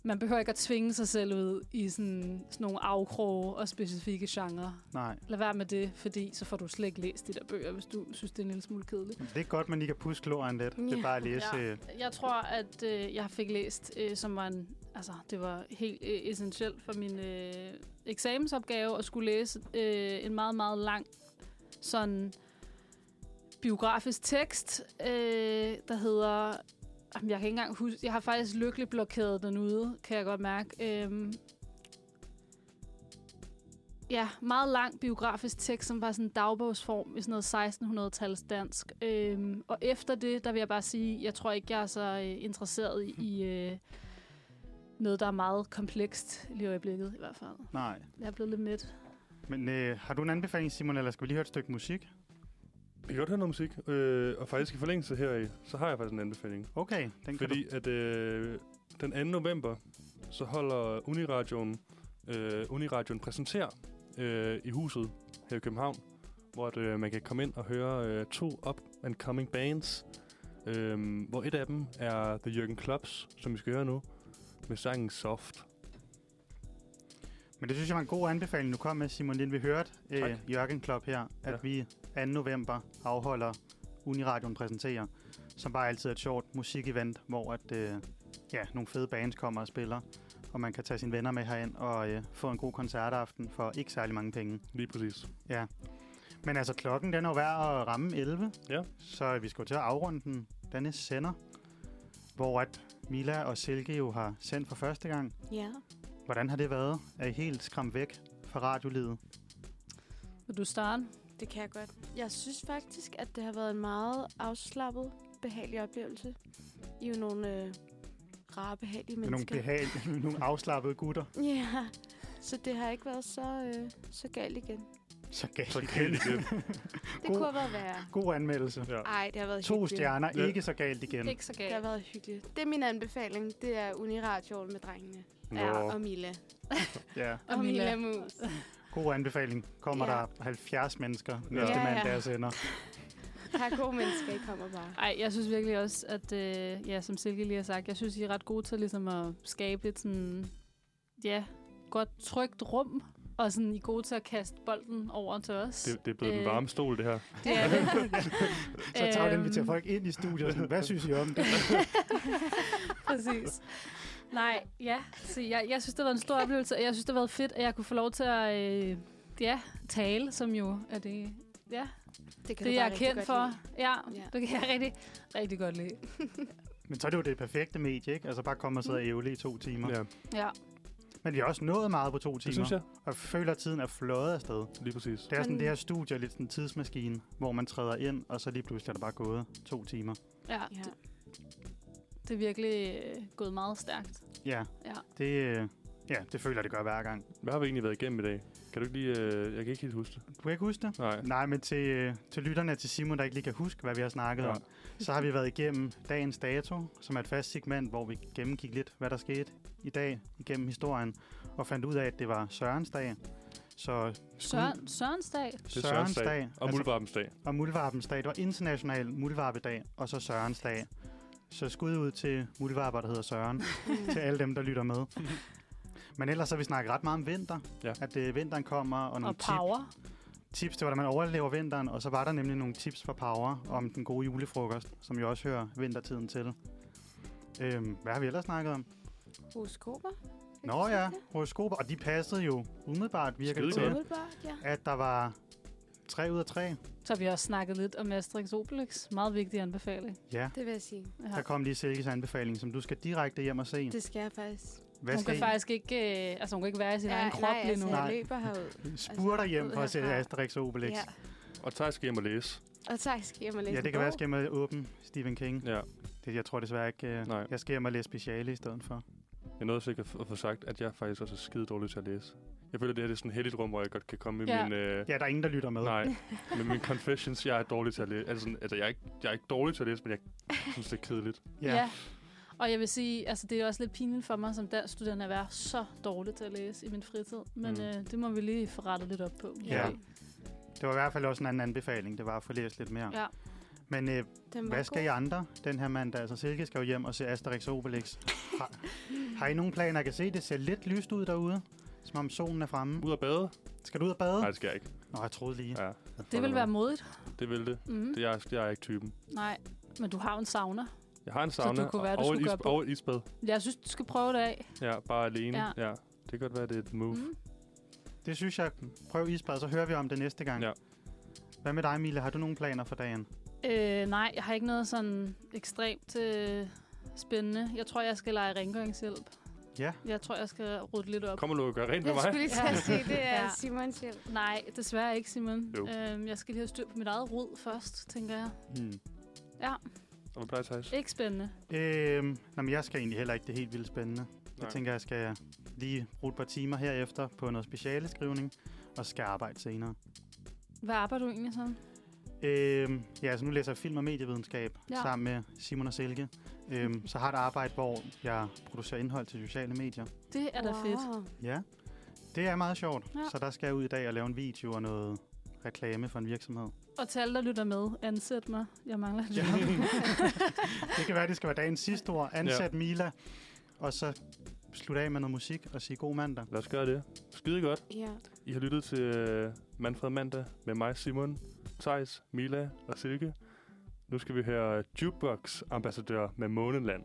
E: Man behøver ikke at tvinge sig selv ud i sådan, sådan nogle afkroge og specifikke genrer.
C: nej,
E: Lad være med det, fordi så får du slet ikke læst de der bøger, hvis du synes, det er en lille smule kedeligt.
C: det er godt, man lige kan puske låren lidt. Det er
D: Ja.
C: bare at læse.
E: Ja.
C: Ja. Øh,
E: Jeg tror, at øh, jeg fik læst, øh, som var en, altså, det var helt øh, essentielt for min øh, eksamensopgave, at skulle læse øh, en meget, meget lang sådan biografisk tekst, øh, der hedder... Jamen, jeg kan ikke engang huske... Jeg har faktisk lykkeligt blokeret den ude, kan jeg godt mærke. Øhm, ja, meget lang biografisk tekst, som var sådan en dagbogsform i sådan noget 1600-tals dansk. Øhm, og efter det, der vil jeg bare sige, jeg tror ikke, jeg er så øh, interesseret i, i øh, noget, der er meget komplekst lige i øjeblikket i hvert fald.
C: nej.
E: Jeg er blevet lidt midt.
C: Men øh, har du en anbefaling, Simon, eller skal vi lige høre et stykke musik?
B: Vi kan godt høre noget musik, øh, og faktisk i forlængelse heraf, så har jeg faktisk en anbefaling.
C: Okay, den kan
B: Fordi at øh, den 2. november, så holder Uniradioen, øh, Uniradioen præsenterer øh, i huset her i København, hvor at, øh, man kan komme ind og høre øh, to up-and-coming bands, øh, hvor et af dem er The Jürgen Klops, som vi skal høre nu, med sangen Soft.
C: Men det synes jeg var en god anbefaling, du kom med, Simon Lind. Vi hørte
B: Tak.
C: øh, Jørgen Klopp her, at
B: Ja.
C: ja. vi 2. november afholder Uniradion præsenterer, som bare altid er et sjovt musikevent, hvor at, øh, ja, nogle fede bands kommer og spiller, og man kan tage sine venner med herind og øh, få en god koncertaften for ikke særlig mange penge.
B: Lige præcis.
C: Men altså, klokken den er jo værd at ramme 11,
B: Ja.
C: så vi skal jo til at afrunde den denne sender, hvor at Mila og Silke jo har sendt for første gang.
D: Ja.
C: Hvordan har det været? Er I helt skræmt væk fra radiolivet?
E: Vil du starte?
D: Det kan jeg godt. Jeg synes faktisk, at det har været en meget afslappet, behagelig oplevelse. I er jo nogle øh, rare, behagelige
C: Med nogle,
D: mennesker.
C: behag, nogle afslappede gutter.
D: Ja, så det har ikke været så, øh, så galt igen.
C: Så galt,
B: Så galt igen.
D: Det
C: God-
D: God. kunne have været værre.
C: God anmeldelse.
B: Ja.
D: Ej, det har været
C: To
D: hyggeligt.
C: stjerner,
B: Ja.
C: ikke så galt igen.
E: Ikke så
D: Det har
E: galt.
D: været hyggeligt. Det er min anbefaling. Det er Uniradioen med drengene.
B: Nå.
D: Ja, og Mila.
C: Ja.
E: Og Mila.
D: Mus.
C: God anbefaling. Kommer
D: Ja.
C: der 70 mennesker næste
D: Ja, ja.
C: mandag jeg sender.
D: Her er gode mennesker, I kommer bare.
E: Ej, jeg synes virkelig også, at, øh, ja, som Silke lige har sagt, jeg synes, I er ret gode til ligesom at skabe et sådan, ja, godt trygt rum, og sådan, I er gode til at kaste bolden over til os.
B: Det, det er blevet øh. den
E: Øh.
B: varme stol, det her.
E: det er det.
C: Så tager vi inviterer
E: Øhm.
C: folk ind i studiet og sådan, hvad synes I om det?
E: Præcis. Nej, ja. Så jeg, jeg synes, det var en stor oplevelse, og jeg synes, det har været fedt, at jeg kunne få lov til at øh, ja, tale, som jo er det, ja,
D: Det kan
E: det
D: du bare
E: jeg er
D: rigtig
E: kendt
D: godt
E: for.
D: lide.
E: Ja,
D: Ja.
E: det kan jeg rigtig, rigtig godt lide.
C: Men så er det jo det perfekte medie, ikke? Altså bare komme og sidde og ævle i to timer. Ja.
B: Ja,
E: Ja.
C: Men vi har også nået meget på to
B: det
C: timer.
B: synes jeg.
C: Og jeg føler, at tiden er fløjet afsted.
B: Lige præcis.
C: Det er sådan,
E: Men-
C: det her studie er lidt sådan en tidsmaskine, hvor man træder ind, og så lige pludselig er der bare gået to timer.
E: Ja,
D: Ja.
E: det, det er virkelig øh, gået meget stærkt.
C: Ja,
E: Ja.
C: det, øh, ja, det føler jeg, det gør hver gang.
B: Hvad har vi egentlig været igennem i dag? Kan du ikke lige... Øh, jeg kan ikke helt huske det.
C: Du kan ikke huske det?
B: Nej.
C: Nej, men til, øh, til lytterne til Simon, der ikke lige kan huske, hvad vi har snakket
B: Ja.
C: ja. om, så har vi været igennem dagens dato, som er et fast segment, hvor vi gennemgik lidt, hvad der skete i dag igennem historien, og fandt ud af, at det var Sørens dag. Så
E: Søren, Sørens dag.
B: Det er
C: Sørens
B: Sørens
C: dag,
B: dag. Og
C: altså-
B: Muldvarpens dag.
C: og Muldvarpens dag, det var international Muldvarpedag, og så Sørens dag. Så skud ud til muldvarper, der hedder Søren,
D: Mm.
C: til alle dem, der lytter med. Men ellers har vi snakket ret meget om vinter,
B: Ja.
C: at øh, vinteren kommer, og nogle
E: Og
C: tips.
E: power.
C: tips til, hvordan man overlever vinteren, og så var der nemlig nogle tips for Power om den gode julefrokost, som jo også hører vintertiden til. Øhm, hvad har vi ellers snakket om?
D: Horoskoper? Fik
C: Nå
D: du sagt
C: ja,
D: det?
C: horoskoper, og de passede jo umiddelbart virker det
B: Skidegodt.
C: til,
D: Umiddelbart, ja.
C: at der var 3 ud af 3.
E: Så har vi også snakket lidt om Asterix Obelix. Meget vigtig anbefaling.
C: Ja,
D: Det vil jeg sige.
E: Ja.
C: der kom lige Silkes anbefaling, som du skal direkte hjem og se.
D: Det skal jeg faktisk.
C: Hvad
E: Hun
C: skal I?
E: kan faktisk ikke, øh, altså hun kan ikke være i sin ja, egen krop
D: nej,
E: lige nu.
D: Altså,
C: Nej.
D: jeg løber herud.
C: Spurter hjem
D: ud
C: for at se
D: herfra.
C: Asterix og Obelix.
D: Altså, Ja.
C: Ja,
B: Og tak skal hjem og læse.
E: Mm.
D: Og tak, skal jeg må læse
C: ja det
D: en
C: kan være, at jeg
D: bog.
C: skal hjem og åbne Stephen King.
B: Ja.
C: Det, jeg tror desværre ikke, øh,
B: Nej.
C: jeg skal hjem og læse speciale i stedet for.
B: Jeg nåede sikkert at f- at få sagt, at jeg faktisk også er skide dårlig til at læse. Jeg føler, det her det er sådan et heldigt rum, hvor jeg godt kan komme med
E: Ja.
B: ja. min... Øh,
C: Ja, der er ingen, der lytter med.
B: Nej, med min confessions. Jeg er dårlig til at læse. Altså, sådan, altså jeg, er ikke, jeg er ikke dårlig til at læse, men jeg synes, det er kedeligt.
E: Ja. ja. Og jeg vil sige, altså det er også lidt pinligt for mig som dansk studerende at være så dårlig til at læse i min fritid. Men
B: Mm.
E: mm. øh, det må vi lige få rettet lidt op på.
C: Ja.
E: måske.
C: Det var i hvert fald også en anden anbefaling, det var at få læst lidt mere.
E: ja.
C: Men øh,
D: Den var
C: hvad skal I
D: god.
C: andre den her mandag? Altså Silke skal jo hjem og se Asterix og Obelix. Har, har I nogen planer? Jeg kan se, det ser lidt lyst ud derude. Som om solen er fremme.
B: Ud at bade?
C: Skal du ud og bade?
B: Nej, det skal jeg ikke.
C: Nå, jeg troede lige.
B: Ja.
E: Det vil være modigt.
B: Det vil det.
E: Mm.
B: det er, jeg- jeg er ikke typen.
E: Nej, men du har jo en sauna.
B: Jeg har en
E: Så du
B: sauna
E: kunne være, du
B: og, et
E: skulle
B: is-
E: gøre på-
B: og et isbad.
E: Jeg synes, du skal prøve det af.
B: Ja, bare alene.
E: Ja.
B: Ja. ja. Det kan godt være, det er et move. Mm.
E: Mm.
C: Det synes jeg. Prøv isbad, så hører vi om det næste gang.
B: Ja.
C: Hvad med dig, Mille? Har du nogen planer for dagen?
E: Øh, nej, jeg har ikke noget sådan ekstremt øh, spændende. Jeg tror, jeg skal lege rengøringshjælp.
C: Ja.
E: Jeg tror, jeg skal rydde lidt op.
B: Kom og luk og gør rent med
D: Jeg
B: mig.
D: skulle lige til at
E: Ja.
D: sige, det er
E: Ja.
D: Simons hjælp.
E: Nej, desværre ikke, Simon.
B: Jo.
E: Øhm, jeg skal lige have styr på mit eget rod først, tænker jeg.
C: Hmm.
B: Og hvad plejer Thijs?
E: Ikke spændende.
C: Øhm, nå, men jeg skal egentlig heller ikke det helt vildt spændende.
B: Nej.
C: Jeg tænker, jeg skal lige bruge et par timer herefter på noget specialeskrivning, og så skal jeg arbejde senere.
E: Hvad arbejder du egentlig som?
C: Øhm, ja, altså nu læser jeg film og medievidenskab
E: Ja.
C: ja. sammen med Simon og Silke. Øhm, så har jeg et arbejde, hvor jeg producerer indhold til sociale medier.
E: Det er da fedt.
C: Ja, det er meget sjovt.
E: Ja.
C: Ja. Så der skal jeg ud i dag og lave en video og noget reklame for en virksomhed.
E: Og til alle, der lytter med, ansæt mig. Jeg mangler et job.
C: det kan være, det skal være dagens sidste ord. Ansat ja. Mila. Og så slutte af med noget musik og sige god mandag.
B: Lad os gøre det. Skide godt.
D: Ja.
B: I har lyttet til øh, Manfred Mandag med mig, Simon, Tejs, Mila og Silke. øh, Nu skal vi høre Jukebox Ambassadør med Måneland.